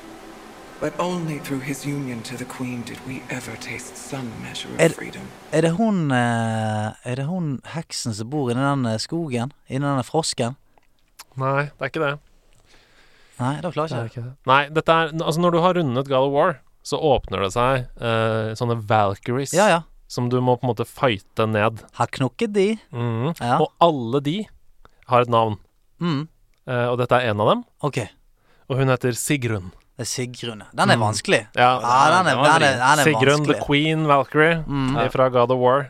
Speaker 7: But only through his union to the Queen did we ever taste some measure of
Speaker 4: Ed-
Speaker 7: freedom.
Speaker 4: Er det hun eh, Er det hun heksen som bor inni den eh, skogen? Inni den frosken?
Speaker 5: Nei, det er ikke det.
Speaker 4: Nei, da klarer
Speaker 5: det,
Speaker 4: jeg
Speaker 5: er
Speaker 4: ikke.
Speaker 5: ikke det. Nei, dette er Altså, når du har rundet God of War, så åpner det seg eh, sånne Valkyries
Speaker 4: Ja, ja.
Speaker 5: som du må på en måte fighte ned.
Speaker 4: Har knokket de.
Speaker 5: Mhm.
Speaker 4: Mm. Ja.
Speaker 5: Og alle de har et navn,
Speaker 4: Mm.
Speaker 5: eh, og dette er en av dem.
Speaker 4: OK. Det
Speaker 5: Og hun heter Sigrun.
Speaker 4: er Sigrun. Den er vanskelig.
Speaker 5: Mm. Ja,
Speaker 4: Ja, Ah, den er,
Speaker 1: den var
Speaker 4: den er, den er
Speaker 5: Sigrun the
Speaker 4: vanskelig. Mm.
Speaker 5: Queen Valkyrie fra God of War.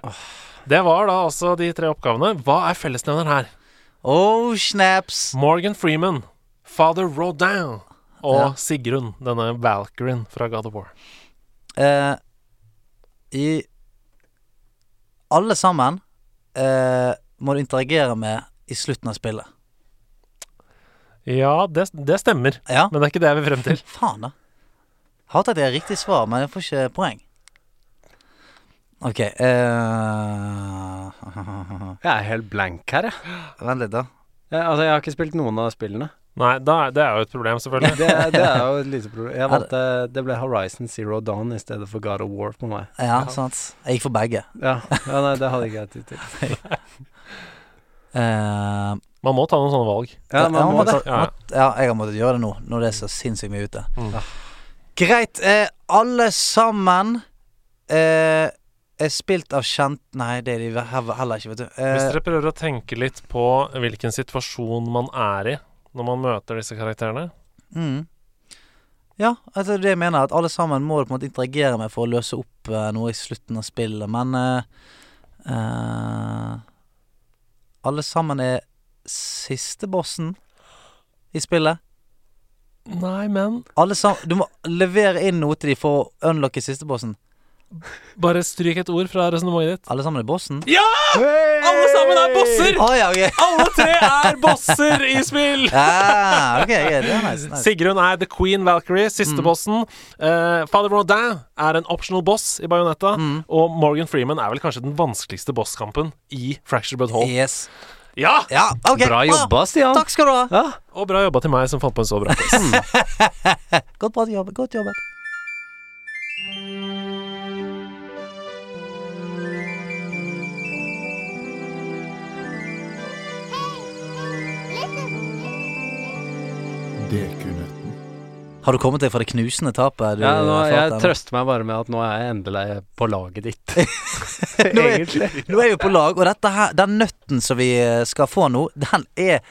Speaker 5: Det var da altså de tre oppgavene. Hva er fellesnevneren her?
Speaker 4: Oh, snaps.
Speaker 5: Morgan Freeman, Father Rodan og
Speaker 4: Ja.
Speaker 5: Sigrun, denne Valkyrien fra God of War.
Speaker 4: Eh, I Alle sammen eh, må du interagere med i slutten av spillet.
Speaker 5: Ja, det, det stemmer,
Speaker 4: Ja.
Speaker 5: men det er ikke det jeg vil frem til.
Speaker 4: Faen, da. Hater at jeg har riktig svar, men jeg får ikke poeng. OK eh,
Speaker 1: Jeg er helt blank her, jeg.
Speaker 4: Vent litt, da.
Speaker 1: jeg. Altså, jeg har ikke spilt noen av spillene.
Speaker 5: Nei, da, er- det er jo et problem, selvfølgelig.
Speaker 1: Det, Eh, det er jo et lite problem. Jeg
Speaker 4: Er det-
Speaker 1: valgte Det ble Horizon Zero Dawn i stedet for God of War på meg.
Speaker 4: Ja, sant. Jeg gikk for begge.
Speaker 1: Ja, ja nei, det hadde ikke jeg tid til.
Speaker 4: Eh,
Speaker 5: Man må ta noen sånne valg.
Speaker 1: Ja,
Speaker 4: ja,
Speaker 1: man må
Speaker 4: men
Speaker 1: ta
Speaker 4: det-
Speaker 5: Ja, ja.
Speaker 4: ja, jeg har måttet gjøre det nå, når det er så sinnssykt mye ute.
Speaker 5: Mm.
Speaker 4: Greit. Eh, alle sammen eh, er spilt av kjent Nei, det er de he- heller ikke, vet du.
Speaker 5: Hvis
Speaker 4: Eh,
Speaker 5: dere prøver å tenke litt på hvilken situasjon man er i når man møter disse karakterene
Speaker 4: mm. Ja, altså det er det jeg mener, at alle sammen må du på en måte interagere med for å løse opp eh, noe i slutten av spillet, men eh, eh, Alle sammen er siste bossen i spillet.
Speaker 5: Nei, men
Speaker 4: Alle sammen Du må levere inn noe til de for å unlocke siste bossen.
Speaker 5: bare stryk et ord fra resonnementet ditt.
Speaker 4: Alle sammen er bossen?
Speaker 5: Ja! Alle sammen er bosser!
Speaker 4: Å ja, ok.
Speaker 5: Alle tre er bosser i spill!
Speaker 4: Ah, ok, yeah, det er nice, nice.
Speaker 5: Sigrun er the queen Valkyrie, siste bossen. Eh, Father Rodin er en optional boss i Bajonetta. Og Morgan Freeman er vel kanskje den vanskeligste bosskampen i Fracture But Hall.
Speaker 4: Yes.
Speaker 5: Ja!
Speaker 4: Ja, ok.
Speaker 1: Bra jobba,
Speaker 4: Ah,
Speaker 1: Stian.
Speaker 4: takk skal du ha.
Speaker 1: Ja.
Speaker 5: Og bra jobba til meg som fant på en så bra quiz.
Speaker 4: Godt bra jobbet. Godt jobbet. Har du kommet deg fra det knusende tapet? Du
Speaker 1: Ja, nå, jeg
Speaker 4: erfarte nå?
Speaker 1: trøster meg bare med at nå er jeg endelig på laget ditt. Egentlig.
Speaker 4: Nå er vi på lag, og dette her, den nøtten som vi eh, skal få nå, den er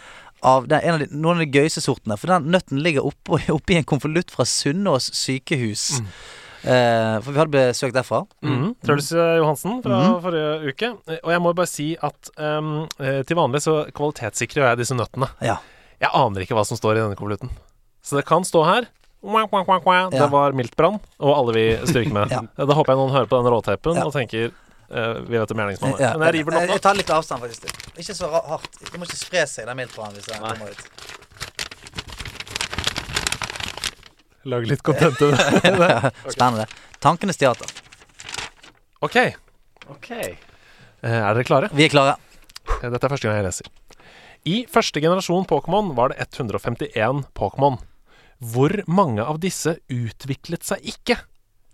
Speaker 4: av den, er en av de, noen av de gøyeste sortene. For den nøtten ligger oppå- oppi en konvolutt fra Sunnaas sykehus.
Speaker 5: Mm.
Speaker 4: Eh, for vi hadde besøk derfra.
Speaker 5: Mhm. Truls eh, Johansen fra
Speaker 4: Mm.
Speaker 5: forrige uke. Eh, Og jeg må bare si at ehm, eh, til vanlig så kvalitetssikrer jeg disse nøttene.
Speaker 4: Ja.
Speaker 5: Jeg aner ikke hva som står i denne konvolutten. Så det kan stå her. Mwah, mwah, mwah, mwah.
Speaker 4: Ja.
Speaker 5: Det var Miltbrann og alle vi styrker med.
Speaker 4: Ja.
Speaker 5: Da håper jeg noen hører på den råteipen
Speaker 4: Ja.
Speaker 5: og tenker eh, Vi vet hvem gjerningsmannen er.
Speaker 4: Ja.
Speaker 5: Men jeg river den
Speaker 4: Jeg-
Speaker 5: opp
Speaker 4: jeg
Speaker 5: nå.
Speaker 4: tar litt avstand, faktisk. Ikke så ra- hardt. Det må ikke spre seg. Det er mildt på han hvis den kommer ut.
Speaker 5: Lag litt content til det.
Speaker 4: Spennende. Tankenes teater.
Speaker 5: OK. Eh, Er dere klare?
Speaker 4: Vi er klare.
Speaker 5: Eh, Dette er første gang jeg leser. I første generasjon Pokémon var det 151 Pokémon. Hvor mange av disse utviklet seg ikke?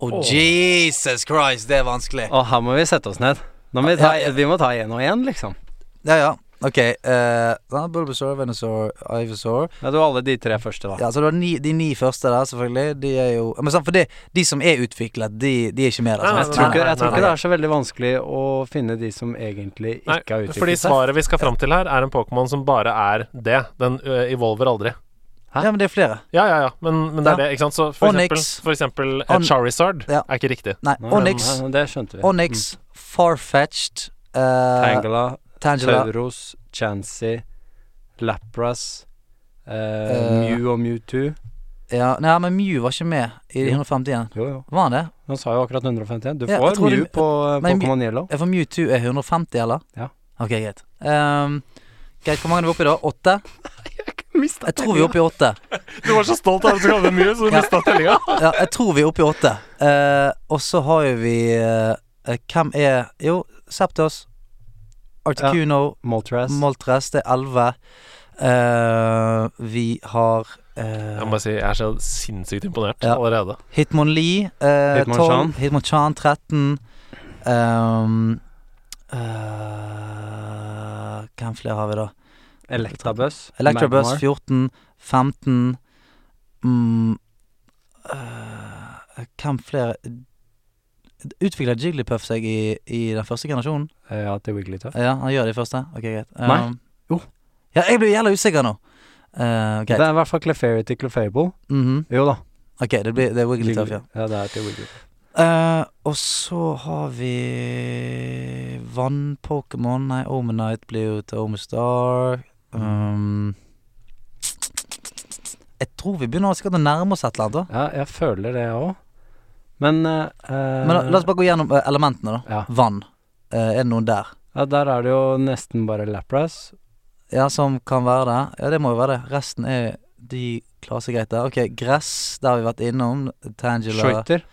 Speaker 4: Å, Jesus Christ, det er
Speaker 5: Ah.
Speaker 4: vanskelig.
Speaker 1: Og her må vi sette oss ned. Nå må vi, ta,
Speaker 4: Ja, ja.
Speaker 1: vi må ta én og én, liksom.
Speaker 4: Ja, ja. OK. Uh, Bulbasaur, Venusaur, Ivosaur
Speaker 1: Ja, du har alle de tre første, da.
Speaker 4: Ja, så du har ni, de ni første der, selvfølgelig. De er jo Men sant, for det, de som er utviklet, de, de er ikke med der.
Speaker 5: Nei,
Speaker 4: sant?
Speaker 1: Jeg tror ikke,
Speaker 5: Nei, nei,
Speaker 1: jeg tror
Speaker 5: nei,
Speaker 1: ikke det er så veldig vanskelig å finne de som egentlig
Speaker 5: Nei,
Speaker 1: ikke har
Speaker 5: fordi
Speaker 1: utviklet seg.
Speaker 5: svaret vi skal fram til her, er en Pokémon som bare er det. Den ø, evolver aldri.
Speaker 1: Hæ?
Speaker 4: Ja, men det er flere.
Speaker 5: Ja, ja, ja, men, men det
Speaker 4: Ja.
Speaker 5: er det, ikke sant? Så for
Speaker 4: Onyx.
Speaker 5: eksempel, for eksempel et
Speaker 4: On-
Speaker 5: Charizard
Speaker 4: Ja.
Speaker 5: er ikke riktig.
Speaker 4: Nei,
Speaker 1: Nei,
Speaker 4: Onyx,
Speaker 1: nei, nei, Det skjønte vi.
Speaker 4: Onyx, Farfetched,
Speaker 1: Mm.
Speaker 4: uh,
Speaker 1: Tangela,
Speaker 4: Tangela
Speaker 1: Tauros, Chansey, Lapras, eh,
Speaker 4: Eh.
Speaker 1: Mew og Mewtwo.
Speaker 4: ja, Nei, men Mew var ikke med i de
Speaker 1: Jo.
Speaker 4: 151.
Speaker 1: Jo, jo.
Speaker 4: Var han det?
Speaker 1: Han sa jo akkurat 151. Du
Speaker 4: Ja, jeg
Speaker 1: får
Speaker 4: tror det-
Speaker 1: Mew på eh,
Speaker 4: Men Mew-
Speaker 1: Pokémon Yellow.
Speaker 4: Er For Mewtwo er 150, eller?
Speaker 1: Ja.
Speaker 4: Ok, greit. Ehm, greit, Hvor mange er vi oppe i da? Åtte? Jeg tror vi er oppe i åtte.
Speaker 5: Du var så stolt av at du kalte det mye, så du
Speaker 4: Ja.
Speaker 5: mista tellinga.
Speaker 4: Ja, jeg tror vi er oppe i åtte. Eh, og så har jo vi eh, eh, Hvem er Jo, Septos, Articuno
Speaker 1: Moltres.
Speaker 4: Moltres, det er 11. Eh, vi har eh, eh,
Speaker 5: Jeg må bare si, jeg er så sinnssykt imponert
Speaker 4: Ja.
Speaker 5: allerede.
Speaker 4: Hitmonlee eh, 12,
Speaker 1: Hitmonchan.
Speaker 4: Hitmonchan 13 um, eh, Hvem flere har vi da?
Speaker 1: Elektrabus.
Speaker 4: Electrobus 14,
Speaker 1: Magmar.
Speaker 4: 15 mm, eh, Hvem flere Utvikler Jigglypuff seg i, i den første generasjonen?
Speaker 1: Ja, til Wigglytuff.
Speaker 4: Ja, han gjør det i første? Ok, greit. Um,
Speaker 1: Nei. Jo.
Speaker 4: Ja, jeg blir jævla usikker nå. Eh,
Speaker 1: Det
Speaker 4: greit.
Speaker 1: er i hvert fall Clefairy til Clefable.
Speaker 4: Mhm.
Speaker 1: Jo da.
Speaker 4: Ok, det, blir, det er Wigglytuff, ja.
Speaker 1: ja, det er til Wigglytuff.
Speaker 4: Eh, og så har vi vann-Pokémon. Nei, Omenite blir jo til Omestar. Um, jeg tror vi begynner sikkert å nærme oss et eller annet. da
Speaker 1: Ja, jeg føler det, jeg òg. Men eh,
Speaker 4: Men la, la oss bare gå gjennom eh, elementene, da.
Speaker 1: ja.
Speaker 4: Vann. Eh, er det noen der?
Speaker 1: ja, der er det jo nesten bare Lapras.
Speaker 4: Ja, som kan være det? Ja, det må jo være det. Resten er de klarer seg greit der. Ok, gress, der har vi vært innom. Tangela
Speaker 1: Skøyter.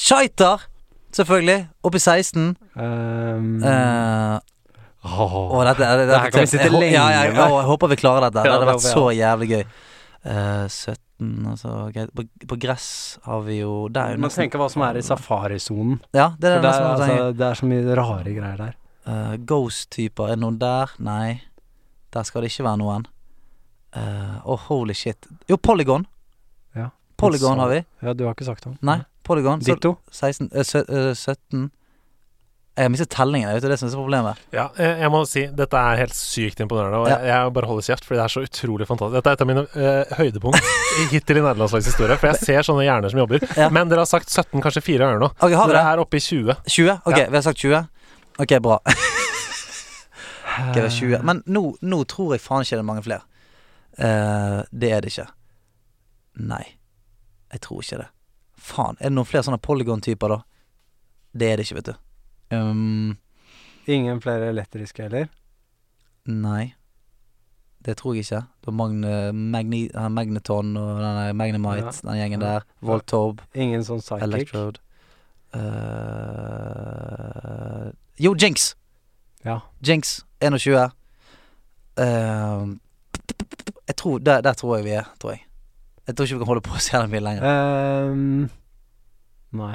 Speaker 4: Shiter! Selvfølgelig. Oppi 16.
Speaker 1: Um,
Speaker 4: Eh,
Speaker 1: åh.
Speaker 4: Åh, dette, dette,
Speaker 1: Det her kan vi sitte
Speaker 4: jeg, hå-
Speaker 1: lenge
Speaker 4: ja, ja,
Speaker 1: med.
Speaker 4: åh, jeg håper vi klarer dette. Det
Speaker 1: Ja,
Speaker 4: hadde
Speaker 1: det
Speaker 4: vært så
Speaker 1: håper
Speaker 4: jævlig gøy. Eh, 17, altså greit. På, på gress har vi jo Det er jo
Speaker 1: Du må
Speaker 4: nesten
Speaker 1: tenke hva som er i safarisonen.
Speaker 4: Ja, det
Speaker 1: For
Speaker 4: er det
Speaker 1: Det, er,
Speaker 4: nesten man trenger.
Speaker 1: altså, det er så mye rare greier der.
Speaker 4: Eh, Ghost-typer, er det noen der? Nei. Der skal det ikke være noen. Eh, Åh, holy shit. Jo, Polygon.
Speaker 1: Ja. sånn.
Speaker 4: Polygon har vi.
Speaker 1: Ja, du har ikke sagt om
Speaker 4: Nei, Polygon. Så
Speaker 1: Ditto.
Speaker 4: 16, eh, sø- eh, 17 Jeg har mistet tellingen, jeg vet du, det som er problemet.
Speaker 5: Ja, jeg, jeg må si dette er helt sykt imponerende, og
Speaker 4: Ja.
Speaker 5: jeg, jeg bare holder kjeft, fordi det er så utrolig fantastisk. Dette er et av mine eh, høydepunkt i- hittil i nederlandslagets historie, for jeg ser sånne hjerner som jobber.
Speaker 4: Ja.
Speaker 5: Men dere har sagt 17 kanskje fire ganger nå.
Speaker 4: Ok, har vi
Speaker 5: Dere
Speaker 4: det?
Speaker 5: er oppe i 20.
Speaker 4: 20? Ok,
Speaker 5: Ja.
Speaker 4: vi har sagt 20. Ok, bra. Ok, det er 20.
Speaker 1: Eh.
Speaker 4: Men nå, nå tror jeg faen ikke det er mange flere. Eh, det er det ikke. Nei, jeg tror ikke det. Faen, er det noen flere sånne polygon-typer, da? Det er det ikke, vet du. Um,
Speaker 1: Ingen flere elektriske heller.
Speaker 4: nei. Det tror jeg ikke. Det var Magne, Magni, eh, Magneton og den der Magnemite,
Speaker 1: Ja.
Speaker 4: den gjengen
Speaker 1: Ja.
Speaker 4: der. Voltorb,
Speaker 1: Ingen sånn psychic.
Speaker 4: Electrode Eh, Jo, Jinx!
Speaker 1: Ja.
Speaker 4: Jinx, 21. Ehm, jeg tror, der, der tror jeg vi er, tror jeg. Jeg tror ikke vi kan holde på så jævla mye lenger.
Speaker 1: Ehm, nei.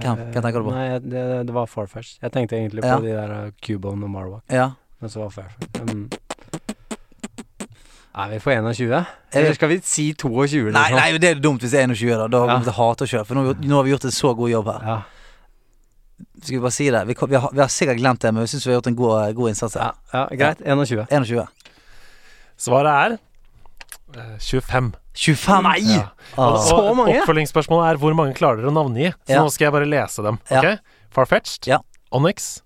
Speaker 4: Hvem? Hvem tenker du på?
Speaker 1: Eh, Nei, det, det var Farfetch. Jeg tenkte egentlig på
Speaker 4: Ja.
Speaker 1: de der eh, Cubone og Marwak,
Speaker 4: Ja.
Speaker 1: men så var Farfetch mm. Er vi på 21?
Speaker 4: Jeg-
Speaker 1: Eller skal vi si 22?
Speaker 4: Nei,
Speaker 1: liksom?
Speaker 4: nei, det er dumt hvis det er 21, da. Da
Speaker 1: Ja.
Speaker 4: kommer vi til å hate oss sjøl. For nå, har vi gjort- nå har vi gjort en så god jobb her.
Speaker 1: Ja.
Speaker 4: Skal vi bare si det? Vi, kom- vi, har, vi har sikkert glemt det, men vi syns vi har gjort en god, god innsats
Speaker 1: Ja,
Speaker 4: her.
Speaker 1: ja, greit. 21.
Speaker 4: 21.
Speaker 5: Svaret er eh, 25.
Speaker 4: 25!
Speaker 5: Ja. Og,
Speaker 4: Ah.
Speaker 1: Så
Speaker 5: og
Speaker 1: mange?
Speaker 5: Oppfølgingsspørsmålet er hvor mange klarer dere å navngi? Så
Speaker 4: Ja.
Speaker 5: nå skal jeg bare lese dem.
Speaker 4: Ja.
Speaker 5: Ok? Farfetched,
Speaker 4: Ja.
Speaker 5: Onyx,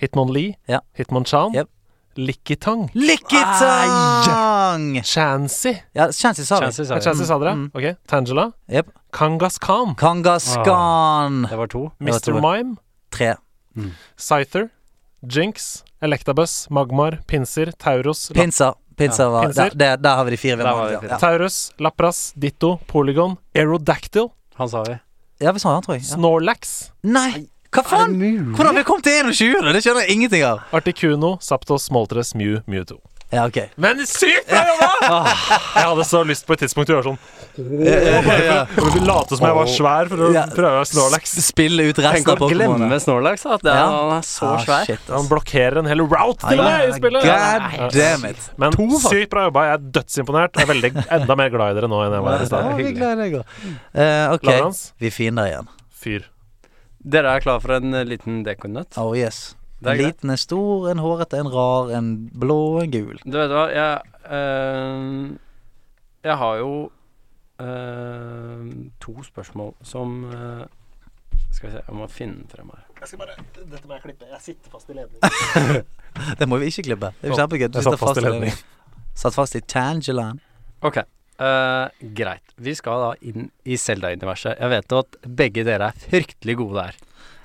Speaker 5: Hitmonlee,
Speaker 4: Ja.
Speaker 5: Hitmonchan,
Speaker 4: Jep.
Speaker 5: Likitang,
Speaker 4: Likketang!
Speaker 5: Chansey
Speaker 4: Ja, Chansey sa vi.
Speaker 1: Chances
Speaker 5: Ja,
Speaker 1: er
Speaker 5: Chansey sa dere.
Speaker 4: Mm.
Speaker 5: Ok. Tangela,
Speaker 4: Jep.
Speaker 5: Kangaskhan,
Speaker 4: Kangaskan.
Speaker 1: Det var to.
Speaker 4: var
Speaker 5: Mr.
Speaker 4: to.
Speaker 5: Mime,
Speaker 4: Tre.
Speaker 5: Scyther, Jinx, Electabuzz, Magmar, Pinser, Tauros, La-
Speaker 4: Pinser. Pinser var
Speaker 5: Pinser.
Speaker 4: der, der, der har vi de fire vi
Speaker 1: Der
Speaker 4: har
Speaker 1: har vi
Speaker 4: manglet,
Speaker 1: de
Speaker 4: ja.
Speaker 5: Taurus, Lapras, Ditto, Polygon, Aerodactyl,
Speaker 1: Han sa vi.
Speaker 4: Ja, vi sa han, tror jeg. Ja.
Speaker 5: Snorlax,
Speaker 4: Nei, hva faen?
Speaker 1: mulig?
Speaker 4: Hvordan har vi kommet til 21? Det skjønner jeg ingenting av.
Speaker 5: Articuno, Zapdos, Moltres, Mew, Mewtwo.
Speaker 4: Ja, ok.
Speaker 5: Men sykt bra jobba!
Speaker 1: Ah.
Speaker 5: Jeg hadde så lyst på et tidspunkt å gjøre sånn. Og vi late som jeg var svær for å
Speaker 4: Ja.
Speaker 5: prøve Snorlax.
Speaker 4: Spille ut resten
Speaker 1: Tenk
Speaker 4: av
Speaker 1: å glemme
Speaker 4: Pokémon.
Speaker 1: Snorlax, da. at Det er,
Speaker 4: Ja. Ah,
Speaker 1: Han er så svær.
Speaker 5: Han blokkerer en hel route til og med i spillet. Ja,
Speaker 4: God
Speaker 5: nei.
Speaker 4: damn it.
Speaker 5: Men
Speaker 4: To, faktisk.
Speaker 5: sykt bra jobba. Jeg er dødsimponert. Jeg er veldig, enda mer glad i dere nå enn jeg var i
Speaker 4: Ja,
Speaker 5: stad.
Speaker 4: vi
Speaker 5: Hyggelig.
Speaker 4: gleder oss. Eh, ok,
Speaker 5: Lavrans?
Speaker 4: vi er fiender igjen.
Speaker 5: Fyr.
Speaker 1: Dere er klar for en eh, liten dekonøtt?
Speaker 4: Oh yes.
Speaker 1: Det er
Speaker 4: En
Speaker 1: greit.
Speaker 4: liten, en stor, en hårete, en rar, en blå, en gul.
Speaker 1: Du vet hva, jeg eh, Jeg har jo eh, to spørsmål som eh, Skal vi se, jeg må finne frem her.
Speaker 5: Dette må jeg klippe. Jeg sitter fast i ledning.
Speaker 4: Det må vi ikke klippe. Det er jo kjempegøy. Du
Speaker 5: Jeg satt
Speaker 4: sitter fast i
Speaker 5: ledning.
Speaker 4: ledningen. Satt fast i Tangelan.
Speaker 1: Ok, eh, greit. Vi skal da inn i Selda-universet. Jeg vet jo at begge dere er fryktelig gode der.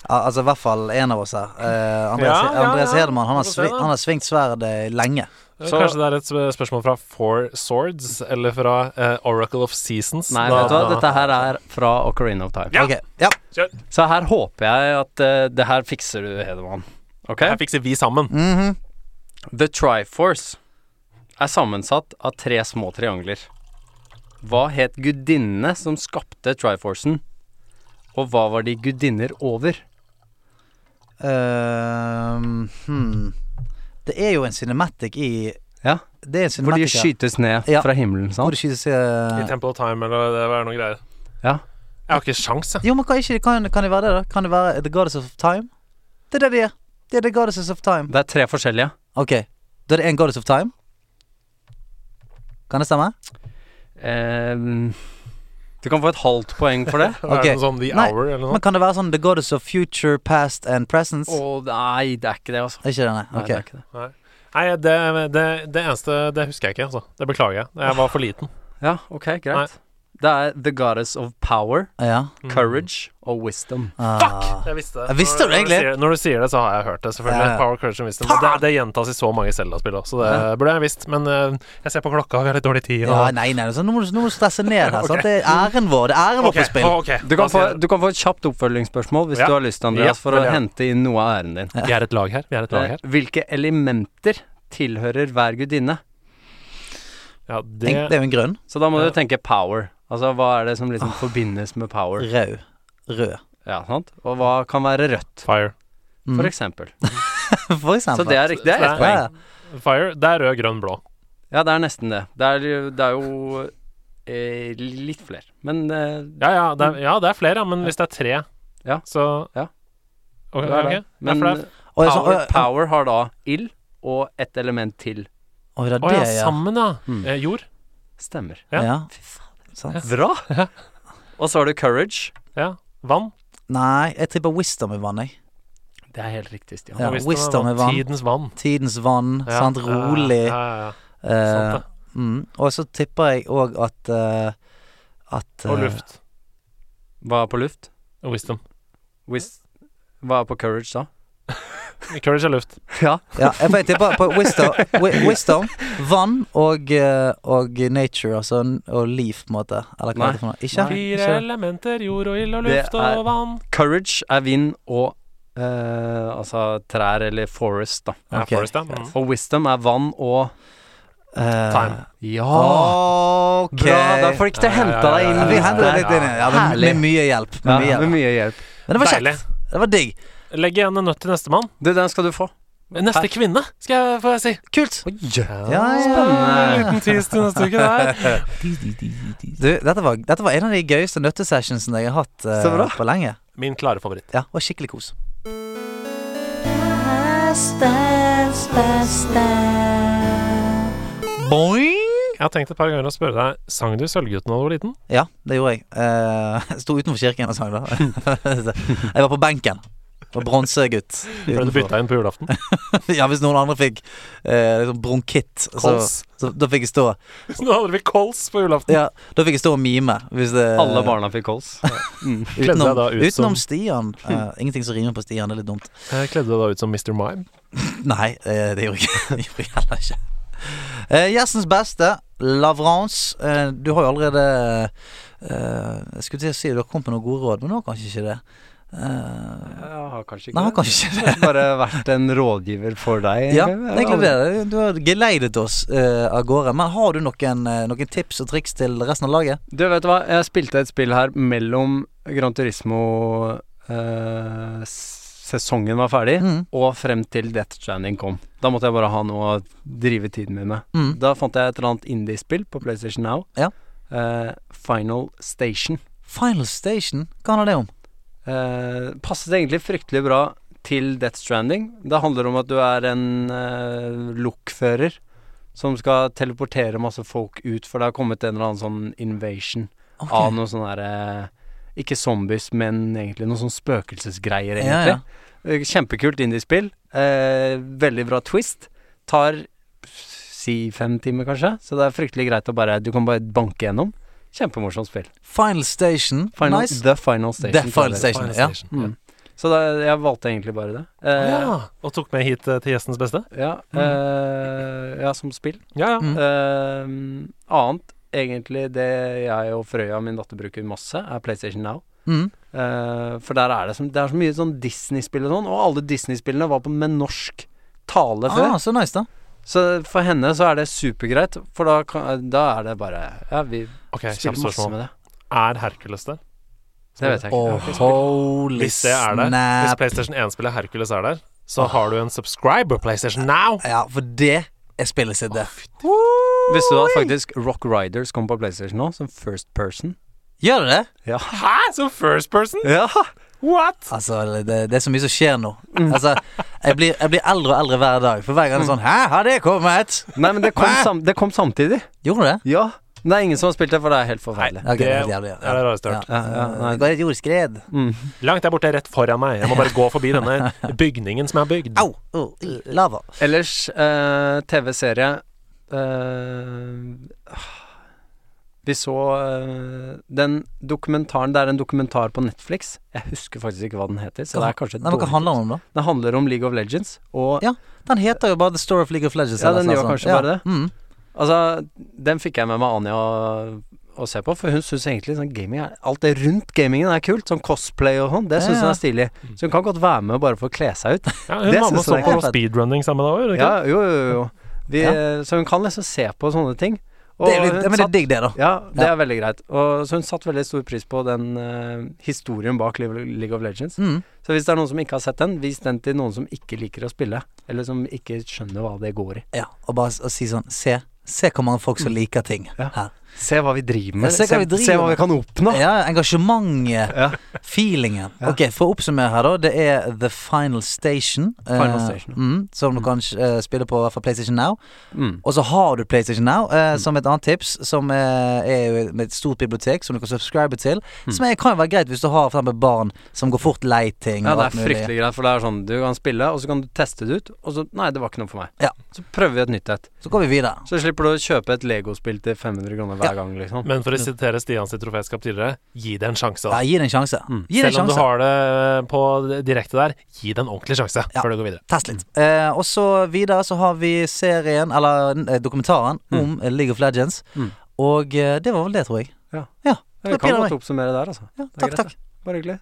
Speaker 4: Ja, altså i hvert fall en av oss her. Eh, Andreas,
Speaker 5: Ja, ja, ja.
Speaker 4: Andreas Hedemann, han har,
Speaker 5: Vi får se
Speaker 4: svi
Speaker 5: da.
Speaker 4: han har svingt sverdet lenge.
Speaker 1: Så-
Speaker 5: Kanskje det er et sp- spørsmål fra Four Swords eller fra eh, Oracle of Seasons.
Speaker 1: Nei,
Speaker 5: Da-
Speaker 1: vet du hva, dette her er fra Ocarina of Time.
Speaker 5: Ja.
Speaker 4: Ok, ja.
Speaker 1: Så her håper jeg at eh, det her fikser du, Hedemann. Ok?
Speaker 5: Her fikser vi sammen.
Speaker 4: Mm.
Speaker 1: The Triforce er sammensatt av tre små triangler. Hva het gudinnene som skapte Triforcen? Og hva var de gudinner over?
Speaker 4: Ehm, hmm. Det er jo en cinematic i
Speaker 1: Ja,
Speaker 4: Det er en
Speaker 1: Hvor de
Speaker 4: cinematic ja.
Speaker 1: skytes ned
Speaker 4: Ja.
Speaker 1: fra himmelen,
Speaker 4: Hvor de
Speaker 1: sant?
Speaker 4: skytes
Speaker 5: I
Speaker 4: eh,
Speaker 5: Temple of Time eller det var noe greier.
Speaker 1: Ja.
Speaker 5: Jeg har ikke sjans, jeg.
Speaker 4: Jo, men kan, ikke, kan, kan det være det, da? Kan det være The Goddess of Time? Det er det de er. Det er The Goddesses of Time.
Speaker 1: Det er tre forskjellige.
Speaker 4: Ok, da er det en Goddess of Time. Kan det stemme?
Speaker 1: Ehm, du kan få et halvt poeng for det.
Speaker 5: Er
Speaker 4: Ok.
Speaker 5: det noe sånn The
Speaker 4: Nei,
Speaker 5: Hour eller noe?
Speaker 4: Men kan det være sånn The Goddess of Future, Past and Presence?
Speaker 1: Å nei, det er ikke det, altså.
Speaker 4: Er ikke det, nei?
Speaker 1: Nei,
Speaker 4: Ok.
Speaker 1: det er ikke det.
Speaker 5: Nei, det, det, det eneste Det husker jeg ikke, altså. Det beklager jeg. Jeg var for liten.
Speaker 1: Ja, ok, greit. Det er The Goddess of Power,
Speaker 4: Ja.
Speaker 1: Courage og Wisdom.
Speaker 4: Ah.
Speaker 5: Jeg visste det.
Speaker 4: Jeg visste
Speaker 5: Når-
Speaker 4: det egentlig.
Speaker 5: Når du, sier, når du sier det, så har jeg hørt det, selvfølgelig.
Speaker 4: Ja, ja.
Speaker 5: Power Courage and Wisdom. Men Det, det gjentas i så mange Zelda-spill også, så det burde jeg visst. Men eh, jeg ser på klokka, og vi har litt dårlig tid. Og...
Speaker 4: Ja, nei, nei, så nå må du, nå må du stresse ned her. sant? Det er æren vår. Det er æren vår
Speaker 5: Ok,
Speaker 4: på spill.
Speaker 5: ok,
Speaker 1: Du
Speaker 5: da
Speaker 1: kan, få,
Speaker 5: sier jeg det.
Speaker 1: du kan få et kjapt oppfølgingsspørsmål hvis
Speaker 5: Ja.
Speaker 1: du har lyst, Andreas,
Speaker 5: Ja,
Speaker 1: for å
Speaker 5: veldig gjerne.
Speaker 1: hente inn noe av æren din.
Speaker 5: Vi er et lag her. Vi er et lag
Speaker 1: Eh,
Speaker 5: her.
Speaker 1: Hvilke elementer tilhører hver gudinne?
Speaker 5: Ja,
Speaker 4: Det,
Speaker 5: det,
Speaker 4: det er jo en grønn.
Speaker 1: Så da må du tenke power. Altså hva er det som liksom forbindes med power?
Speaker 4: Rød. Rød.
Speaker 1: Ja, sant? Og hva kan være rødt,
Speaker 5: Fire.
Speaker 4: Mm.
Speaker 1: for eksempel.
Speaker 4: For eksempel.
Speaker 1: Så det er riktig. Det er
Speaker 5: Så
Speaker 1: ett
Speaker 5: det
Speaker 1: poeng.
Speaker 4: Ja, ja.
Speaker 5: Fire. Det er rød, grønn, blå.
Speaker 1: Ja, det er nesten det. Det er, jo- det er jo eh, litt flere. Men eh,
Speaker 5: Ja, ja, det er, ja, det er flere, ja, men hvis det er tre,
Speaker 1: Ja.
Speaker 5: så
Speaker 1: Ja.
Speaker 5: Ok,
Speaker 1: det er
Speaker 5: ok.
Speaker 1: det.
Speaker 5: Ja,
Speaker 1: Men
Speaker 5: for det er
Speaker 4: Oi, så-
Speaker 1: power,
Speaker 4: oi,
Speaker 1: power har da ild og et element til.
Speaker 4: Oi, det er
Speaker 5: Å
Speaker 4: det,
Speaker 5: ja,
Speaker 4: ja.
Speaker 5: sammen, ja.
Speaker 1: Hmm.
Speaker 5: Eh, jord. Eh,
Speaker 1: Stemmer.
Speaker 5: ja.
Speaker 4: ja. Sånn.
Speaker 1: Fy faen.
Speaker 4: Sant.
Speaker 1: Bra! Og så har du courage.
Speaker 5: Ja. Vann.
Speaker 4: Nei, jeg tipper wisdom i vann, jeg.
Speaker 1: Det er helt riktig, Stian.
Speaker 4: Ja,
Speaker 5: Og hvis det
Speaker 4: wisdom
Speaker 5: var
Speaker 4: i vann.
Speaker 5: Tidens vann.
Speaker 4: Tidens vann,
Speaker 5: Ja.
Speaker 4: sant.
Speaker 5: Ja,
Speaker 4: Rolig.
Speaker 5: Ja, ja, ja.
Speaker 4: eh,
Speaker 5: sant
Speaker 4: mm. Og så tipper jeg òg at eh, At
Speaker 5: Og
Speaker 4: eh,
Speaker 5: luft.
Speaker 1: Hva er på luft?
Speaker 5: Og wisdom.
Speaker 1: Wis- hva er på courage, da?
Speaker 5: Courage er luft.
Speaker 1: Ja.
Speaker 4: Ja, jeg får- jeg tipper på wisdom, wi- wisdom vann og, eh, og nature, altså. n- Og liv, på en måte. Eller hva
Speaker 1: Nei.
Speaker 4: er det for noe? Ikke?
Speaker 5: Fire
Speaker 4: Ikke?
Speaker 5: elementer, jord og ild og
Speaker 1: Det
Speaker 5: luft og
Speaker 1: er-
Speaker 5: vann.
Speaker 1: Courage er vind og eh, altså trær eller forest, da.
Speaker 5: Ja,
Speaker 4: Ok.
Speaker 5: Forrest, ja. Mm.
Speaker 1: Og wisdom er vann og Ah,
Speaker 4: Eh,
Speaker 5: Time.
Speaker 1: Ja!
Speaker 4: ok.
Speaker 1: Bra! Derfor gikk det
Speaker 5: Ja, ja,
Speaker 1: henta deg
Speaker 5: ja,
Speaker 1: inn.
Speaker 5: ja,
Speaker 4: Ja, vi
Speaker 5: Visst
Speaker 4: hentet
Speaker 5: det.
Speaker 4: litt inn i det. Ja, med,
Speaker 1: Herlig.
Speaker 4: med mye hjelp. Med
Speaker 1: Ja,
Speaker 4: mye
Speaker 1: med
Speaker 4: hjelp.
Speaker 1: mye hjelp.
Speaker 4: Men det var
Speaker 5: Deilig.
Speaker 4: kjekt. Det var digg.
Speaker 5: Legg igjen en nøtt til nestemann.
Speaker 1: Du, den skal du få.
Speaker 5: Neste kvinne, skal jeg, får jeg si.
Speaker 4: Kult. Ja, ja.
Speaker 5: Spennende. Liten tease til neste uke der.
Speaker 4: Du, dette var, dette var en av de gøyeste nøttesessionsene jeg har hatt eh,
Speaker 1: Så bra.
Speaker 4: på lenge.
Speaker 5: Min klare favoritt.
Speaker 4: Ja, og skikkelig kos. Boing!
Speaker 5: Jeg har tenkt et par ganger å spørre deg Sang du Sølvgutten da du var liten?
Speaker 4: Ja, det gjorde jeg. Eh, jeg Sto utenfor kirken og sang, da. jeg var på benken. Og bronsegutt.
Speaker 5: Ble du bytta inn på julaften?
Speaker 4: ja, hvis noen andre fikk eh, liksom bronkitt, så,
Speaker 5: Kols.
Speaker 4: så da fikk jeg stå
Speaker 5: Nå hadde vi kols på julaften.
Speaker 4: Ja, da fikk jeg stå og mime. Hvis det,
Speaker 1: Alle barna fikk kols.
Speaker 5: Kledde deg
Speaker 4: Utenom,
Speaker 5: da ut som,
Speaker 4: utenom Stian. Eh, ingenting som rimer på Stian, det er litt dumt.
Speaker 5: eh, kledde deg da ut som Mr. Mime?
Speaker 4: Nei, eh, det gjorde jeg, ikke. Det gjorde jeg heller ikke. Eh, gjestens beste, Lavrance. Eh, du har jo allerede eh, Jeg skulle til å si du har kommet med noen gode råd, men du har kanskje ikke det. Eh,
Speaker 1: Jeg har kanskje
Speaker 4: nei, han har kanskje ikke det.
Speaker 1: Bare vært en rådgiver for deg.
Speaker 4: Ja, det er egentlig det. Du har geleidet oss eh, av gårde. Men har du noen, eh, noen tips og triks til resten av laget?
Speaker 1: Du, vet du hva? Jeg spilte et spill her mellom Gran Turismo eh, s- Sesongen var ferdig,
Speaker 4: Mm.
Speaker 1: og frem til Death Stranding kom. Da måtte jeg bare ha noe å drive tiden min med.
Speaker 4: Mm.
Speaker 1: Da fant jeg et eller annet indie-spill på PlayStation Now.
Speaker 4: Ja.
Speaker 1: Eh, Final Station.
Speaker 4: Final Station, hva handler det om?
Speaker 1: Eh, passet egentlig fryktelig bra til Death Stranding. Det handler om at du er en uh, lokfører som skal teleportere masse folk ut, for det har kommet en eller annen sånn invasion
Speaker 4: Ok.
Speaker 1: av noe sånn derre Ikke zombies, men egentlig noe sånn spøkelsesgreier,
Speaker 4: Ja,
Speaker 1: egentlig.
Speaker 4: ja.
Speaker 1: Eh, Kjempekult indiespill. Eh, veldig bra twist. Tar si fem timer, kanskje, så det er fryktelig greit å bare Du kan bare banke gjennom. Kjempemorsomt spill.
Speaker 4: Final Station.
Speaker 1: Final,
Speaker 4: nice.
Speaker 1: The Final Station.
Speaker 4: The Final
Speaker 1: tror jeg
Speaker 4: Station,
Speaker 1: det
Speaker 4: ja.
Speaker 1: Mm. Så da, jeg valgte egentlig bare det.
Speaker 5: Ja.
Speaker 1: Eh,
Speaker 5: ja. Og tok med hit eh, til gjestens beste?
Speaker 1: Ja, eh, ja, som spill.
Speaker 5: Ja, ja.
Speaker 4: Mm.
Speaker 1: Eh, annet, egentlig det jeg og Frøya, min datter, bruker masse, er PlayStation Now.
Speaker 4: Mm.
Speaker 1: Eh, for der er det, som, det er så mye sånn Disney-spill og sånn, og alle Disney-spillene var på med norsk tale før.
Speaker 4: Ah, så nice, da.
Speaker 1: Så for henne så er det supergreit, for da, kan, da er det bare Ja, vi
Speaker 5: Ok, kjapt
Speaker 1: spiller masse
Speaker 5: spørsmål.
Speaker 1: med det.
Speaker 5: Er Hercules det?
Speaker 1: Det vet jeg
Speaker 4: Oh,
Speaker 1: ikke.
Speaker 4: holy
Speaker 5: Hvis det er det, hvis
Speaker 4: snap.
Speaker 5: PlayStation 1-spillet Hercules er der, så har du en subscriber PlayStation now!
Speaker 4: Ja, for det er spillet sitt, det.
Speaker 1: Visste du at faktisk Rock Riders kommer på PlayStation nå, som first person?
Speaker 4: Gjør det det?
Speaker 5: Hæ? Som first person?
Speaker 1: Ja!
Speaker 5: What?
Speaker 4: Altså, det, det er så mye som skjer nå.
Speaker 1: Mm.
Speaker 4: Altså, jeg blir, jeg blir eldre og eldre hver dag. For hver gang er det sånn Hæ, har det kommet?
Speaker 1: Nei, men det kom, sam det kom samtidig.
Speaker 4: Gjorde det?
Speaker 1: Ja. Men det er ingen som har spilt det, for det er helt forferdelig.
Speaker 4: Ok,
Speaker 5: det
Speaker 4: det
Speaker 5: er
Speaker 4: er
Speaker 5: det
Speaker 4: jævlig, ja.
Speaker 5: rareste jeg har hørt.
Speaker 1: Ja, ja, Mm. nei.
Speaker 4: Det går et jordskred.
Speaker 5: Langt der borte, rett foran meg. Jeg må bare gå forbi denne bygningen som er bygd.
Speaker 4: Au! Oh, i, lava.
Speaker 1: Ellers, eh, TV-serie eh, Vi så eh, den dokumentaren Det er en dokumentar på Netflix. Jeg husker faktisk ikke hva den heter. Så det er kanskje
Speaker 4: Nei, men Hva
Speaker 1: dårlig
Speaker 4: handler
Speaker 1: tips.
Speaker 4: den om, da?
Speaker 1: Det handler om League of Legends. Og
Speaker 4: Ja, Den heter jo bare The Story of League of Legends.
Speaker 1: Ja,
Speaker 4: eller
Speaker 1: den
Speaker 4: noe
Speaker 1: gjør
Speaker 4: sånt.
Speaker 1: kanskje bare det.
Speaker 4: Mm.
Speaker 1: altså, den fikk jeg med meg Anja å- å se på, for hun syns egentlig sånn gaming er Alt det rundt gamingen er kult. Sånn cosplay og sånn. Det syns
Speaker 4: Ja,
Speaker 1: hun
Speaker 4: ja.
Speaker 1: er stilig. Så hun kan godt være med bare for å kle seg ut.
Speaker 5: Ja, hun
Speaker 1: Det
Speaker 5: var med og
Speaker 1: synes
Speaker 5: så
Speaker 1: jeg
Speaker 5: på
Speaker 4: er fett.
Speaker 5: speedrunning sammen da òg,
Speaker 1: Ja, jo, jo, jo. Vi,
Speaker 4: Ja.
Speaker 1: eh, Så hun kan liksom se på sånne ting.
Speaker 4: Det er litt,
Speaker 1: hun
Speaker 4: ja, men det
Speaker 1: eh, satt-
Speaker 4: er digg, det, da.
Speaker 1: Ja, det
Speaker 4: Ja.
Speaker 1: er veldig greit. Og, så hun satte veldig stor pris på den eh, historien bak League of- League of Legends.
Speaker 4: Mm.
Speaker 1: Så hvis det er noen som ikke har sett den, vis den til noen som ikke liker å spille. Eller som ikke skjønner hva det går i.
Speaker 4: Ja, og bare s- og si sånn Se, se hvor mange folk som liker ting
Speaker 1: Mm. Ja.
Speaker 4: her.
Speaker 1: Se hva vi driver
Speaker 4: Ja,
Speaker 1: med.
Speaker 4: se hva vi driver
Speaker 1: se hva vi
Speaker 4: med.
Speaker 1: kan oppnå.
Speaker 4: Ja, engasjementet,
Speaker 1: Ja.
Speaker 4: feelingen. Ok, For å oppsummere her, da. Det er The Final Station. eh,
Speaker 1: Final Station, ja.
Speaker 4: mm, som du kan eh, spille på i hvert fall PlayStation Now.
Speaker 1: Mm.
Speaker 4: Og så har du PlayStation Now eh, som et annet tips, som eh, er jo med et stort bibliotek som du kan subscribe til.
Speaker 1: Mm.
Speaker 4: Som er, kan jo være greit hvis du har for eksempel barn som går fort lei ting.
Speaker 1: Ja,
Speaker 4: og Mm, alt
Speaker 1: det er
Speaker 4: mulig.
Speaker 1: fryktelig greit, for det er sånn du kan spille, og så kan du teste det ut, og så Nei, det var ikke noe for meg.
Speaker 4: Ja.
Speaker 1: Så prøver vi et nytt et.
Speaker 4: Så går vi videre.
Speaker 1: Så slipper du å kjøpe et Lego-spill til 500 kroner hver
Speaker 4: Ja.
Speaker 1: gang, liksom.
Speaker 5: Men for å sitere Stian sitt troféskap tidligere, gi det en sjanse.
Speaker 4: Ja,
Speaker 5: Da.
Speaker 4: gi det en sjanse.
Speaker 1: Mm.
Speaker 4: Gi det en
Speaker 5: Selv om du
Speaker 4: sjanse.
Speaker 5: har det på direkte der, gi det en ordentlig sjanse
Speaker 4: Ja.
Speaker 5: før du går videre.
Speaker 4: Test litt. Eh, og så videre så har vi serien, eller eh, dokumentaren, om eh, League of Legends.
Speaker 1: Mm.
Speaker 4: Og eh, det var vel det, tror jeg.
Speaker 1: Ja.
Speaker 4: ja
Speaker 1: Ja,
Speaker 4: det
Speaker 1: vi kan
Speaker 4: pirrer meg.
Speaker 1: godt oppsummere der, altså.
Speaker 4: Ja,
Speaker 1: Det er
Speaker 4: takk,
Speaker 1: greit,
Speaker 4: takk.
Speaker 1: det. Bare hyggelig.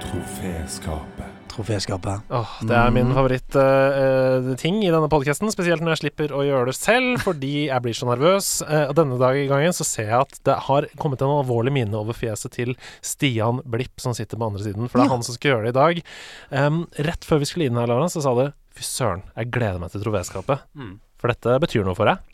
Speaker 2: Troféskapet.
Speaker 4: Troféskapet.
Speaker 5: Åh, det er min favorittting i denne podkasten, spesielt når jeg slipper å gjøre det selv, fordi jeg blir så nervøs. Eh, Og denne dag i gangen så ser jeg at det har kommet en alvorlig minne over fjeset til Stian Blipp, som sitter på andre siden, for det er han som skal gjøre det i dag. Em, rett før vi skulle inn her, Lara, så sa du fy søren, jeg gleder meg til troféskapet. For dette betyr noe for deg.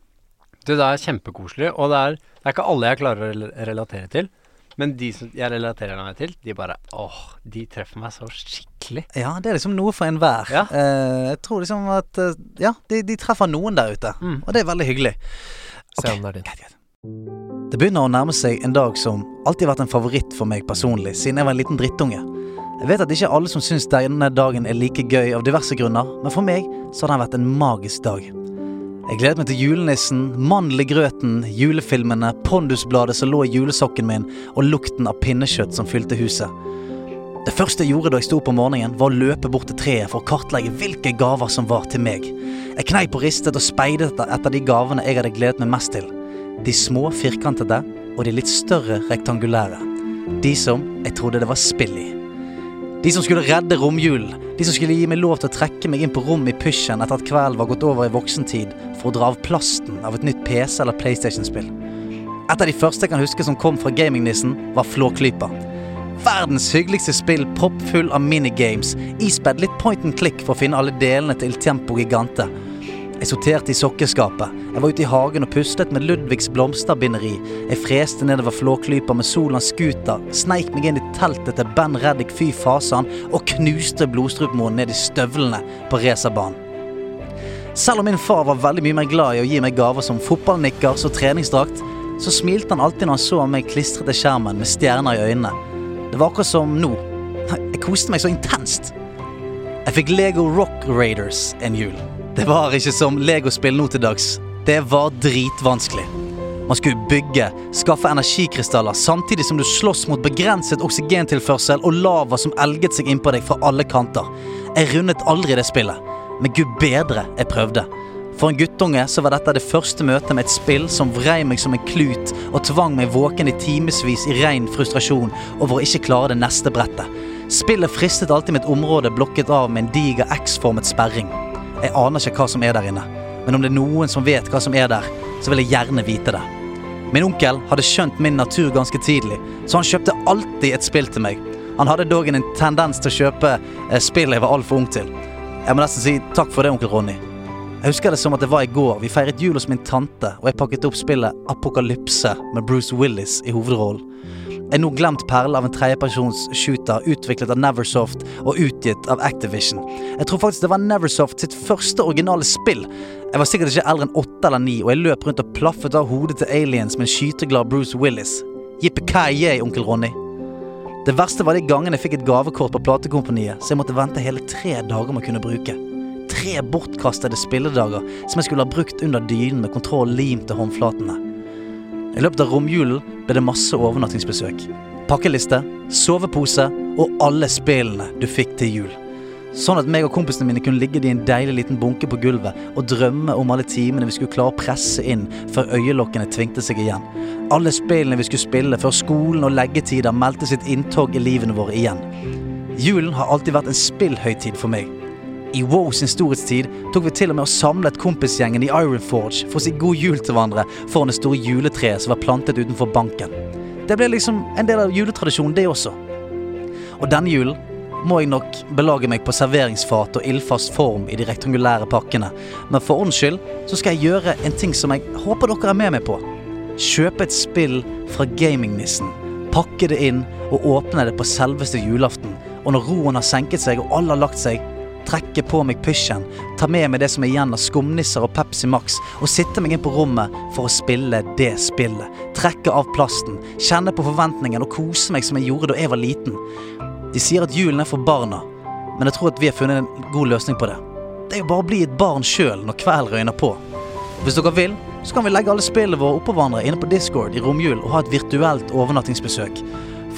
Speaker 1: Du, det er kjempekoselig, og det er, det er ikke alle jeg klarer å rel- relatere til. Men de som jeg relaterer meg til, de bare åh, de treffer meg så skikkelig.
Speaker 4: Ja, det er liksom noe for enhver.
Speaker 1: Ja.
Speaker 4: Eh, jeg tror liksom at eh, Ja, de, de treffer noen der ute,
Speaker 1: Mm.
Speaker 4: og det er veldig hyggelig. Ok.
Speaker 5: Scenen er din.
Speaker 4: Greit, greit. Det begynner å nærme seg en dag som alltid har vært en favoritt for meg personlig, siden jeg var en liten drittunge. Jeg vet at ikke alle som syns denne dagen er like gøy av diverse grunner, men for meg så har den vært en magisk dag. Jeg gledet meg til julenissen, mandel i grøten, julefilmene, pondusbladet som lå i julesokken min, og lukten av pinnekjøtt som fylte huset. Det første jeg gjorde da jeg sto opp om morgenen, var å løpe bort til treet for å kartlegge hvilke gaver som var til meg. Jeg kneip og ristet og speidet etter- etter de gavene jeg hadde gledet meg mest til. De små firkantede og de litt større rektangulære. De som jeg trodde det var spill i. De som skulle redde romjulen. De som skulle gi meg lov til å trekke meg inn på rom i pysjen etter at kvelden var gått over i voksentid for å dra av plasten av et nytt PC- eller PlayStation-spill. Et av de første jeg kan huske som kom fra gamingnissen, var Flåklypa. Verdens hyggeligste spill proppfull av minigames, ispedd litt point and click for å finne alle delene til Il Tempo Gigante. Jeg sorterte i sokkeskapet. Jeg var ute i hagen og puslet med Ludvigs blomsterbinderi. Jeg freste nedover Flåklypa med Solans scooter, sneik meg inn i teltet til Ben Reddik Fy Fasan og knuste blodstrupmoen ned i støvlene på racerbanen. Selv om min far var veldig mye mer glad i å gi meg gaver som fotballnikkers og treningsdrakt, så smilte han alltid når han så meg klistret til skjermen med stjerner i øynene. Det var akkurat som nå. Jeg koste meg så intenst. Jeg fikk Lego Rock Raiders en jul. Det var ikke som Lego-spill nå til dags. Det var dritvanskelig. Man skulle bygge, skaffe energikrystaller, samtidig som du slåss mot begrenset oksygentilførsel og lava som elget seg innpå deg fra alle kanter. Jeg rundet aldri det spillet, men gud bedre jeg prøvde. For en guttunge så var dette det første møtet med et spill som vrei meg som en klut og tvang meg våken i timevis i ren frustrasjon over å ikke klare det neste brettet. Spillet fristet alltid med et område blokket av med en diger X-formet sperring. Jeg aner ikke hva som er der inne, men om det er noen som vet hva som er der, så vil jeg gjerne vite det. Min onkel hadde skjønt min natur ganske tidlig, så han kjøpte alltid et spill til meg. Han hadde dog en tendens til å kjøpe eh, spill jeg var altfor ung til. Jeg må nesten si takk for det, onkel Ronny. Jeg husker det som at det var i går. Vi feiret jul hos min tante, og jeg pakket opp spillet Apokalypse med Bruce Willis i hovedrollen. En nå glemt perle av en tredjepersons shooter utviklet av Neversoft og utgitt av Activision. Jeg tror faktisk det var Neversoft sitt første originale spill. Jeg var sikkert ikke eldre enn åtte eller ni, og jeg løp rundt og plaffet av hodet til aliens med en skyteglad Bruce Willis. Yippee-ki-yay, onkel Ronny. Det verste var de gangene jeg fikk et gavekort på platekompaniet, så jeg måtte vente hele tre dager med å kunne bruke. Tre bortkastede spilledager som jeg skulle ha brukt under dynen med kontroll limt til håndflatene. I løpet av romjulen ble det masse overnattingsbesøk. Pakkeliste, sovepose og alle spillene du fikk til jul. Sånn at meg og kompisene mine kunne ligge i en deilig liten bunke på gulvet og drømme om alle timene vi skulle klare å presse inn før øyelokkene tvingte seg igjen. Alle spillene vi skulle spille før skolen og leggetider meldte sitt inntog i livene våre igjen. Julen har alltid vært en spillhøytid for meg. I WoW sin storhetstid tok vi til og med og samlet kompisgjengen i Ironforge for å si god jul til hverandre foran det store juletreet som var plantet utenfor banken. Det ble liksom en del av juletradisjonen, det også. Og denne julen må jeg nok belage meg på serveringsfat og ildfast form i de rektangulære pakkene, men for ånds skyld så skal jeg gjøre en ting som jeg håper dere er med meg på. Kjøpe et spill fra gamingnissen, pakke det inn og åpne det på selveste julaften, og når roen har senket seg og alle har lagt seg, trekke på meg pysjen, ta med meg det som er igjen av skumnisser og Pepsi Max, og sitte meg inn på rommet for å spille det spillet. Trekke av plasten, kjenne på forventningen og kose meg som jeg gjorde da jeg var liten. De sier at julen er for barna, men jeg tror at vi har funnet en god løsning på det. Det er jo bare å bli et barn sjøl når kvelden røyner på. Hvis dere vil, så kan vi legge alle spillene våre oppå hverandre inne på Discord i romjul og ha et virtuelt overnattingsbesøk.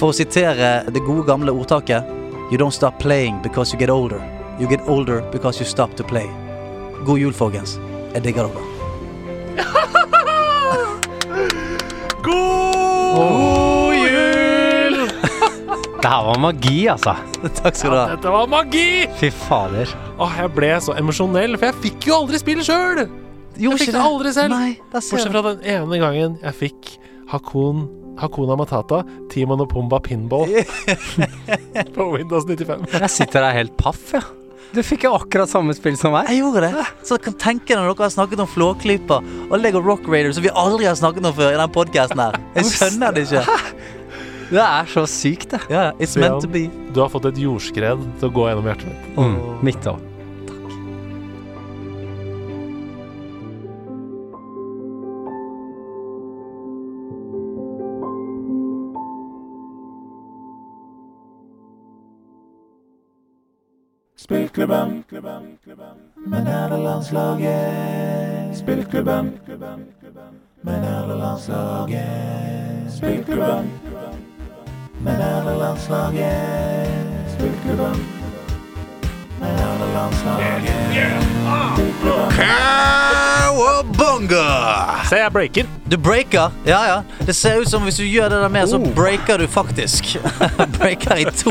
Speaker 4: For å sitere det gode gamle ordtaket You don't stop playing because you get older. You get older because you stop to play. God jul, folkens. Jeg digger dere.
Speaker 1: God jul! det her var magi, altså.
Speaker 4: Takk skal du ha.
Speaker 5: Dette var magi!
Speaker 1: Fy fader.
Speaker 5: Åh, jeg ble så emosjonell, for jeg fikk jo aldri spille sjøl!
Speaker 4: Gjorde
Speaker 5: Jeg fikk
Speaker 4: ikke
Speaker 5: det aldri selv.
Speaker 4: Nei, der ser
Speaker 5: Bortsett
Speaker 4: du.
Speaker 5: fra den ene gangen jeg fikk Hakun Hakuna Matata, Timon og Pumba pinball på Windows 95.
Speaker 1: Jeg sitter her helt paff, jeg. Du fikk jo akkurat samme spill som meg.
Speaker 4: Jeg gjorde det. Så dere kan tenke dere når dere har snakket om Flåklypa og Lego Rock Raiders, som vi aldri har snakket om før i den podkasten her. Jeg skjønner det ikke.
Speaker 1: Det er så sykt, det.
Speaker 4: Ja, it's meant to be.
Speaker 5: Du har fått et jordskred til å gå gjennom hjertet mitt.
Speaker 1: Mm, mitt òg.
Speaker 2: Spillklubben. Men er det landslaget? Spillklubben. Men er det landslaget? Spillklubben. Men er det landslaget? Spillklubben. Men er det landslaget?
Speaker 4: Cowabunga!
Speaker 5: Ah. Se, jeg breaker!
Speaker 4: Du breaker. Ja, ja. Det ser ut som hvis du gjør det der med, så breaker du faktisk. breaker i to.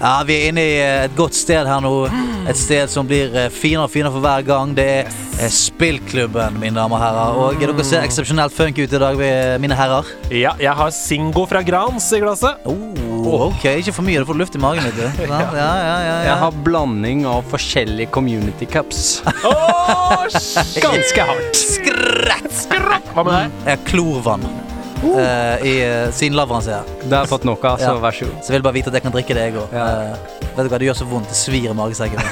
Speaker 4: Ja, vi er inne i eh, et godt sted her nå. Et sted som blir eh, finere og finere for hver gang. Det er eh, spillklubben, mine damer og herrer. Og dere ser eksepsjonelt funk ut i dag, vi- eh, mine herrer.
Speaker 5: Ja, jeg har Singo fra Grans i glasset.
Speaker 4: Oh, ok, ikke for mye. Du får luft i magen, vet du. Ja, ja, ja, ja, ja.
Speaker 1: Jeg har blanding av forskjellige community cups.
Speaker 5: Oh,
Speaker 1: Ganske hardt.
Speaker 5: Hva med deg?
Speaker 4: Mm. Jeg har klorvann eh, i eh, siden lavvann, ser jeg.
Speaker 1: Det har jeg fått nok av, så
Speaker 4: Ja.
Speaker 1: vær så god.
Speaker 4: Så jeg vil bare vite at jeg kan drikke det, jeg òg.
Speaker 1: Ja.
Speaker 4: vet du hva, det gjør så vondt. Det svir i magesekken.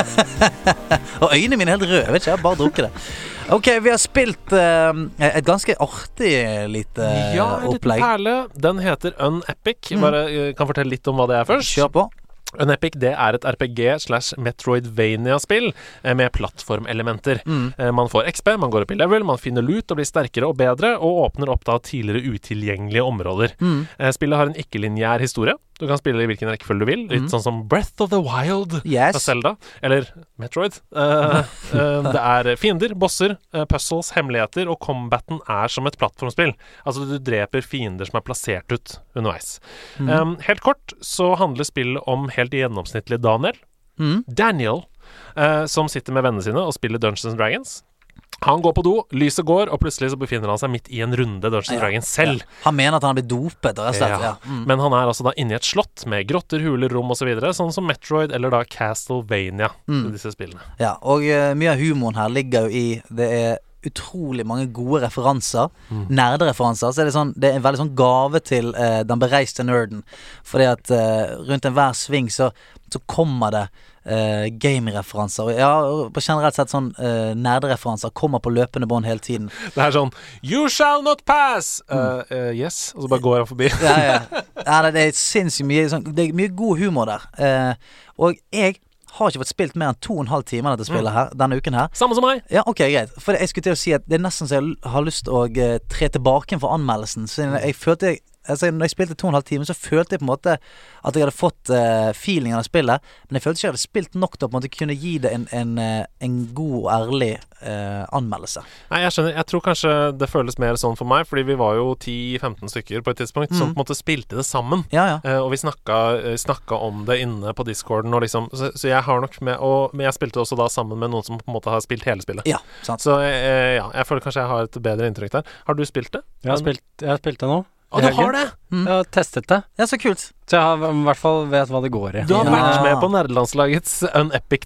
Speaker 4: Og øynene mine er helt røde. Jeg vet ikke, jeg har bare drukket det. Ok, vi har spilt eh, et ganske artig lite eh,
Speaker 5: Ja, en liten
Speaker 4: opplegg.
Speaker 5: perle. Den heter Unepic. Bare eh, kan fortelle litt om hva det er først.
Speaker 4: Kjør på.
Speaker 5: Unepic det er et RPG slash Metroidvania-spill eh, med plattformelementer. Eh, Man får XB, man går opp i level, man finner loot og blir sterkere og bedre, og åpner opp da tidligere utilgjengelige områder. Eh, Spillet har en ikke-linjær historie. Du kan spille i hvilken rekkefølge du vil. Litt
Speaker 4: Mhm.
Speaker 5: sånn som Breath of the Wild fra
Speaker 4: Yes.
Speaker 5: Zelda. Eller Metroid. Eh, eh, det er fiender, bosser, eh, puzzles, hemmeligheter, og combaten er som et plattformspill. Altså, du dreper fiender som er plassert ut underveis. Eh, helt kort så handler spillet om helt gjennomsnittlig Daniel.
Speaker 4: Mm.
Speaker 5: Daniel, eh, som sitter med vennene sine og spiller Dungeons and Dragons. Han går på do, lyset går, og plutselig så befinner han seg midt i en runde Dungeons and Dragons selv.
Speaker 4: Han mener at han blir dopet, rett og slett. Ja.
Speaker 5: Ja. Men han er altså da inni et slott med grotter, huler, rom osv., sånn som Metroid eller da Castlevania.
Speaker 4: Mm.
Speaker 5: Disse spillene.
Speaker 4: Ja, og eh, mye av humoren her ligger jo i Det er utrolig mange gode referanser. Nerdereferanser. Så er det, sånn, det er en veldig sånn gave til eh, den bereiste nerden. Fordi at eh, rundt enhver sving så, så kommer det eh, gamereferanser. Og Ja, og på generelt sett sånn eh, nerdereferanser kommer på løpende bånd hele tiden.
Speaker 5: Det er sånn You shall not pass! Eh, eh, yes. Og så bare går han forbi.
Speaker 4: Mm. Ja, ja. ja det- det er sinnssykt mye sånn, Det er mye god humor der. Eh, og jeg har ikke fått spilt mer enn to og en halv time av dette spillet her denne uken her.
Speaker 5: Samme som meg.
Speaker 4: Ja, ok, greit. For jeg skulle til å si at det er nesten så jeg l- har lyst å eh, tre tilbake igjen for anmeldelsen. Så jeg, jeg følte jeg, altså Når jeg spilte to og en halv time, så følte jeg på en måte at jeg hadde fått eh, feelingen av spillet. Men jeg følte ikke jeg hadde spilt nok til å på en måte kunne gi det en, en, eh, en god og ærlig eh, anmeldelse.
Speaker 5: Nei, jeg skjønner. Jeg tror kanskje det føles mer sånn for meg, fordi vi var jo 10-15 stykker på et tidspunkt som på en måte spilte det sammen.
Speaker 4: Mm. Ja, ja.
Speaker 5: Eh, og vi snakka, eh, snakka om det inne på discorden, og liksom Så, så jeg har nok med og, Men jeg spilte også da sammen med noen som på en måte har spilt hele spillet.
Speaker 4: Ja, sant.
Speaker 5: Så eh, ja, jeg føler kanskje jeg har et bedre inntrykk der. Har du spilt det?
Speaker 1: Jeg har spilt, jeg har spilt det nå.
Speaker 5: Å, du har det!
Speaker 4: Mm.
Speaker 1: Jeg har testet det.
Speaker 4: Ja, så kult.
Speaker 1: Så jeg har, i hvert fall vet hva det går i.
Speaker 5: Du har
Speaker 4: Ja.
Speaker 5: vært med på nerdelandslagets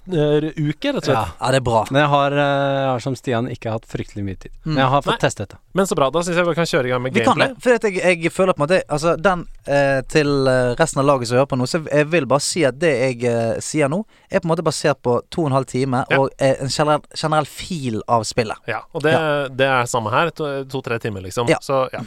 Speaker 5: Unepic-uke, rett og slett.
Speaker 1: Ja.
Speaker 4: Ja, det er bra.
Speaker 1: Men jeg har, eh, jeg har som Stian ikke hatt fryktelig mye tid. Men jeg har
Speaker 4: Mm.
Speaker 1: fått testet det.
Speaker 5: Men så bra, da syns jeg vi kan kjøre i gang med
Speaker 4: Vi kan
Speaker 5: gameplay.
Speaker 4: det. For at jeg, jeg føler på en måte Altså, den eh, til eh, resten av laget som hører på nå, så jeg vil bare si at det jeg eh, sier nå, er på en måte basert på to og en halv time
Speaker 5: Ja.
Speaker 4: og eh, en generell, generell fil av spillet.
Speaker 5: Ja, og det, det er samme her. to- To-tre timer, liksom.
Speaker 4: Ja.
Speaker 5: Så, ja.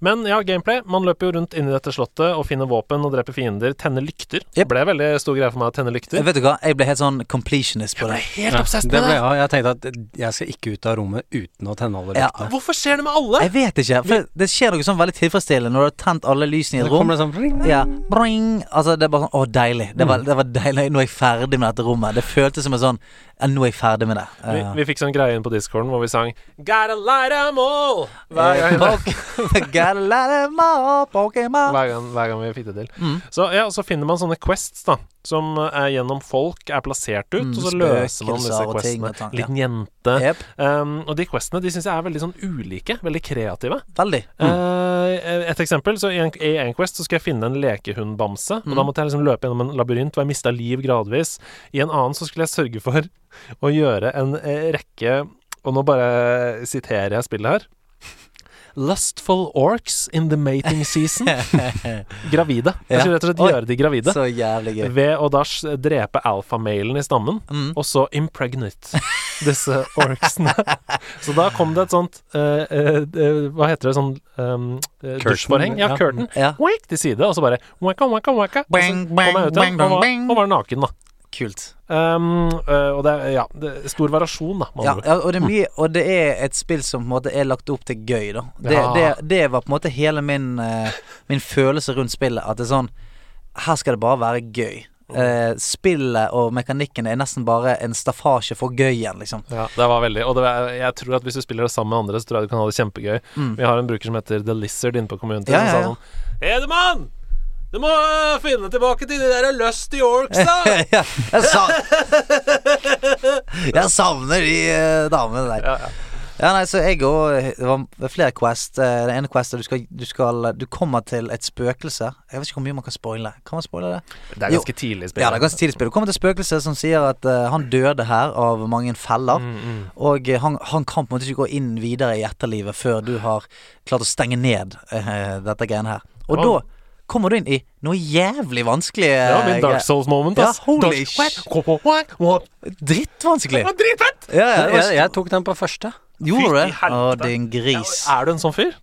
Speaker 5: Men ja, gameplay. Man løper jo rundt inni dette slottet og finner våpen og dreper fiender. Tenner lykter.
Speaker 4: Jep.
Speaker 5: Ble veldig stor greie for meg å tenne lykter.
Speaker 4: Vet du hva, jeg ble helt sånn completionist på det.
Speaker 5: Helt obsess
Speaker 1: Det
Speaker 5: med
Speaker 1: ble
Speaker 5: det.
Speaker 1: jeg. Jeg tenkte at jeg skal ikke ut av rommet uten å tenne alle
Speaker 4: Ja.
Speaker 1: lyktene.
Speaker 5: Hvorfor skjer det med alle?
Speaker 4: Jeg vet ikke, for det skjer noe sånn veldig tilfredsstillende når du har tent alle lysene i
Speaker 1: Så
Speaker 4: et rom.
Speaker 1: kommer det sånn pling, pling.
Speaker 4: Ja, bring. Altså, det er bare sånn Å, deilig. Det
Speaker 5: Mm.
Speaker 4: var, det var deilig. Nå er jeg ferdig med dette rommet. Det føltes som en sånn ja, Nå er jeg ferdig med det.
Speaker 5: Vi,
Speaker 4: Eh,
Speaker 5: vi fikk sånn greie inn på discorden hvor vi sang Gotta light 'em all! Hver gang,
Speaker 4: Gotta let 'em out, Pokémon.
Speaker 5: hver, gang, hver gang vi fikk det til.
Speaker 4: Mm.
Speaker 5: Så, ja, så finner man sånne quests, da. Som er gjennom folk, er plassert ut,
Speaker 4: Mm,
Speaker 5: og så løser man disse
Speaker 4: spøkelser og ting
Speaker 5: questene.
Speaker 4: og sånn, ja.
Speaker 5: Liten jente.
Speaker 4: Jep,
Speaker 5: Um, og de questene de syns jeg er veldig sånn ulike, veldig kreative.
Speaker 4: veldig.
Speaker 5: Eh, et eksempel, så i en, i en quest så skal jeg finne en lekehundbamse. Og da måtte jeg liksom løpe gjennom en labyrint hvor jeg mista liv gradvis. I en annen så skulle jeg sørge for å gjøre en eh, rekke Og nå bare siterer jeg spillet her. Lustful orcs in the mating season. gravide. Jeg skulle rett og slett
Speaker 4: Oi.
Speaker 5: gjøre de gravide.
Speaker 4: Så jævlig gøy.
Speaker 5: Ved å da s- drepe alfamailen i stammen,
Speaker 4: Mm.
Speaker 5: og så impregnate disse orcsene. så da kom det et sånt eh, eh, eh, Hva heter det? Sånn um, dusjforheng? Ja,
Speaker 1: ja.
Speaker 5: curtain.
Speaker 4: Ja.
Speaker 5: Wink til side, og så bare waka, waka, waka. Og så
Speaker 4: Bang,
Speaker 5: kom jeg ut
Speaker 4: bang,
Speaker 5: igjen og, var-
Speaker 4: bang, bang.
Speaker 5: og var naken, da.
Speaker 4: Kult.
Speaker 5: Um, eh, og det er ja, det er stor variasjon, da. med
Speaker 4: Ja,
Speaker 5: andre ord.
Speaker 4: ja, og, det er mye, og det er et spill som på en måte er lagt opp til gøy, da. Det,
Speaker 5: Ja.
Speaker 4: det, det var på en måte hele min, eh, min følelse rundt spillet. At det er sånn Her skal det bare være gøy.
Speaker 5: Mm.
Speaker 4: Eh, spillet og mekanikken er nesten bare en staffasje for gøyen, liksom.
Speaker 5: Ja, det var veldig Og det er, jeg tror at hvis du spiller det sammen med andre, så tror jeg du kan ha det kjempegøy. Vi har en bruker som heter The Lizard inne på kommunen.
Speaker 4: Mm. Ja, ja, ja.
Speaker 5: Som sa sånn Hedemann! Du må øh, finne tilbake til de der Lusty Orcs, da!
Speaker 4: Ja, jeg, sa jeg savner de eh, damene der.
Speaker 5: Ja, ja.
Speaker 4: Ja, nei, så jeg og eh, Det var flere quest. Eh, Det ene questet du skal, du skal Du kommer til et spøkelse. Jeg vet ikke hvor mye man kan spoile. Kan man spoile det?
Speaker 5: Det er
Speaker 4: Jo.
Speaker 5: ganske tidlig i
Speaker 4: Ja, det er
Speaker 5: spillet.
Speaker 4: ganske tidlig spill. Du kommer til spøkelset som sier at eh, han døde her av mange feller.
Speaker 5: Mm,
Speaker 4: Og eh, han, han kan på en måte ikke gå inn videre i etterlivet før du har klart å stenge ned eh, dette greiene her. Og
Speaker 5: Wow.
Speaker 4: da kommer du inn i noe jævlig vanskelig eh,
Speaker 5: Det var min Dark Souls moment,
Speaker 4: Ja,
Speaker 5: ass.
Speaker 4: holy
Speaker 5: Dark-
Speaker 4: shit.
Speaker 5: What? What? What? What?
Speaker 4: greier. Drittvanskelig.
Speaker 5: Det var dritfett!
Speaker 4: Ja, ja, det
Speaker 1: Jeg,
Speaker 4: var,
Speaker 1: jeg tok den på første.
Speaker 4: gjorde du det?
Speaker 5: Fy i
Speaker 4: Å,
Speaker 5: helvete.
Speaker 4: din gris.
Speaker 5: Ja, Er du en sånn fyr?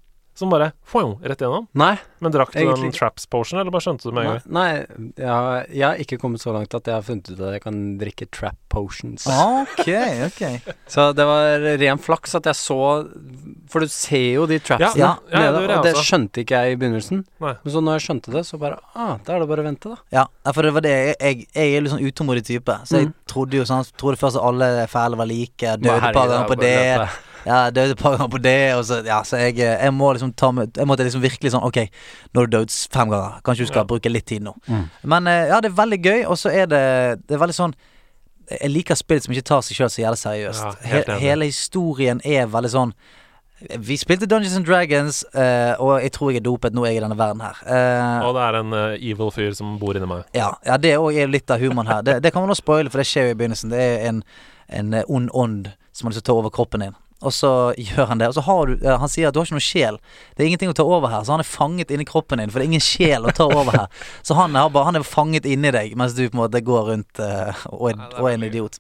Speaker 5: Som bare fwong, rett gjennom?
Speaker 1: Nei.
Speaker 5: Men drakk du
Speaker 1: Egentlig
Speaker 5: den traps potion, eller bare skjønte du det med en
Speaker 1: Nei,
Speaker 5: gang?
Speaker 1: nei jeg, har- jeg har ikke kommet så langt at jeg har funnet ut at jeg kan drikke trap potions.
Speaker 4: Ok, ok.
Speaker 1: Så det var ren flaks at jeg så For du ser jo de trapsene
Speaker 5: Ja, ja, ja, det
Speaker 1: nede,
Speaker 5: gjør jeg
Speaker 1: og det
Speaker 5: også.
Speaker 1: skjønte ikke jeg i begynnelsen.
Speaker 5: Nei.
Speaker 1: Men så når jeg skjønte det, så bare ah, da er det bare å vente, da.
Speaker 4: Ja, ja, for det var det jeg, jeg, jeg er litt sånn utålmodig type. Så jeg trodde jo sånn Trodde først at alle fæle var like. Døde
Speaker 1: Bare,
Speaker 4: et par
Speaker 1: herregud,
Speaker 4: ganger på
Speaker 1: det
Speaker 4: det.
Speaker 1: er bare å løpe.
Speaker 4: Ja, døde et par ganger på det. Og så, ja, så jeg, jeg må liksom ta med Jeg måtte liksom virkelig sånn OK, nå har du dødd fem ganger. Kanskje du skal bruke litt tid nå. Men eh, ja, det er veldig gøy, og så er det Det er veldig sånn Jeg liker spill som ikke tar seg sjøl så jævlig seriøst.
Speaker 5: Ja,
Speaker 4: He,
Speaker 5: helt enig.
Speaker 4: hele historien er veldig sånn Vi spilte Dungeons and Dragons, eh, og jeg tror jeg er dopet nå, jeg er i denne verden her. Eh,
Speaker 5: Og det er en eh, evil fyr som bor inni meg.
Speaker 4: ja, ja det òg er jo litt av humoren her. Det, det kan man også spoile, for det skjer jo i begynnelsen. Det er en, en eh, ond ånd som har lyst til å ta over kroppen din. Og så gjør han det. Og så har du eh, Han sier at du har ikke noe sjel. Det er ingenting å ta over her. Så han er fanget inni kroppen din, for det er ingen sjel å ta over her. Så han er, bare, han er fanget inni deg, mens du på en måte går rundt eh, og, er, og er en idiot.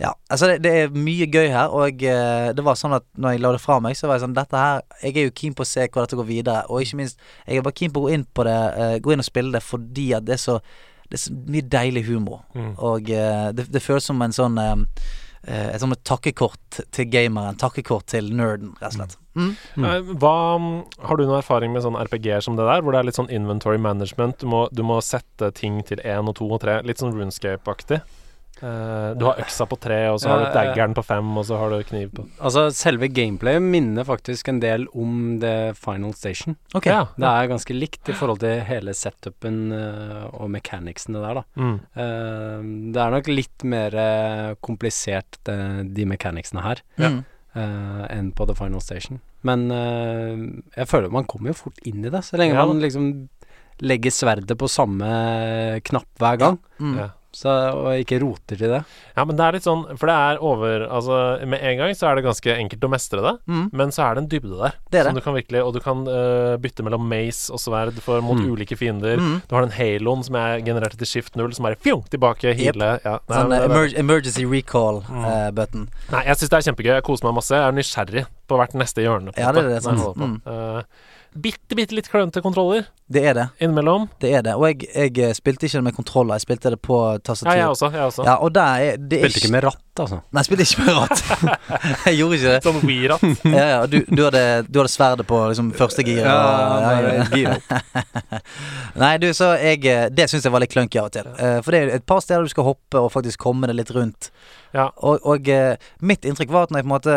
Speaker 4: Ja, altså det, det er mye gøy her, og eh, det var sånn at når jeg la det fra meg, så var jeg sånn Dette her Jeg er jo keen på å se hvor dette går videre, og ikke minst Jeg er bare keen på å gå inn på det, eh, gå inn og spille det fordi at det er så Det er så mye deilig humor, og eh, det, det føles som en sånn eh, eh, Et sånt takkekort til gameren, takkekort til nerden, rett og slett. Mm.
Speaker 5: Eh, Hva, mm, har du noen erfaring med sånne RPG-er som det der, hvor det er litt sånn inventory management? Du må, du må sette ting til én og to og tre, litt sånn runescape-aktig. Eh, du har øksa på tre, og så har du
Speaker 1: Ja, ja, ja.
Speaker 5: daggeren på fem, og så har du kniv på
Speaker 1: Altså, selve gameplayet minner faktisk en del om The Final Station.
Speaker 4: Ok.
Speaker 5: Ja.
Speaker 1: Det er ganske likt i forhold til hele setupen eh, og mechanicsene der, da.
Speaker 5: Mm.
Speaker 1: Eh, det er nok litt mer eh, komplisert, eh, de mechanicsene her,
Speaker 4: Mm.
Speaker 1: eh, enn på The Final Station. Men eh, jeg føler man kommer jo fort inn i det, så lenge
Speaker 5: Ja,
Speaker 1: man liksom legger sverdet på samme knapp hver gang,
Speaker 4: Mm.
Speaker 5: Ja.
Speaker 1: så, og ikke roter til det.
Speaker 5: Ja, men det er litt sånn, for det er over Altså, med en gang så er det ganske enkelt å mestre det,
Speaker 4: Mm.
Speaker 5: men så er det en dybde der.
Speaker 4: Det er det.
Speaker 5: Som du kan virkelig, og du kan eh, bytte mellom mace og sverd for, mot
Speaker 1: Mm.
Speaker 5: ulike fiender.
Speaker 4: Mm.
Speaker 5: Du har den haloen som er generert etter skift null, som er fjong, tilbake, heale ja. Nei,
Speaker 4: Sånn
Speaker 5: men
Speaker 4: eh,
Speaker 5: det Mm.
Speaker 4: emer
Speaker 5: er-
Speaker 4: emergency eh, recall-button.
Speaker 5: Nei, jeg syns det er kjempegøy. Jeg koser meg masse. Jeg er nysgjerrig på hvert neste hjørne. på en
Speaker 4: Ja, det er
Speaker 5: måte,
Speaker 4: det
Speaker 5: når jeg
Speaker 4: som- Mm.
Speaker 5: holder på. Eh, bitte, bitte litt klønete kontroller
Speaker 4: det er det.
Speaker 5: innimellom.
Speaker 4: Det er det. Og jeg, jeg eh, spilte ikke det med kontroller, jeg spilte det på tastatur.
Speaker 5: Ja, jeg også. Jeg også.
Speaker 4: Ja, og der er det er
Speaker 1: Spilte ikke med ratt, altså.
Speaker 4: Nei, jeg spilte ikke med ratt. jeg gjorde ikke det.
Speaker 5: Sånn Wii-ratt.
Speaker 4: Ja, ja, du, du, hadde, du hadde sverdet på liksom, første gir. og- ja, ja, ja. Nei, du, så jeg eh, Det syns jeg var litt clunky av og til. Eh, For det er jo et par steder du skal hoppe og faktisk komme deg litt rundt.
Speaker 5: Ja.
Speaker 4: Og, og eh, mitt inntrykk var at når jeg på en måte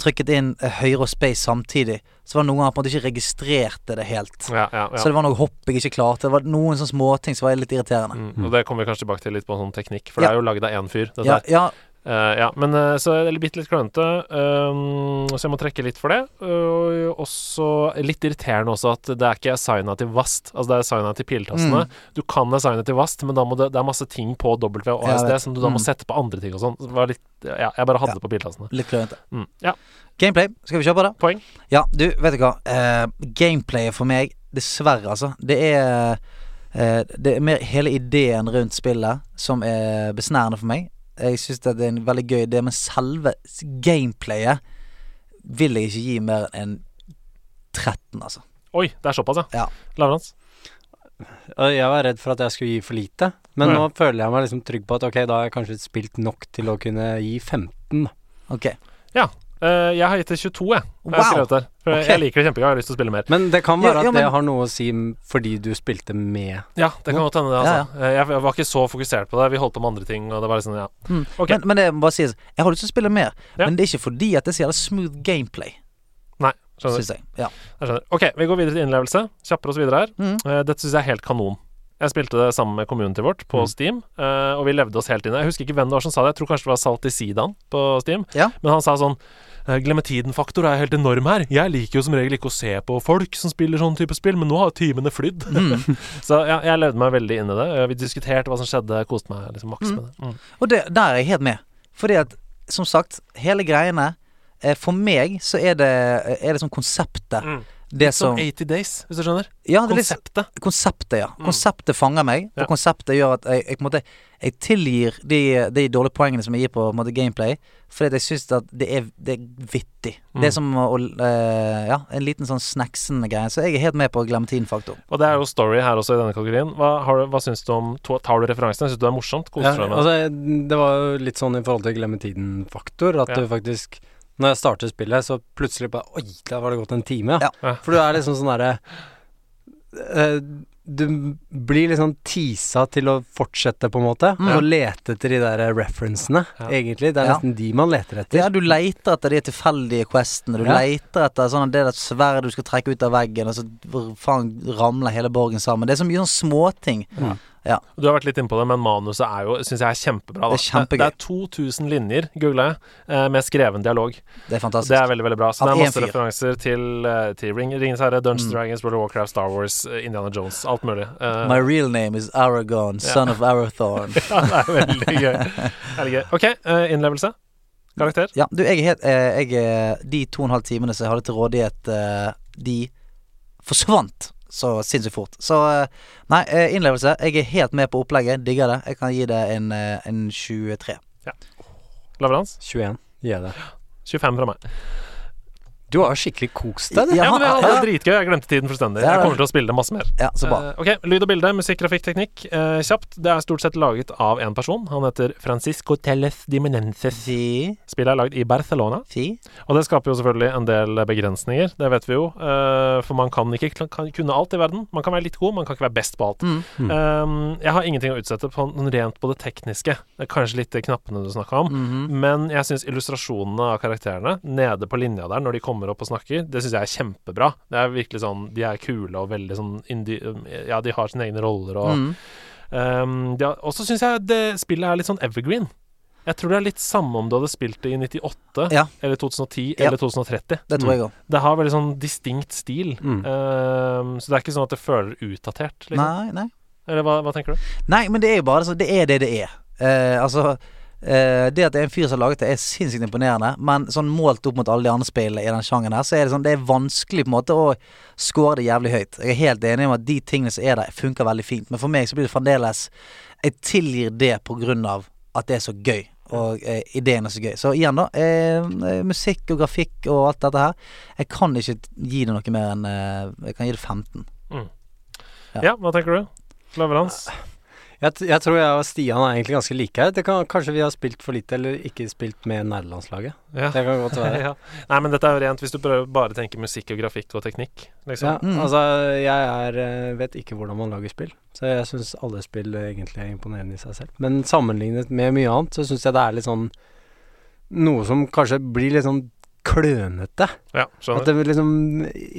Speaker 4: trykket inn eh, høyre og space samtidig, så var det noen ganger jeg på en måte ikke registrerte det helt.
Speaker 5: Ja, ja,
Speaker 4: Så
Speaker 5: ja.
Speaker 4: det var noe hopp jeg ikke klarte. Det var noen sånne småting som var litt irriterende.
Speaker 5: Mm. Og det kommer vi kanskje tilbake til litt på sånn teknikk, for
Speaker 4: Ja.
Speaker 5: det er jo lagd av én fyr. Dette
Speaker 4: Ja,
Speaker 5: her.
Speaker 4: ja,
Speaker 5: Eh, ja, men eh, så jeg er bitte litt klønete, ehm, så jeg må trekke litt for det. Og også litt irriterende også at det er ikke assigna til vast, altså det er assigna til piltassene.
Speaker 4: Mm.
Speaker 5: Du kan assigna til vast, men da må det, det er masse ting på W og
Speaker 4: Ja, jeg
Speaker 5: ASD
Speaker 4: vet.
Speaker 5: som du da må
Speaker 4: Mm.
Speaker 5: sette på andre ting og sånn. Så det var litt- Ja, jeg bare hadde det på piltassene.
Speaker 4: litt klønete.
Speaker 5: Mm. Ja,
Speaker 4: Gameplay, skal vi kjøre på det?
Speaker 5: poeng.
Speaker 4: Ja, du, vet du hva. Eh, gameplayet for meg, dessverre, altså. Det er eh, Det er mer hele ideen rundt spillet som er besnærende for meg. Jeg syns det er en veldig gøy idé, men selve s- gameplayet vil jeg ikke gi mer enn 13, altså.
Speaker 5: Oi, det er såpass, ja.
Speaker 4: Ja.
Speaker 5: Lavrans.
Speaker 1: Og Jeg var redd for at jeg skulle gi for lite, men
Speaker 5: Å, ja.
Speaker 1: nå føler jeg meg liksom trygg på at ok, da har jeg kanskje spilt nok til å kunne gi 15. da.
Speaker 4: Ok.
Speaker 5: Ja. eh, jeg har gitt det 22, jeg. jeg har
Speaker 4: Wow.
Speaker 5: skrevet der. For
Speaker 4: Ok.
Speaker 5: Jeg liker det kjempegøy, jeg har lyst til å spille mer.
Speaker 1: Men det kan
Speaker 4: Ja,
Speaker 1: være at
Speaker 4: ja, men-
Speaker 1: det har noe å si m- fordi du spilte med.
Speaker 5: Ja, det kan godt hende,
Speaker 4: Ja,
Speaker 5: det. Altså. Eh, Jeg, jeg var ikke så fokusert på det. Vi holdt på med andre ting, og det var liksom Ja.
Speaker 4: Mm.
Speaker 5: Ok.
Speaker 4: Men, men det må bare sies, jeg har lyst til å spille mer,
Speaker 5: Ja.
Speaker 4: men det er ikke fordi at det er så jævla smooth gameplay,
Speaker 5: Nei. Skjønner.
Speaker 4: syns jeg. Ja.
Speaker 5: Jeg skjønner. Ok, vi går videre til innlevelse. Kjappere oss videre her.
Speaker 4: Mm.
Speaker 5: Eh, dette syns jeg er helt kanon. Jeg spilte det sammen med community vårt på
Speaker 4: Mm.
Speaker 5: Steam, eh, og vi levde oss helt inn. Jeg husker ikke hvem det var som sa det, jeg tror kanskje det var Salt i Sidan på Steam,
Speaker 4: Ja.
Speaker 5: men han sa sånn eh, Glemmetiden-faktor er helt enorm her. Jeg liker jo som regel ikke å se på folk som spiller sånn type spill, men nå har timene flydd.
Speaker 4: Mm.
Speaker 5: så ja, jeg levde meg veldig inn i det. Eh, Vi diskuterte hva som skjedde, koste meg liksom maks med det. Mm.
Speaker 4: Og det, der er jeg helt med. Fordi at, som sagt, hele greiene eh, For meg så er det, er det sånn konseptet.
Speaker 5: Mm.
Speaker 4: Det
Speaker 5: Som
Speaker 4: som
Speaker 5: 80 Days, hvis du skjønner.
Speaker 4: ja, det er litt,
Speaker 5: Konseptet.
Speaker 4: Konseptet, ja. Konseptet fanger meg, og
Speaker 5: Mm. Ja.
Speaker 4: konseptet gjør at jeg, jeg, på en måte, jeg tilgir de, de dårlige poengene som jeg gir på, på en måte, gameplay, fordi at jeg syns at det er, det er vittig.
Speaker 5: Mm.
Speaker 4: Det er som å eh, Ja, en liten sånn snacksende greie. Så jeg er helt med på glemmetiden-faktor.
Speaker 5: Og det er jo story her også i denne kategorien. Hva, har du- hva syns du om to- Tar du referansene? Syns du det
Speaker 4: altså-
Speaker 5: er morsomt? Koser du deg med det?
Speaker 1: altså, det var jo litt sånn i forhold til glemmetiden-faktor, at
Speaker 5: Ja.
Speaker 1: du faktisk Når jeg starter spillet, så plutselig bare Oi, der var det gått en time, ja.
Speaker 5: Ja.
Speaker 1: For du er liksom sånn derre eh, Du blir liksom teasa til å fortsette, på en måte,
Speaker 4: Mm.
Speaker 1: og lete etter de der referencene,
Speaker 5: Ja.
Speaker 1: egentlig. Det er
Speaker 4: Ja.
Speaker 1: nesten de man leter etter.
Speaker 4: Ja, du leiter etter de tilfeldige questene. Du
Speaker 1: Ja.
Speaker 4: leiter etter sånn at det der sverdet du skal trekke ut av veggen, og så r- faen ramler hele borgen sammen. Det er så mye sånn småting.
Speaker 5: Du har vært litt inne på det, men manuset er jo, syns jeg er kjempebra. Da.
Speaker 4: Det er kjempegøy.
Speaker 5: det er 2000 linjer, googla jeg, eh, med skreven dialog.
Speaker 4: Det er fantastisk.
Speaker 5: Det er veldig veldig bra. Så
Speaker 4: Av
Speaker 5: det er
Speaker 4: én
Speaker 5: masse
Speaker 4: fyr.
Speaker 5: referanser til, eh, til Ring, Ringenes herre,
Speaker 4: Mm.
Speaker 5: Dungeons Dragons, World of Warcraft, Star Wars, eh, Indiana Jones, alt mulig. Eh,
Speaker 4: My real name is Aragon, son of Arathorn.
Speaker 5: ja, det er veldig gøy. Veldig gøy. OK, eh, innlevelse. Karakter.
Speaker 4: Ja, du, jeg er helt eh, jeg er, De to og en halv timene som jeg hadde til rådighet, eh, de forsvant så sinnssykt fort. Så eh, nei, eh, innlevelse. Jeg er helt med på opplegget. Digger det. Jeg kan gi det en, eh, en 23.
Speaker 5: Leverans.
Speaker 1: 21. Gi deg det.
Speaker 5: 25 fra meg.
Speaker 1: Du har jo skikkelig kost deg, du.
Speaker 5: Ja, men det
Speaker 4: Jaha,
Speaker 5: var dritgøy. Jeg glemte tiden fullstendig.
Speaker 4: Ja,
Speaker 5: Jeg
Speaker 4: det-
Speaker 5: kommer til å spille det masse mer.
Speaker 4: ja, så bra.
Speaker 5: Eh, ok, Lyd og bilde, musikk, grafikk, teknikk. Eh, kjapt. Det er stort sett laget av én person. Han heter Francisco Tellez Dimenenses.
Speaker 4: Fi,
Speaker 5: Spillet er lagd i Barcelona.
Speaker 4: fi.
Speaker 5: Og det skaper jo selvfølgelig en del begrensninger, det vet vi jo. eh, for man kan ikke kl- kan kunne alt i verden. Man kan være litt god, man kan ikke være best på alt.
Speaker 4: Mm.
Speaker 5: Eh, jeg har ingenting å utsette på noe rent på det tekniske. Det er kanskje litt de knappene du snakka om.
Speaker 4: Mhm.
Speaker 5: Men jeg syns illustrasjonene av karakterene nede på linja der, når de kommer opp og snakker, det syns jeg er kjempebra. Det er virkelig sånn De er kule og veldig sånn indi Ja, de har sine egne roller og
Speaker 4: Mm.
Speaker 5: ehm, de har- Og så syns jeg det spillet er litt sånn evergreen. Jeg tror det er litt samme om du hadde spilt det i 98
Speaker 4: Ja.
Speaker 5: eller 2010
Speaker 4: Ja.
Speaker 5: eller 2030.
Speaker 4: Det tror jeg òg.
Speaker 5: Det har veldig sånn distinkt stil.
Speaker 1: Mm.
Speaker 5: Ehm, så det er ikke sånn at det føler utdatert, liksom.
Speaker 4: Nei, nei.
Speaker 5: Eller hva, hva tenker du?
Speaker 4: Nei, men det er jo bare sånn, det er det det er. Eh, altså eh, det at det er en fyr som har laget det, er sinnssykt imponerende. Men sånn målt opp mot alle de andre spillene i den sjangeren her, så er det sånn Det er vanskelig på en måte å score det jævlig høyt. Jeg er helt enig om at de tingene som er der, funker veldig fint. Men for meg så blir det fremdeles Jeg tilgir det på grunn av at det er så gøy. Og eh, ideen er så gøy. Så igjen, da. Eh, eh, musikk og grafikk og alt dette her. Jeg kan ikke gi det noe mer enn eh, Jeg kan gi det 15. Ja.
Speaker 5: Ja, hva tenker du? Leverans?
Speaker 1: Jeg, t jeg tror jeg og Stian er egentlig ganske like her. Det kan, kanskje vi har spilt for lite, eller ikke spilt med nærlandslaget.
Speaker 5: Ja.
Speaker 1: Det kan godt være.
Speaker 5: ja. Nei, men dette er jo rent hvis du prøver bare å tenke musikk og grafikk og teknikk,
Speaker 1: Ja,
Speaker 5: liksom.
Speaker 4: Mm.
Speaker 1: altså, jeg er, eh, vet ikke hvordan man lager spill, så jeg syns alle spill eh, egentlig er imponerende i seg selv. Men sammenlignet med mye annet, så syns jeg det er litt sånn Noe som kanskje blir litt sånn klønete.
Speaker 5: Ja,
Speaker 1: At
Speaker 5: skjønner.
Speaker 1: det liksom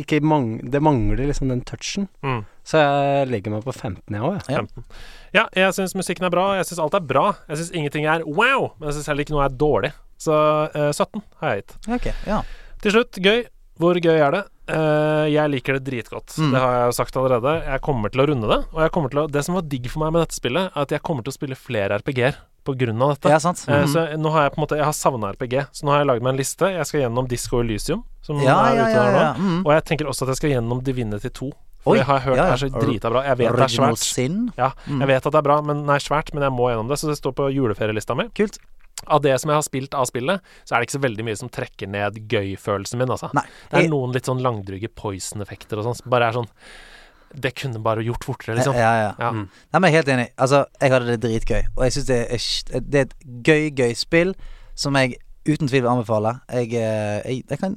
Speaker 1: ikke mang Det mangler liksom den touchen.
Speaker 5: Mm.
Speaker 1: Så jeg legger meg på 15, jeg òg, jeg.
Speaker 4: Ja.
Speaker 5: 15. Ja, jeg syns musikken er bra. Jeg syns alt er bra. Jeg syns ingenting er wow, men jeg syns heller ikke noe er dårlig. Så eh, 17 har jeg gitt.
Speaker 4: Ok, ja.
Speaker 5: Til slutt, gøy. Hvor gøy er det? Eh, jeg liker det dritgodt.
Speaker 4: Mm.
Speaker 5: Det har jeg jo sagt allerede. Jeg kommer til å runde det. Og jeg kommer til å, det som var digg for meg med dette spillet, er at jeg kommer til å spille flere RPG-er på grunn av dette.
Speaker 4: Ja, sant?
Speaker 5: Eh,
Speaker 4: Mhm.
Speaker 5: Så jeg- nå har jeg på en måte Jeg har savna RPG, så nå har jeg lagd meg en liste. Jeg skal gjennom Disco Elysium, som
Speaker 4: Ja,
Speaker 5: er
Speaker 4: ja,
Speaker 5: ute
Speaker 4: ja,
Speaker 5: der nå.
Speaker 4: ja. Mm.
Speaker 5: Og jeg tenker også at jeg skal gjennom Divinity 2. For
Speaker 4: Oi,
Speaker 5: det har jeg hørt
Speaker 4: ja, ja.
Speaker 5: er så drita bra. Jeg vet det er
Speaker 4: Original
Speaker 5: svært.
Speaker 4: Sin.
Speaker 5: Ja,
Speaker 4: Mm.
Speaker 5: jeg vet at det er bra, men nei, svært, men jeg må gjennom det. Så det står på juleferielista mi.
Speaker 4: Kult.
Speaker 5: Av det som jeg har spilt av spillet, så er det ikke så veldig mye som trekker ned gøy-følelsen min, altså.
Speaker 4: Nei.
Speaker 5: Det er
Speaker 4: Jeg-
Speaker 5: noen litt sånn langdryge poison-effekter og sånn, som bare er sånn Det kunne bare gjort fortere, liksom.
Speaker 4: Ja, ja.
Speaker 5: Ja.
Speaker 1: Mm.
Speaker 4: Nei, men jeg er helt enig. Altså, jeg hadde det dritgøy. Og jeg syns det, er sj- det er et gøy, gøy spill som jeg uten tvil vil anbefale. Jeg, eh, jeg, jeg kan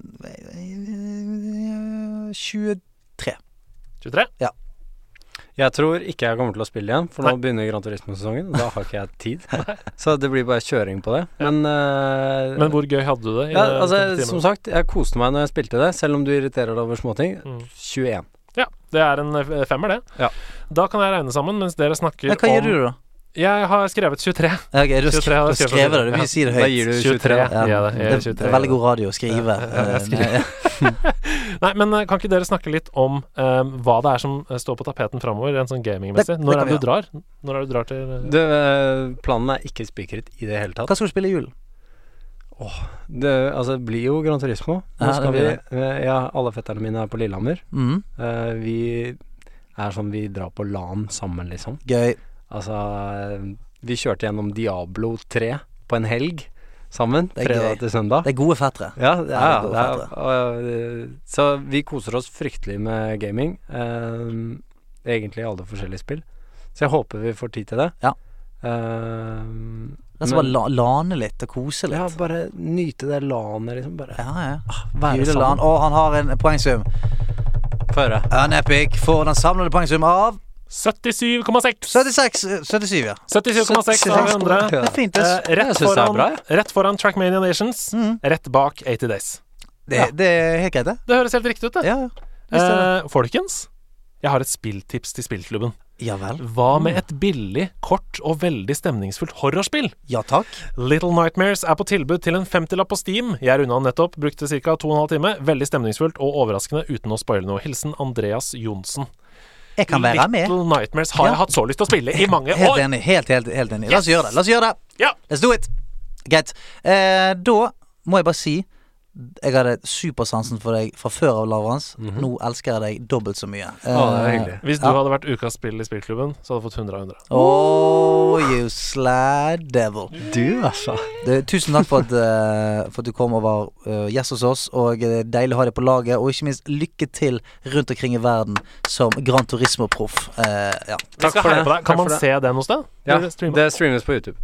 Speaker 4: eh, 20
Speaker 5: 23?
Speaker 1: Jeg tror ikke jeg kommer til å spille igjen, for nå begynner Gran Turismo-sesongen. og Da har ikke jeg tid. så det blir bare kjøring på det. Men, eh,
Speaker 5: Men hvor gøy hadde du det? i
Speaker 1: ja,
Speaker 5: det-
Speaker 1: altså,
Speaker 5: denne timen?
Speaker 1: Som sagt, jeg koste meg når jeg spilte det, selv om du irriterer deg over småting.
Speaker 5: Mm.
Speaker 1: 21.
Speaker 5: Ja, det er en eh, femmer, det.
Speaker 1: Ja.
Speaker 5: Da kan jeg regne sammen mens dere snakker
Speaker 4: Ja, Hva gjør du, da?
Speaker 5: om Jeg har skrevet 23.
Speaker 4: Ja, ok, du har
Speaker 5: 23
Speaker 4: sk- du
Speaker 5: hadde
Speaker 4: har skrevet det. Du
Speaker 5: jeg skrevet.
Speaker 4: vil ikke si det
Speaker 1: Da gir
Speaker 4: høyt.
Speaker 1: du 23.
Speaker 5: 23.
Speaker 1: da.
Speaker 5: Ja, det er
Speaker 4: det,
Speaker 5: 23,
Speaker 4: det er veldig god radio å skrive.
Speaker 5: Ja, jeg
Speaker 4: Eh,
Speaker 5: skriver.
Speaker 4: nei,
Speaker 5: Nei, men eh, kan ikke dere snakke litt om eh, hva det er som eh, står på tapeten framover, rent sånn
Speaker 4: Det-
Speaker 5: gamingmessig?
Speaker 4: det
Speaker 5: Når
Speaker 4: kan
Speaker 5: er det
Speaker 4: vi
Speaker 5: du drar? Når er det du drar til eh,
Speaker 1: Det, eh, planen er ikke spikret i det hele
Speaker 4: ja.
Speaker 1: tatt.
Speaker 4: Hva skal du spille i julen?
Speaker 1: Det, altså, det blir jo Gran Turismo. Nå
Speaker 4: Ja, det
Speaker 1: skal vi,
Speaker 4: blir
Speaker 1: eh, ja, alle fetterne mine er på Lillehammer.
Speaker 4: Mhm.
Speaker 1: Eh, vi er sånn vi drar på LAN sammen, liksom.
Speaker 4: Gøy.
Speaker 1: Altså, eh, vi kjørte gjennom Diablo 3 på en helg sammen.
Speaker 4: Det er
Speaker 1: Fredag
Speaker 4: gøy.
Speaker 1: til søndag.
Speaker 4: Det er gode fettere.
Speaker 1: Ja, ja,
Speaker 4: Ja, det
Speaker 1: ja,
Speaker 4: går
Speaker 1: det er, og, eh, så vi koser oss fryktelig med gaming. ehm, egentlig i alle forskjellige spill. Så jeg håper vi får tid til det.
Speaker 4: Ja.
Speaker 1: Ehm,
Speaker 4: Altså
Speaker 1: Men-
Speaker 4: bare la, lane litt og kose
Speaker 1: Ja,
Speaker 4: litt.
Speaker 1: bare nyte det lanet, liksom. Bare
Speaker 4: Ja, ja.
Speaker 1: være
Speaker 4: Juleland.
Speaker 1: sammen.
Speaker 4: Og han har en poengsum.
Speaker 1: Få høre.
Speaker 4: An Epic får den samlede poengsum av
Speaker 5: 77,6!
Speaker 4: 76 eh, 77, ja.
Speaker 5: 77,6 av 100.
Speaker 4: Det er fint, det.
Speaker 5: Eh,
Speaker 1: Jeg
Speaker 5: rett,
Speaker 1: synes det er
Speaker 5: foran,
Speaker 1: bra, jeg.
Speaker 5: rett foran Trackmania Nations,
Speaker 4: Mm.
Speaker 5: rett bak 80 Days.
Speaker 4: Det, det er helt greit, det.
Speaker 5: Det høres helt riktig ut, det.
Speaker 4: Ja, ja. Visst er det.
Speaker 5: Eh, folkens, jeg har et spilltips til spillklubben.
Speaker 4: Ja vel.
Speaker 5: Hva med et billig, kort og veldig stemningsfullt horrorspill?
Speaker 4: Ja takk.
Speaker 5: Little Nightmares er på tilbud til en 50-lapp på Steam. Jeg runda den nettopp, brukte ca. 2,5 time. Veldig stemningsfullt og overraskende uten å spoile noe. Hilsen Andreas Johnsen.
Speaker 4: Jeg kan være med.
Speaker 5: Little Nightmares har
Speaker 4: Ja.
Speaker 5: jeg hatt så lyst til å spille i mange
Speaker 4: Helt
Speaker 5: år!
Speaker 4: enig. Helt, helt, helt enig. La oss gjøre det. La oss gjøre det.
Speaker 5: Ja.
Speaker 4: Let's do it. Greit. Eh, da må jeg bare si jeg hadde supersansen for deg fra før av, Lavrans. Nå elsker jeg deg dobbelt så mye.
Speaker 1: Mhm.
Speaker 4: Eh,
Speaker 1: Å, det er hyggelig.
Speaker 5: Hvis du hadde vært ukas spill i spillklubben, så hadde du fått 100 av 100.
Speaker 4: Oh, you slad devil.
Speaker 1: Du, altså.
Speaker 4: Du, tusen takk for at, eh, for at du kom og var eh, gjest hos oss. Og eh, deilig å ha deg på laget. Og ikke minst lykke til rundt omkring i verden som Gran Turismo-proff. Eh, ja.
Speaker 5: Vi skal
Speaker 1: for
Speaker 5: heie
Speaker 1: det.
Speaker 5: på deg.
Speaker 1: Takk
Speaker 5: Kan man
Speaker 1: for det.
Speaker 5: se den hos deg?
Speaker 1: Ja,
Speaker 5: Blir det streamet?
Speaker 1: det streames på YouTube.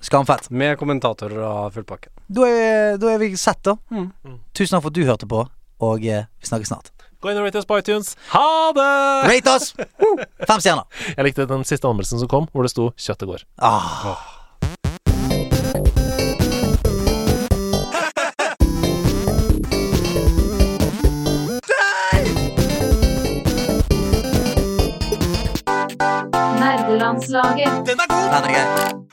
Speaker 4: Skamfett.
Speaker 1: Med kommentatorer og full pakke.
Speaker 4: Da er, da er vi sett, da.
Speaker 1: Mm.
Speaker 4: Tusen takk for at du hørte på, og eh, vi snakkes snart.
Speaker 5: Gå inn og rate oss på iTunes. Ha det!
Speaker 4: Rate oss! Fem stjerner.
Speaker 5: Jeg likte den siste anmeldelsen som kom, hvor det sto 'Kjøttet går'.
Speaker 4: Ah.
Speaker 8: Nerdelandslaget.
Speaker 4: Den er grei.